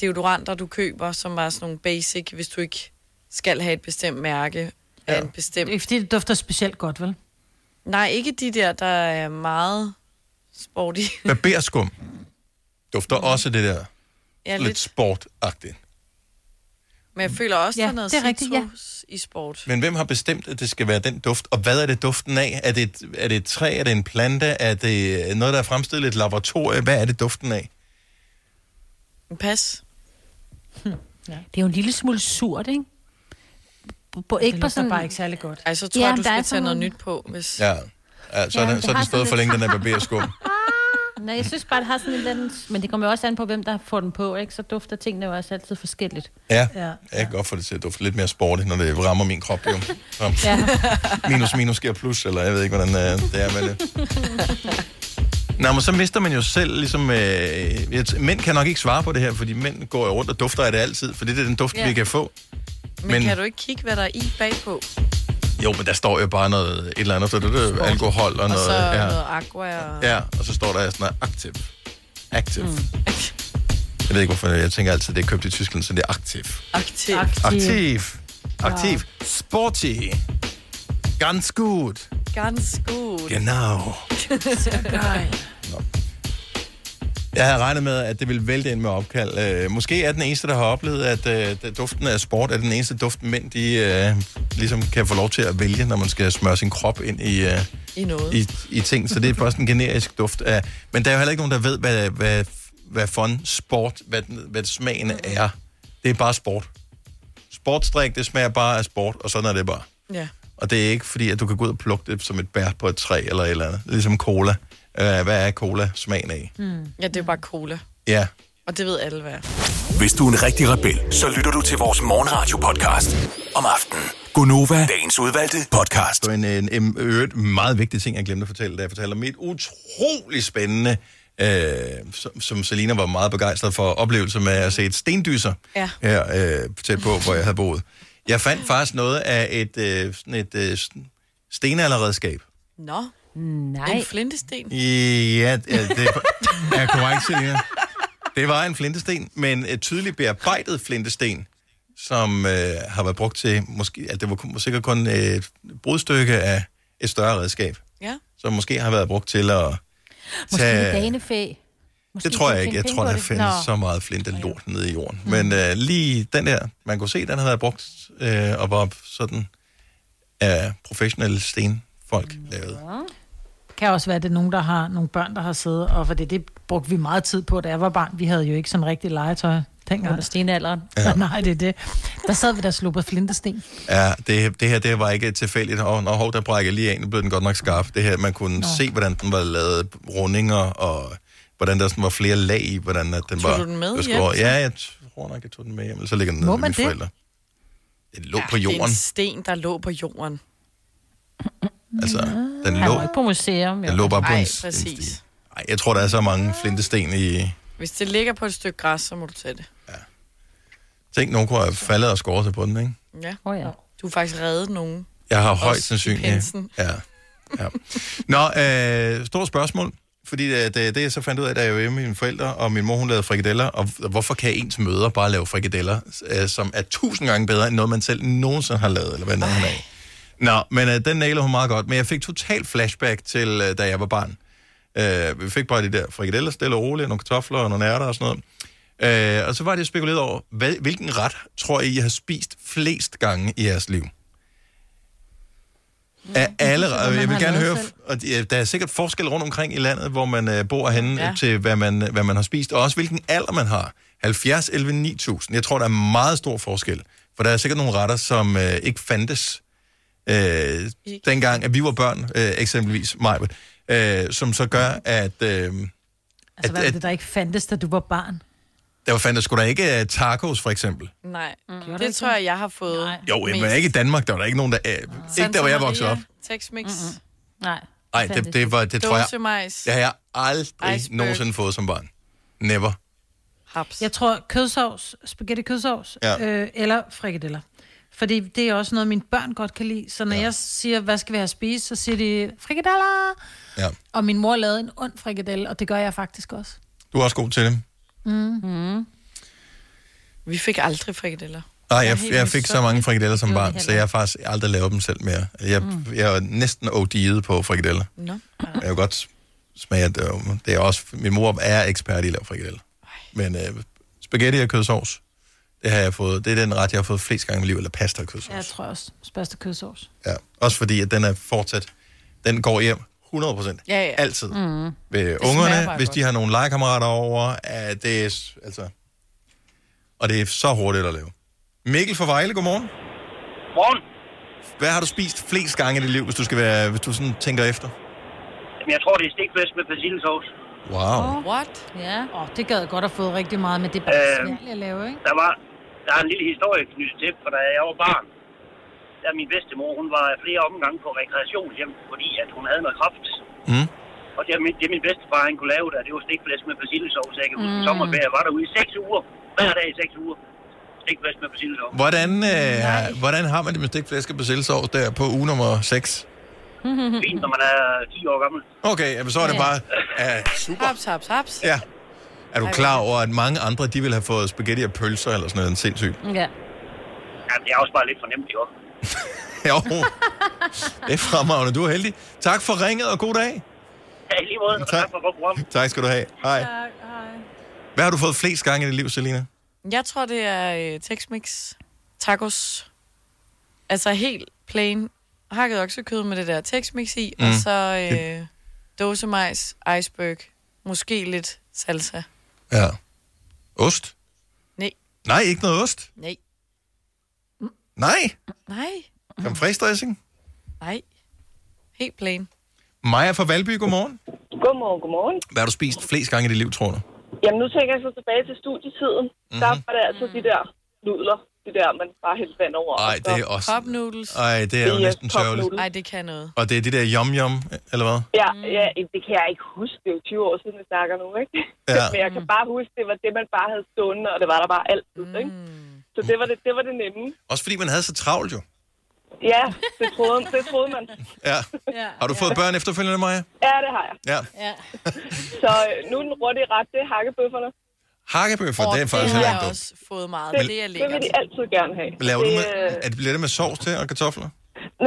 Speaker 2: deodoranter, du køber, som er sådan nogle basic, hvis du ikke skal have et bestemt mærke af en bestemt...
Speaker 3: Det er fordi, det dufter specielt godt, vel?
Speaker 2: Nej, ikke de der, der er meget sporty.
Speaker 1: Barberskum dufter også det der
Speaker 2: Ja,
Speaker 1: Mm. lidt, lidt
Speaker 2: lidt.
Speaker 1: sportagtigt.
Speaker 2: Men jeg føler også, ja, der er noget
Speaker 3: det er rigtigt, ja.
Speaker 2: citrus i sport.
Speaker 1: Men hvem har bestemt, at det skal være den duft? Og hvad er det duften af? Er det, et, er det et træ? Er det en plante? Er det noget, der er fremstillet i et laboratorium? Hvad er det duften af?
Speaker 2: Pas.
Speaker 7: Ja. Det er jo en lille smule surt, ikke? På, på, ikke
Speaker 3: Det
Speaker 7: på
Speaker 3: lugter
Speaker 7: sådan...
Speaker 3: bare ikke særlig godt.
Speaker 2: Ej, så tror
Speaker 7: Ja,
Speaker 2: ja, jeg, du
Speaker 7: der er
Speaker 2: skal
Speaker 7: sådan
Speaker 2: tage noget
Speaker 7: nogle-
Speaker 2: nyt på, hvis...
Speaker 1: Ja, ja så,
Speaker 2: Ja,
Speaker 1: ja,
Speaker 2: det
Speaker 1: den, så er
Speaker 2: har
Speaker 1: den stået
Speaker 2: sådan
Speaker 1: for længe,
Speaker 2: lidt-
Speaker 1: den er barberskum.
Speaker 7: Nej, jeg synes bare, det har sådan en eller anden... Men det kommer jo også an på, hvem der får den på, ikke? Så dufter tingene jo også altid forskelligt.
Speaker 1: Ja, ja. jeg kan godt få det til at dufte lidt mere sportigt, når det rammer min krop. Jo. Så
Speaker 7: Ja.
Speaker 1: minus minus giver plus, eller jeg ved ikke, hvordan øh, det er med det. Nå, men så mister man jo selv ligesom... Øh, jeg t- mænd kan nok ikke svare på det her, fordi mænd går jo rundt og dufter af det altid, for det er den duft,
Speaker 2: Ja.
Speaker 1: vi kan få.
Speaker 2: Men, men kan du ikke kigge, hvad der er i bagpå?
Speaker 1: Jo, men der står jo bare noget, et eller andet, så det er alkohol og
Speaker 2: og
Speaker 1: noget.
Speaker 2: så
Speaker 1: ja.
Speaker 2: noget aqua og...
Speaker 1: Ja, og så står der sådan noget aktiv. Aktiv. Mm. Jeg ved ikke, hvorfor jeg tænker altid, det er købt i Tyskland, så det er aktiv.
Speaker 2: Aktiv.
Speaker 1: Aktiv. Aktiv. Sporty. Ganz gut.
Speaker 2: Ganz gut.
Speaker 1: Genau.
Speaker 2: Så geil.
Speaker 1: Jeg havde regnet med, at det ville vælte ind med opkald. Øh, måske er den eneste, der har oplevet, at øh, duften af sport er den eneste duft, mænd de, øh, ligesom kan få lov til at vælge, når man skal smøre sin krop ind i, øh,
Speaker 2: I noget.
Speaker 1: i, i ting. Så det er bare sådan en generisk duft. Af, men der er jo heller ikke nogen, der ved, hvad, hvad, hvad for en sport, hvad, den- hvad smagen er. Det er bare sport. Sportsdrik, det smager bare af sport, og sådan er det bare.
Speaker 2: Ja.
Speaker 1: Og det er ikke fordi, at du kan gå ud og plukke det som et bær på et træ eller et eller andet. Ligesom cola. Øh, hvad er cola smagen af?
Speaker 2: Mm. Ja, det er bare cola.
Speaker 1: Ja.
Speaker 2: Og det ved alle, hvad er.
Speaker 6: Hvis du er en rigtig rebel, så lytter du til vores morgenradio-podcast om aftenen. Gunova, dagens udvalgte podcast.
Speaker 1: podcast. Det var en, en, en øvrigt meget vigtig ting, jeg glemte at fortælle, da jeg fortalte om et utrolig spændende, øh, som, som Selina var meget begejstret for, oplevelse med at se et stendyser
Speaker 2: Ja.
Speaker 1: her øh, tæt på, hvor jeg havde boet. Jeg fandt faktisk noget af et, øh, sådan et øh, stenalderredskab.
Speaker 2: Nå. Nej. En flintesten.
Speaker 1: Ja, det er- er korrekt, Selina. Det var en flintesten, men et tydeligt bearbejdet flintesten, som øh, har været brugt til, måske, altså det var kun- sikkert kun øh, et brudstykke af et større redskab,
Speaker 2: Ja.
Speaker 1: som måske har været brugt til at
Speaker 7: Måske en
Speaker 1: tage...
Speaker 7: danefæ. Måske
Speaker 1: Det tror
Speaker 7: kan
Speaker 1: jeg ikke.
Speaker 7: tjene
Speaker 1: Jeg
Speaker 7: penge
Speaker 1: tror,
Speaker 7: på
Speaker 1: der
Speaker 7: det.
Speaker 1: findes
Speaker 7: Nå. Mm.
Speaker 1: så meget flint og lort nede i jorden. Men øh, lige den der, man kunne se, den har været brugt øh, og var sådan af professionelle stenfolk lavet.
Speaker 3: Kan også være, at det er nogen, der har nogle børn, der har siddet, og fordi det brugte vi meget tid på, da jeg var barn. Vi havde jo ikke sådan rigtig legetøj. Tænk om
Speaker 7: stenalderen.
Speaker 3: Ja. Nej, det er det. Der sad vi der og sluppede flintesten.
Speaker 1: Ja, det, det her det var ikke tilfældigt. Og når hov, der brækker jeg lige af, nu blev den godt nok skarp. Det her, man kunne Nå. se, hvordan den var lavet rundinger, og hvordan der sådan var flere lag i, hvordan at den
Speaker 2: Tog
Speaker 1: var...
Speaker 2: du den med
Speaker 1: jeg skulle
Speaker 2: hjem,
Speaker 1: over-
Speaker 2: så?
Speaker 1: Ja, jeg tror nok, jeg tog den med hjem, eller så ligger den
Speaker 2: Må
Speaker 1: nede med
Speaker 2: man
Speaker 1: mine
Speaker 2: det?
Speaker 1: forældre. Den lå ja, på
Speaker 2: Det er en
Speaker 1: jorden.
Speaker 2: sten, der lå på jorden.
Speaker 1: Altså, den
Speaker 7: Han
Speaker 1: lå,
Speaker 7: var ikke på museum. jo.
Speaker 1: den lå bare på en,
Speaker 2: Ej,
Speaker 1: en sti.
Speaker 2: præcis.
Speaker 1: Ej, jeg tror, der er så
Speaker 2: Ah.
Speaker 1: mange flintesten i...
Speaker 2: Hvis det ligger på et stykke græs, så må du tage det.
Speaker 1: Tænk, nogen kunne have faldet og skåret sig på den, ikke?
Speaker 2: Ja. Oh, ja. Du har faktisk reddet nogen.
Speaker 1: Jeg har højt
Speaker 2: Også i
Speaker 1: sandsynligt.
Speaker 2: pensen.
Speaker 1: Ja. ja. Nå, øh, stort spørgsmål. Fordi det, det, det, jeg så fandt ud af, da jeg var hjemme med mine forældre, og min mor, hun lavede frikadeller, og hvorfor kan ens mødre bare lave frikadeller, øh, som er tusind gange bedre, end noget, man selv nogensinde har lavet, eller hvad det er, hun af. Nå, men øh, den nailer hun meget godt. Men jeg fik total flashback til, øh, da jeg var barn. Øh, vi fik bare de der frikadeller, stille og roligt, nogle kartofler og nogle ærter og sådan noget. Øh, og så var det spekuleret over, hvad, hvilken ret tror I, I har spist flest gange i jeres liv? Af alle, og Mm, jeg vil gerne høre, og de- øh, der er sikkert forskel rundt omkring i landet, hvor man øh, bor henne, ja.
Speaker 2: Ja.
Speaker 1: til hvad man, øh, hvad man har spist, og også hvilken alder man har. 70, 11, 9000. Jeg tror, der er meget stor forskel, for der er sikkert nogle retter, som øh, ikke fandtes øh, dengang, at vi var børn, øh, eksempelvis mig, øh, som så gør, at... Øh,
Speaker 3: Altså, hvad er det, der ikke fandtes, da du var barn?
Speaker 1: der var fandtes sgu da ikke øh, tacos, for eksempel.
Speaker 2: Nej, mm. det tror jeg, jeg har fået. Nej.
Speaker 1: Jo, men ikke i Danmark, der var der ikke nogen, der... Øh, ikke der, hvor jeg voksede op.
Speaker 2: Tex-Mix. Mm-mm.
Speaker 7: Nej.
Speaker 1: Nej, det, det, var, det tror jeg...
Speaker 2: Dåsemajs.
Speaker 1: Det har jeg aldrig
Speaker 3: Iceberg.
Speaker 1: nogensinde fået som barn. Never.
Speaker 2: Haps.
Speaker 3: Jeg tror kødsovs, spaghetti kødsovs,
Speaker 1: Ja.
Speaker 3: ja. øh, eller frikadeller. Fordi det er også noget, mine børn godt kan lide. Så når ja. jeg siger, hvad skal vi have at spise, så siger de frikadeller.
Speaker 1: Ja.
Speaker 3: Og min mor lavede en ond frikadelle, og det gør jeg faktisk også.
Speaker 1: Du er også god til det.
Speaker 3: Mm. Mm.
Speaker 2: Vi fik aldrig frikadeller.
Speaker 1: Nej,
Speaker 2: Jeg er
Speaker 1: jeg,
Speaker 2: helt
Speaker 1: jeg fik så mange
Speaker 2: misundelig.
Speaker 1: frikadeller som
Speaker 2: Det var
Speaker 1: barn,
Speaker 2: det
Speaker 1: så jeg har faktisk aldrig lavet dem selv mere. Jeg,
Speaker 2: Mm.
Speaker 1: jeg er næsten OD'et på frikadeller.
Speaker 2: Nå.
Speaker 1: Jeg kan godt smage, at øh, det er også... Min mor er ekspert i at lave frikadeller. Men øh, spaghetti og kødsovs, det har jeg fået... Det er den ret, jeg har fået flest gange i mit liv, eller pasta og kødsovs.
Speaker 3: Ja, jeg tror også. Spørste kødsovs.
Speaker 1: Ja. Også fordi, at den er fortsat... Den går hjem 100 procent.
Speaker 3: Ja, ja.
Speaker 1: Altid.
Speaker 3: Mm.
Speaker 1: Ved
Speaker 3: smager
Speaker 1: ungerne,
Speaker 3: bare
Speaker 1: hvis
Speaker 3: godt.
Speaker 1: de har nogle legekammerater over, at det er... s- Altså, og det er så hurtigt at lave. Mikkel fra Vejle, godmorgen.
Speaker 18: Morgen.
Speaker 1: Hvad har du spist flest gange i dit liv, hvis du, skal være, hvis du sådan tænker efter?
Speaker 18: Jamen, jeg tror, det er stikflæsk med persillesauce.
Speaker 1: Wow.
Speaker 2: What?
Speaker 3: Ja. Åh, oh, det gad jeg godt have fået rigtig meget, men det er bare
Speaker 19: Øh,
Speaker 3: øh, svært at lave, ikke?
Speaker 19: Der, var, der er en lille historie knyttet til, for da jeg var barn, der min bedstemor, hun var flere omgange på rekreationshjem, fordi at hun havde noget kraft.
Speaker 1: Mm.
Speaker 19: Og det, min- det min bedstefar, han kunne lave der, det var stikflæsk med persillesovs. Jeg kan huske,
Speaker 1: Mm.
Speaker 19: mm. sommerferie jeg var derude i seks uger. Hver dag i seks uger. Stikflæsk med
Speaker 2: *laughs*
Speaker 19: persillesovs.
Speaker 1: Hvordan, øh, hvordan har man det med stikflæsk og persillesovs der på uge nummer 6?
Speaker 19: Fint, når man er 10 år gammel.
Speaker 1: Okay, jamen, så er det
Speaker 2: Ja.
Speaker 1: bare... Ja, super.
Speaker 2: Haps, haps, haps.
Speaker 1: Ja. Er du klar over, at mange andre, de ville have fået spaghetti og pølser eller sådan noget, en sindssygt?
Speaker 2: Ja.
Speaker 19: Jamen, det er også bare lidt fornemt, jo.
Speaker 1: *laughs* Jo, det er fremragende. Du er heldig. Tak for ringet, og god dag.
Speaker 19: Ja, i lige måde. og Tak for godt program.
Speaker 1: Tak skal du have. Hej. Hvad har du fået flest gange i dit liv, Selina?
Speaker 2: Jeg tror, det er øh, Tex-Mex tacos. Altså helt plain hakket oksekød med det der Tex-Mex i, mm. og
Speaker 1: Mm.
Speaker 2: så øh, dåsemajs, iceberg, måske lidt salsa.
Speaker 1: Ja. Ost?
Speaker 2: Nej.
Speaker 1: Nej, ikke noget ost.
Speaker 2: Nej.
Speaker 1: Nej.
Speaker 2: Nej,
Speaker 1: Pomfræs dressing.
Speaker 2: nej. Helt plain.
Speaker 1: Maja fra Valby, godmorgen.
Speaker 12: Godmorgen, godmorgen.
Speaker 1: Hvad har du spist flest gange i dit liv, tror du?
Speaker 12: Jamen, nu tænker jeg så tilbage til studietiden. Mm-hmm. Der
Speaker 1: Mhm.
Speaker 12: var det altså de der nudler, de der, man bare hældte vand over.
Speaker 1: Ej, det er også-
Speaker 2: Cup noodles.
Speaker 1: Ej, det er jo
Speaker 12: Yes,
Speaker 1: næsten
Speaker 12: cup
Speaker 1: sørgeligt.
Speaker 12: noodles.
Speaker 2: Nej, det kan noget.
Speaker 1: Og det er det der yum-yum, eller hvad?
Speaker 12: Ja,
Speaker 2: Mm.
Speaker 12: ja, det kan jeg ikke huske. Det er jo 20 år siden, vi snakker nu, ikke?
Speaker 1: Ja.
Speaker 12: *laughs* Men jeg kan bare huske, det var det, man bare havde stående, og det var der bare altid, ikke?
Speaker 2: Mm.
Speaker 12: Så det var det, det, var det nemme.
Speaker 1: Også fordi man havde så travlt jo.
Speaker 12: Ja, det troede, det troede
Speaker 2: *laughs*
Speaker 12: man.
Speaker 1: Ja. Har du fået børn efterfølgende, Maja?
Speaker 12: Ja, det har jeg.
Speaker 1: Ja.
Speaker 12: Ja. *laughs* så øh, nu er den runde ret, det er hakkebøfferne.
Speaker 1: Hakkebøffer,
Speaker 2: Åh,
Speaker 1: det er faktisk
Speaker 2: det
Speaker 1: heller
Speaker 2: har
Speaker 1: ikke
Speaker 2: jeg
Speaker 1: dumt.
Speaker 2: også fået meget.
Speaker 12: Det,
Speaker 2: Det, det er
Speaker 12: det vil
Speaker 2: lækkert.
Speaker 12: de altid gerne have.
Speaker 1: Laver du
Speaker 12: det, øh,
Speaker 1: med, er det, bliver det med sovs til og kartofler?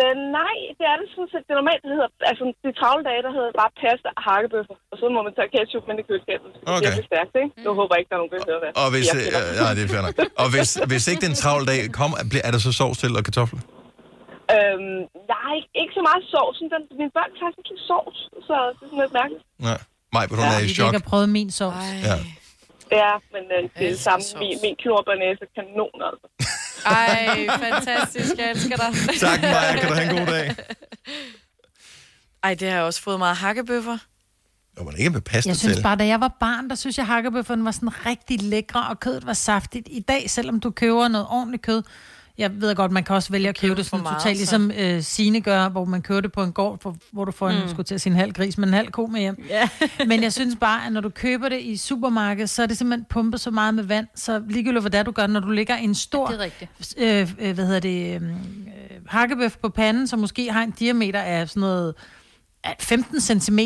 Speaker 12: Men nej, det er det sådan set. Det normalt det hedder, altså de travle dage, der hedder bare pasta og hakkebøffer. Og så må man tage ketchup med i køleskabet. Det er
Speaker 1: Okay.
Speaker 12: virkelig stærkt, ikke?
Speaker 2: Mm.
Speaker 12: Nu håber jeg ikke, der er nogen bøffer der.
Speaker 1: Og hvis,
Speaker 12: Jeg
Speaker 1: øh,
Speaker 12: kender.
Speaker 1: nej, det er fair nok. Og hvis, hvis ikke det er en travl dag, kom, er der så sovs til og kartofler?
Speaker 12: Øhm, nej, ikke så meget sovsen. Den, mine børn tager sådan lidt sovs, så det er sådan lidt mærkeligt.
Speaker 1: Nej. Maj, hun er
Speaker 3: Fordi
Speaker 1: i
Speaker 3: de
Speaker 1: chok.
Speaker 3: ikke har prøvet min sovs.
Speaker 1: Ja.
Speaker 12: Ja, men øh, det er det
Speaker 3: elsker
Speaker 12: samme.
Speaker 3: sovs.
Speaker 12: Min, min knorbanæse er kanon, altså.
Speaker 2: Ej, fantastisk. Jeg elsker dig.
Speaker 1: *laughs* Tak, Maja. Kan du have en god dag?
Speaker 2: Ej, det har jeg også fået meget hakkebøffer.
Speaker 1: Jo, man ikke med pasta
Speaker 3: Jeg synes
Speaker 1: til.
Speaker 3: bare, da jeg var barn, der synes jeg, hakkebøfferne var sådan rigtig lækre, og kødet var saftigt. I dag, selvom du køber noget ordentligt kød, jeg ved godt, man kan også vælge at købe det sådan
Speaker 2: meget,
Speaker 3: meget,
Speaker 2: så-
Speaker 3: totalt, ligesom øh, Sine gør, hvor man kører det på en gård, for, hvor du får en,
Speaker 2: Mm.
Speaker 3: mm. skulle til at sige en halv gris, men en halv ko med hjem.
Speaker 2: Ja. *laughs*
Speaker 3: men jeg synes bare, at når du køber det i supermarkedet, så er det simpelthen pumpet så meget med vand, så ligegyldigt hvad det er, du gør, når du ligger en stor,
Speaker 7: Det er rigtigt.
Speaker 3: øh, øh, hvad hedder det, øh, øh, hakkebøf på panden, som måske har en diameter af sådan noget af 15 cm,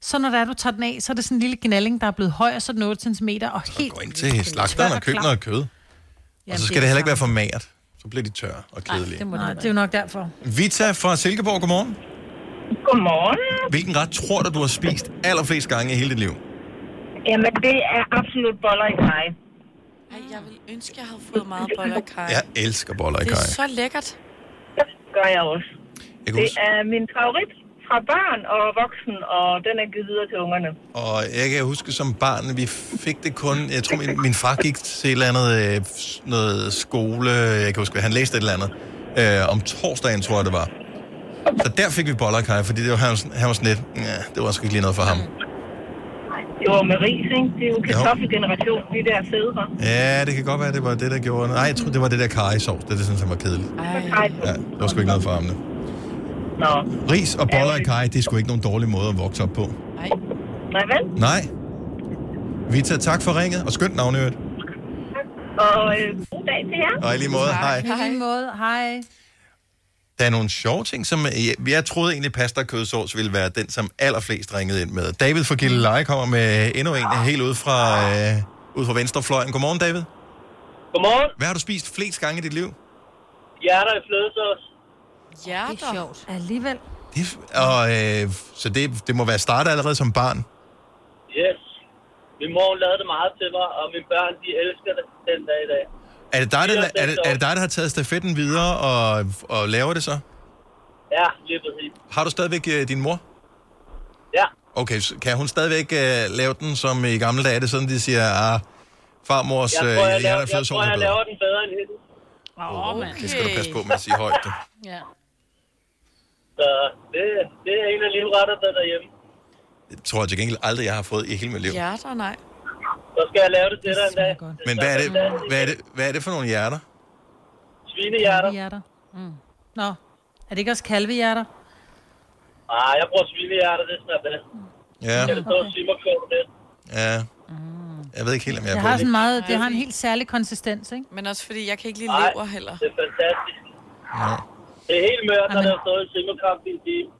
Speaker 3: så når der er, du tager den af, så er det sådan en lille gnalling, der er blevet høj, og så er den 8 cm, og helt...
Speaker 1: Gå ind til slagteren og køb noget kød. Og
Speaker 3: Jamen,
Speaker 1: så
Speaker 3: det
Speaker 1: skal
Speaker 3: er
Speaker 1: det heller ikke være for magert. Så bliver de tørre og kedelige.
Speaker 3: Nej, det er jo nok derfor.
Speaker 1: Vita fra Silkeborg, godmorgen.
Speaker 20: Godmorgen.
Speaker 1: Hvilken ret tror du, du har spist allerflest gange i hele dit liv?
Speaker 20: Jamen, det er absolut boller i kaj.
Speaker 2: Ej, jeg vil ønske, jeg havde fået meget boller og kaj.
Speaker 1: Jeg elsker boller i
Speaker 2: Det er
Speaker 1: kaj.
Speaker 2: så lækkert.
Speaker 20: Gør jeg også.
Speaker 1: Jeg kan
Speaker 20: Det
Speaker 1: huske-
Speaker 20: er min favorit fra børn og voksen, og den er givet videre til ungerne.
Speaker 1: Og jeg kan huske som barn, vi fik det kun... Jeg tror, min, min far gik til et eller andet øh, s- noget skole. Jeg kan huske, hvad han læste et eller andet. Øh, om torsdagen, tror jeg, det var. Så der fik vi boller i kaj, fordi det var, han, var sådan- han var sådan lidt... Ja, det var sgu ikke lige noget for ham.
Speaker 3: Mm.
Speaker 20: Det var med ris, ikke? Det er jo kartoffelgeneration, vi der sidder her.
Speaker 1: Ja, det kan godt være, det var det, der gjorde... Nej, jeg tror, det var det der karrysovs. Det, det synes jeg var kedeligt.
Speaker 20: Ej,
Speaker 1: Ja, det var sgu ikke noget for ham, det.
Speaker 20: Nå.
Speaker 1: Ris og boller i kaj, det er sgu ikke nogen dårlig måde at vokse op på.
Speaker 20: nej vel?
Speaker 1: Nej. Vita, tak for ringet, og skønt navn i øvrigt.
Speaker 20: Og øh, god dag til jer.
Speaker 1: Og i lige måde, hej.
Speaker 3: I lige måde, hej.
Speaker 1: Der er nogle sjove ting, som øh, jeg, jeg troede egentlig pasta og kødsovs ville være den, som allerflest ringede ind med. David fra Gilleleje kommer med endnu en helt ude fra, øh, ud fra venstrefløjen. Godmorgen, David.
Speaker 21: Godmorgen.
Speaker 1: Hvad har du spist flest gange i dit liv?
Speaker 21: Hjerter i flødesauce.
Speaker 2: Ja,
Speaker 3: det er sjovt. Alligevel.
Speaker 1: Det, og, øh, så det, det må være startet allerede som barn.
Speaker 21: Yes. Min mor hun lavede det meget til mig, og mine børn, de elsker det den dag i dag.
Speaker 1: Er det dig, der, er det, er det dig, der har taget stafetten videre og, og laver det så?
Speaker 21: Ja, lige præcis.
Speaker 1: Har du stadigvæk øh, din mor?
Speaker 21: Ja.
Speaker 1: Okay, så kan hun stadigvæk øh, lave den, som i gamle dage er det sådan, de siger, ah, farmors
Speaker 21: Jeg
Speaker 1: øh,
Speaker 21: tror, jeg,
Speaker 1: hjerter
Speaker 21: laver,
Speaker 1: og
Speaker 21: jeg, tror,
Speaker 1: flødesovs er
Speaker 21: jeg
Speaker 1: bedre.
Speaker 21: laver den bedre end hende.
Speaker 3: Åh, oh,
Speaker 1: Det skal du passe på med at sige højt. du.
Speaker 3: Ja.
Speaker 21: Så det, det er en af livretterne derhjemme.
Speaker 1: Det tror jeg til gengæld aldrig, jeg har fået i hele mit liv.
Speaker 2: Hjerter, nej.
Speaker 21: Så skal jeg lave det til dig en dag.
Speaker 1: Men hvad er, det, hvad, er det, hvad er det for nogle hjerter?
Speaker 21: Svinehjerter.
Speaker 3: Hjerter. Mm. Nå, er det ikke også kalvehjerter?
Speaker 21: Nej, jeg bruger svinehjerter, det smager bedst.
Speaker 1: Ja,
Speaker 21: Jeg kan stå og simmerkål med det.
Speaker 1: ja. Jeg ved ikke helt, om jeg
Speaker 3: Det
Speaker 1: har
Speaker 3: Mm. har
Speaker 1: fået
Speaker 3: sådan
Speaker 1: det.
Speaker 3: meget, det har en helt særlig konsistens, ikke?
Speaker 2: Men også fordi, jeg kan ikke lide
Speaker 21: Nej,
Speaker 2: lever heller.
Speaker 21: det er fantastisk.
Speaker 1: Ja.
Speaker 21: Det er helt mørkt, når der er stået i simmerkamp i en time.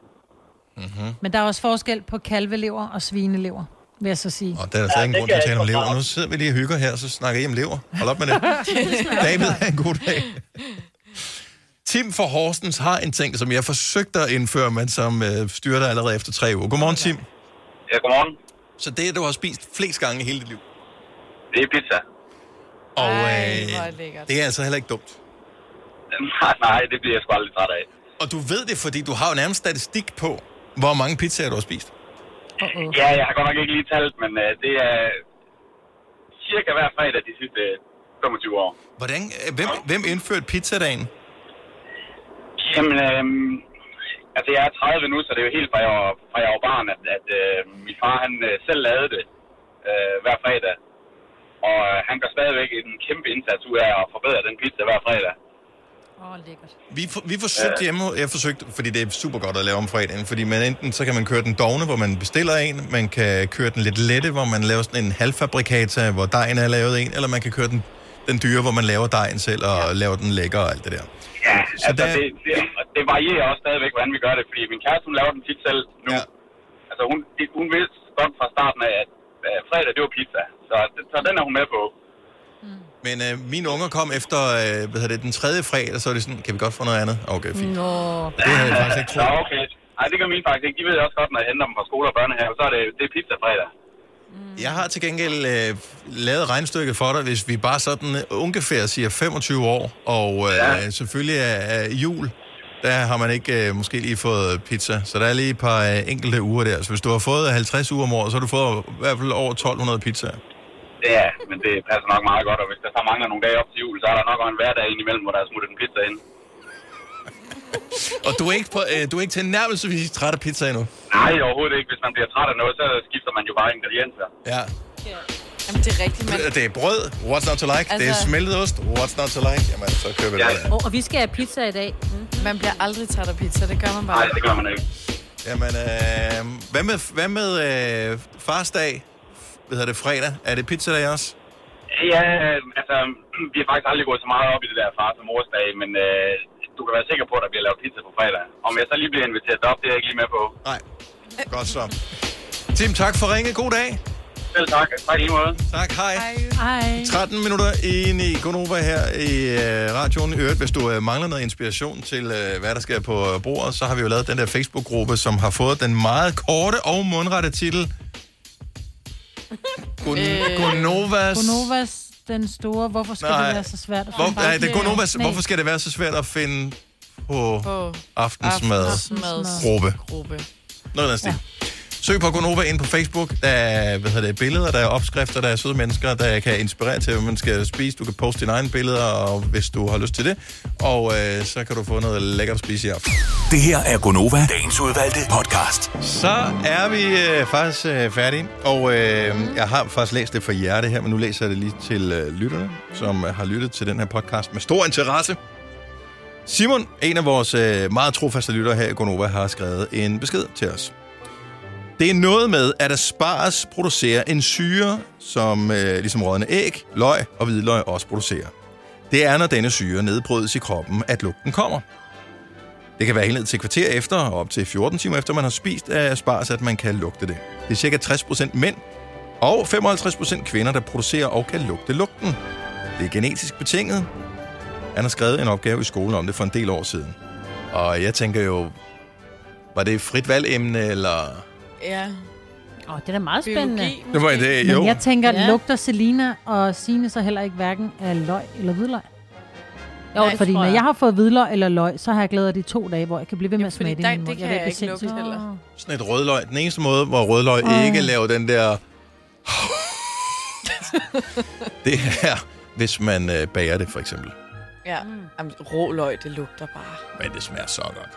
Speaker 1: Mhm.
Speaker 3: Men der er også forskel på kalvelever og svinelever, vil jeg så sige.
Speaker 1: Og der er der slet ingen grund til at tale om lever. Nu sidder vi lige og hygger her, så snakker I om lever. Hold op med det. David, have en *laughs* god dag. Tim fra Horsens har en ting, som jeg forsøgte at indføre, men som øh, styrter allerede efter tre uger. Godmorgen, Tim.
Speaker 4: Ja, godmorgen.
Speaker 1: Så det, du har spist flest gange i hele dit liv.
Speaker 4: Det er pizza. *laughs*
Speaker 1: Og
Speaker 4: Ej,
Speaker 1: øh,
Speaker 4: hvor er det lækkert.
Speaker 1: det er altså heller ikke dumt.
Speaker 4: Nej, nej, det bliver jeg sgu aldrig træt af.
Speaker 1: Og du ved det, fordi du har jo nærmest statistik på, hvor mange pizzaer du har spist.
Speaker 4: Uh-uh. Ja, jeg har godt nok ikke lige talt, men øh, det er cirka hver fredag de sidste 25 år.
Speaker 1: Hvordan, øh, hvem, hvem indførte pizzadagen?
Speaker 4: Jamen, øh, altså jeg er 30 nu, så det er jo helt fra jeg var, fra jeg var barn, at, at øh, min far han øh, selv lavede det øh, hver fredag. Og øh, han gør stadigvæk en kæmpe indsats ud af at forbedre den pizza hver fredag.
Speaker 1: Vi, for, vi forsøgte hjemme, jeg forsøgte, fordi det er super godt at lave om fredagen, fordi man enten så kan man køre den dogne, hvor man bestiller en, man kan køre den lidt lette, hvor man laver sådan en halvfabrikata, hvor dejen er lavet en, eller man kan køre den, den dyre, hvor man laver dejen selv og laver den lækker og alt det der.
Speaker 4: Ja,
Speaker 1: Så
Speaker 4: så altså,
Speaker 1: der-
Speaker 4: der... det, det, og det varierer også stadigvæk, hvordan vi gør det, fordi min kæreste, hun laver den tit selv nu. Ja. Altså, hun, det, hun vidste godt fra starten af, at øh, fredag, det var pizza. Så, det, så den er hun med på.
Speaker 1: Men øh, mine unger kom efter øh, hvad hedder det, den tredje fredag, og så var det sådan, kan vi godt få noget andet? Okay, fint.
Speaker 3: Nå.
Speaker 1: Det havde jeg faktisk ikke
Speaker 4: Nå,
Speaker 1: troet.
Speaker 4: Ah, okay. Ej, det gør mine faktisk ikke. De ved også godt, når jeg henter dem fra skole og børnehave, så er det, det er pizza fredag.
Speaker 1: Mm. Jeg har til gengæld øh, lavet regnstykket for dig, hvis vi bare sådan øh, ungefær siger 25 år, og øh, ja. selvfølgelig er, er jul, der har man ikke øh, måske lige fået pizza, så der er lige et par øh, enkelte uger der. Så hvis du har fået 50 uger om året, så har du fået i hvert fald over 1200 pizzaer.
Speaker 4: Ja, men det passer nok meget godt, og hvis der så mangler nogle dage op til jul, så er der nok en hverdag indimellem, hvor der er smuttet en pizza ind.
Speaker 1: Og du er ikke, på, øh, du er ikke til nærmelsesvis træt af pizza endnu.
Speaker 4: Nej, overhovedet ikke. Hvis man bliver træt af noget, så skifter man jo bare ingredienser.
Speaker 1: Ja.
Speaker 2: Jamen, det er rigtigt, men...
Speaker 1: Det- Det er brød, what's not to like. Altså... Det er
Speaker 2: Altså-
Speaker 1: smeltet ost, what's not to like. Jamen, så køber vi ja. det.
Speaker 2: Og, og vi skal have pizza i dag. Mm. Man bliver aldrig træt af pizza, det gør man bare.
Speaker 4: Nej, det gør man ikke.
Speaker 1: Jamen, øh, hvad med, hvad med øh, farsdag? Hvad hedder det, fredag? Er det pizzadag også?
Speaker 4: Ja, øh, altså, vi har faktisk aldrig gået så meget op i det der far som mors dag, men øh, du kan være sikker på, at der bliver lavet pizza på fredag. Om jeg så lige bliver inviteret op, det er jeg ikke lige med på.
Speaker 1: Nej. Godt så. Tim, tak for ringe. God dag.
Speaker 4: Selv tak. Tak i lige måde.
Speaker 1: Tak, hej.
Speaker 3: Hej.
Speaker 1: 13 minutter ind i Gonova her i øh, radioen. I øvrigt, hvis du øh, mangler noget inspiration til, øh, hvad der sker på øh, bordet, så har vi jo lavet den der Facebook-gruppe, som har fået den meget korte og mundrette titel. Gon- Gonovas...
Speaker 3: Gonovas, Øh, den store. Hvorfor skal
Speaker 1: Nej.
Speaker 3: det være så svært? at finde
Speaker 1: Hvor,
Speaker 3: bare-
Speaker 1: nej, det er Gonovas.
Speaker 3: Nej.
Speaker 1: Hvorfor skal det være så svært at finde på,
Speaker 2: På
Speaker 1: på aftensmad?
Speaker 2: aftensmads-
Speaker 1: Gruppe.
Speaker 2: Gruppe.
Speaker 1: Noget af den stil. Søg på Gonova ind på Facebook. Der er hvad hedder det, billeder, der er opskrifter, der er søde mennesker, der kan inspirere til, hvad man skal spise. Du kan poste dine egne billeder, og hvis du har lyst til det. Og øh, så kan du få noget lækkert at spise i aften.
Speaker 6: Det her er Gonova, dagens udvalgte podcast.
Speaker 1: Så er vi øh, faktisk øh, færdige, og øh, jeg har faktisk læst det for jer det her, men nu læser jeg det lige til øh, lytterne, som øh, har lyttet til den her podcast med stor interesse. Simon, en af vores øh, meget trofaste lyttere her i Gonova, har skrevet en besked til os. Det er noget med, at asparges producerer en syre, som øh, ligesom rådne æg, løg og hvidløg også producerer. Det er, når denne syre nedbrydes i kroppen, at lugten kommer. Det kan være helt ned til et kvarter efter og op til 14 timer efter, man har spist af asparges, at man kan lugte det. Det er cirka 60% mænd og 55% kvinder, der producerer og kan lugte lugten. Det er genetisk betinget. Han har skrevet en opgave i skolen om det for en del år siden. Og jeg tænker jo, var det et frit valgemne, eller...
Speaker 2: Ja.
Speaker 7: Åh, oh, det er da meget spændende.
Speaker 1: Det var det, jo.
Speaker 3: Men jeg tænker,
Speaker 7: Ja.
Speaker 3: ja. lugter Selina og Sine så heller ikke hverken af løg eller hvidløg? Jo,
Speaker 2: Nej,
Speaker 3: Nej, fordi
Speaker 2: tror
Speaker 3: når
Speaker 2: jeg.
Speaker 3: jeg har fået hvidløg eller løg, så har jeg glædet det i to dage, hvor jeg kan blive ved med at
Speaker 2: Fordi
Speaker 3: smage det i
Speaker 2: der,
Speaker 3: min mund.
Speaker 2: det kan
Speaker 3: ved,
Speaker 2: jeg
Speaker 3: er
Speaker 2: ikke lugte
Speaker 3: sindssygt.
Speaker 2: heller.
Speaker 1: Sådan et rødløg. Den eneste måde, hvor rødløg
Speaker 3: Ej.
Speaker 1: ikke laver den der... det er, hvis man øh, bager det, for eksempel.
Speaker 2: Ja. Jamen, rå løg, det lugter bare.
Speaker 1: Men det smager så godt.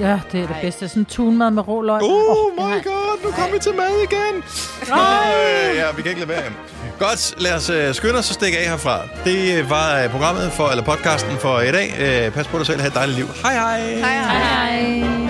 Speaker 3: Ja, det er det bedste. Sådan en tunmad med rå løg.
Speaker 1: Oh my god, nu kommer vi til mad igen. Nej, ja, vi kan ikke lade være. Godt, lad os øh, skynde os og stikke af herfra. Det var øh, programmet for, eller podcasten for i dag. Øh, pas på dig selv, have et dejligt liv. Hej hej.
Speaker 8: Hej hej. hej.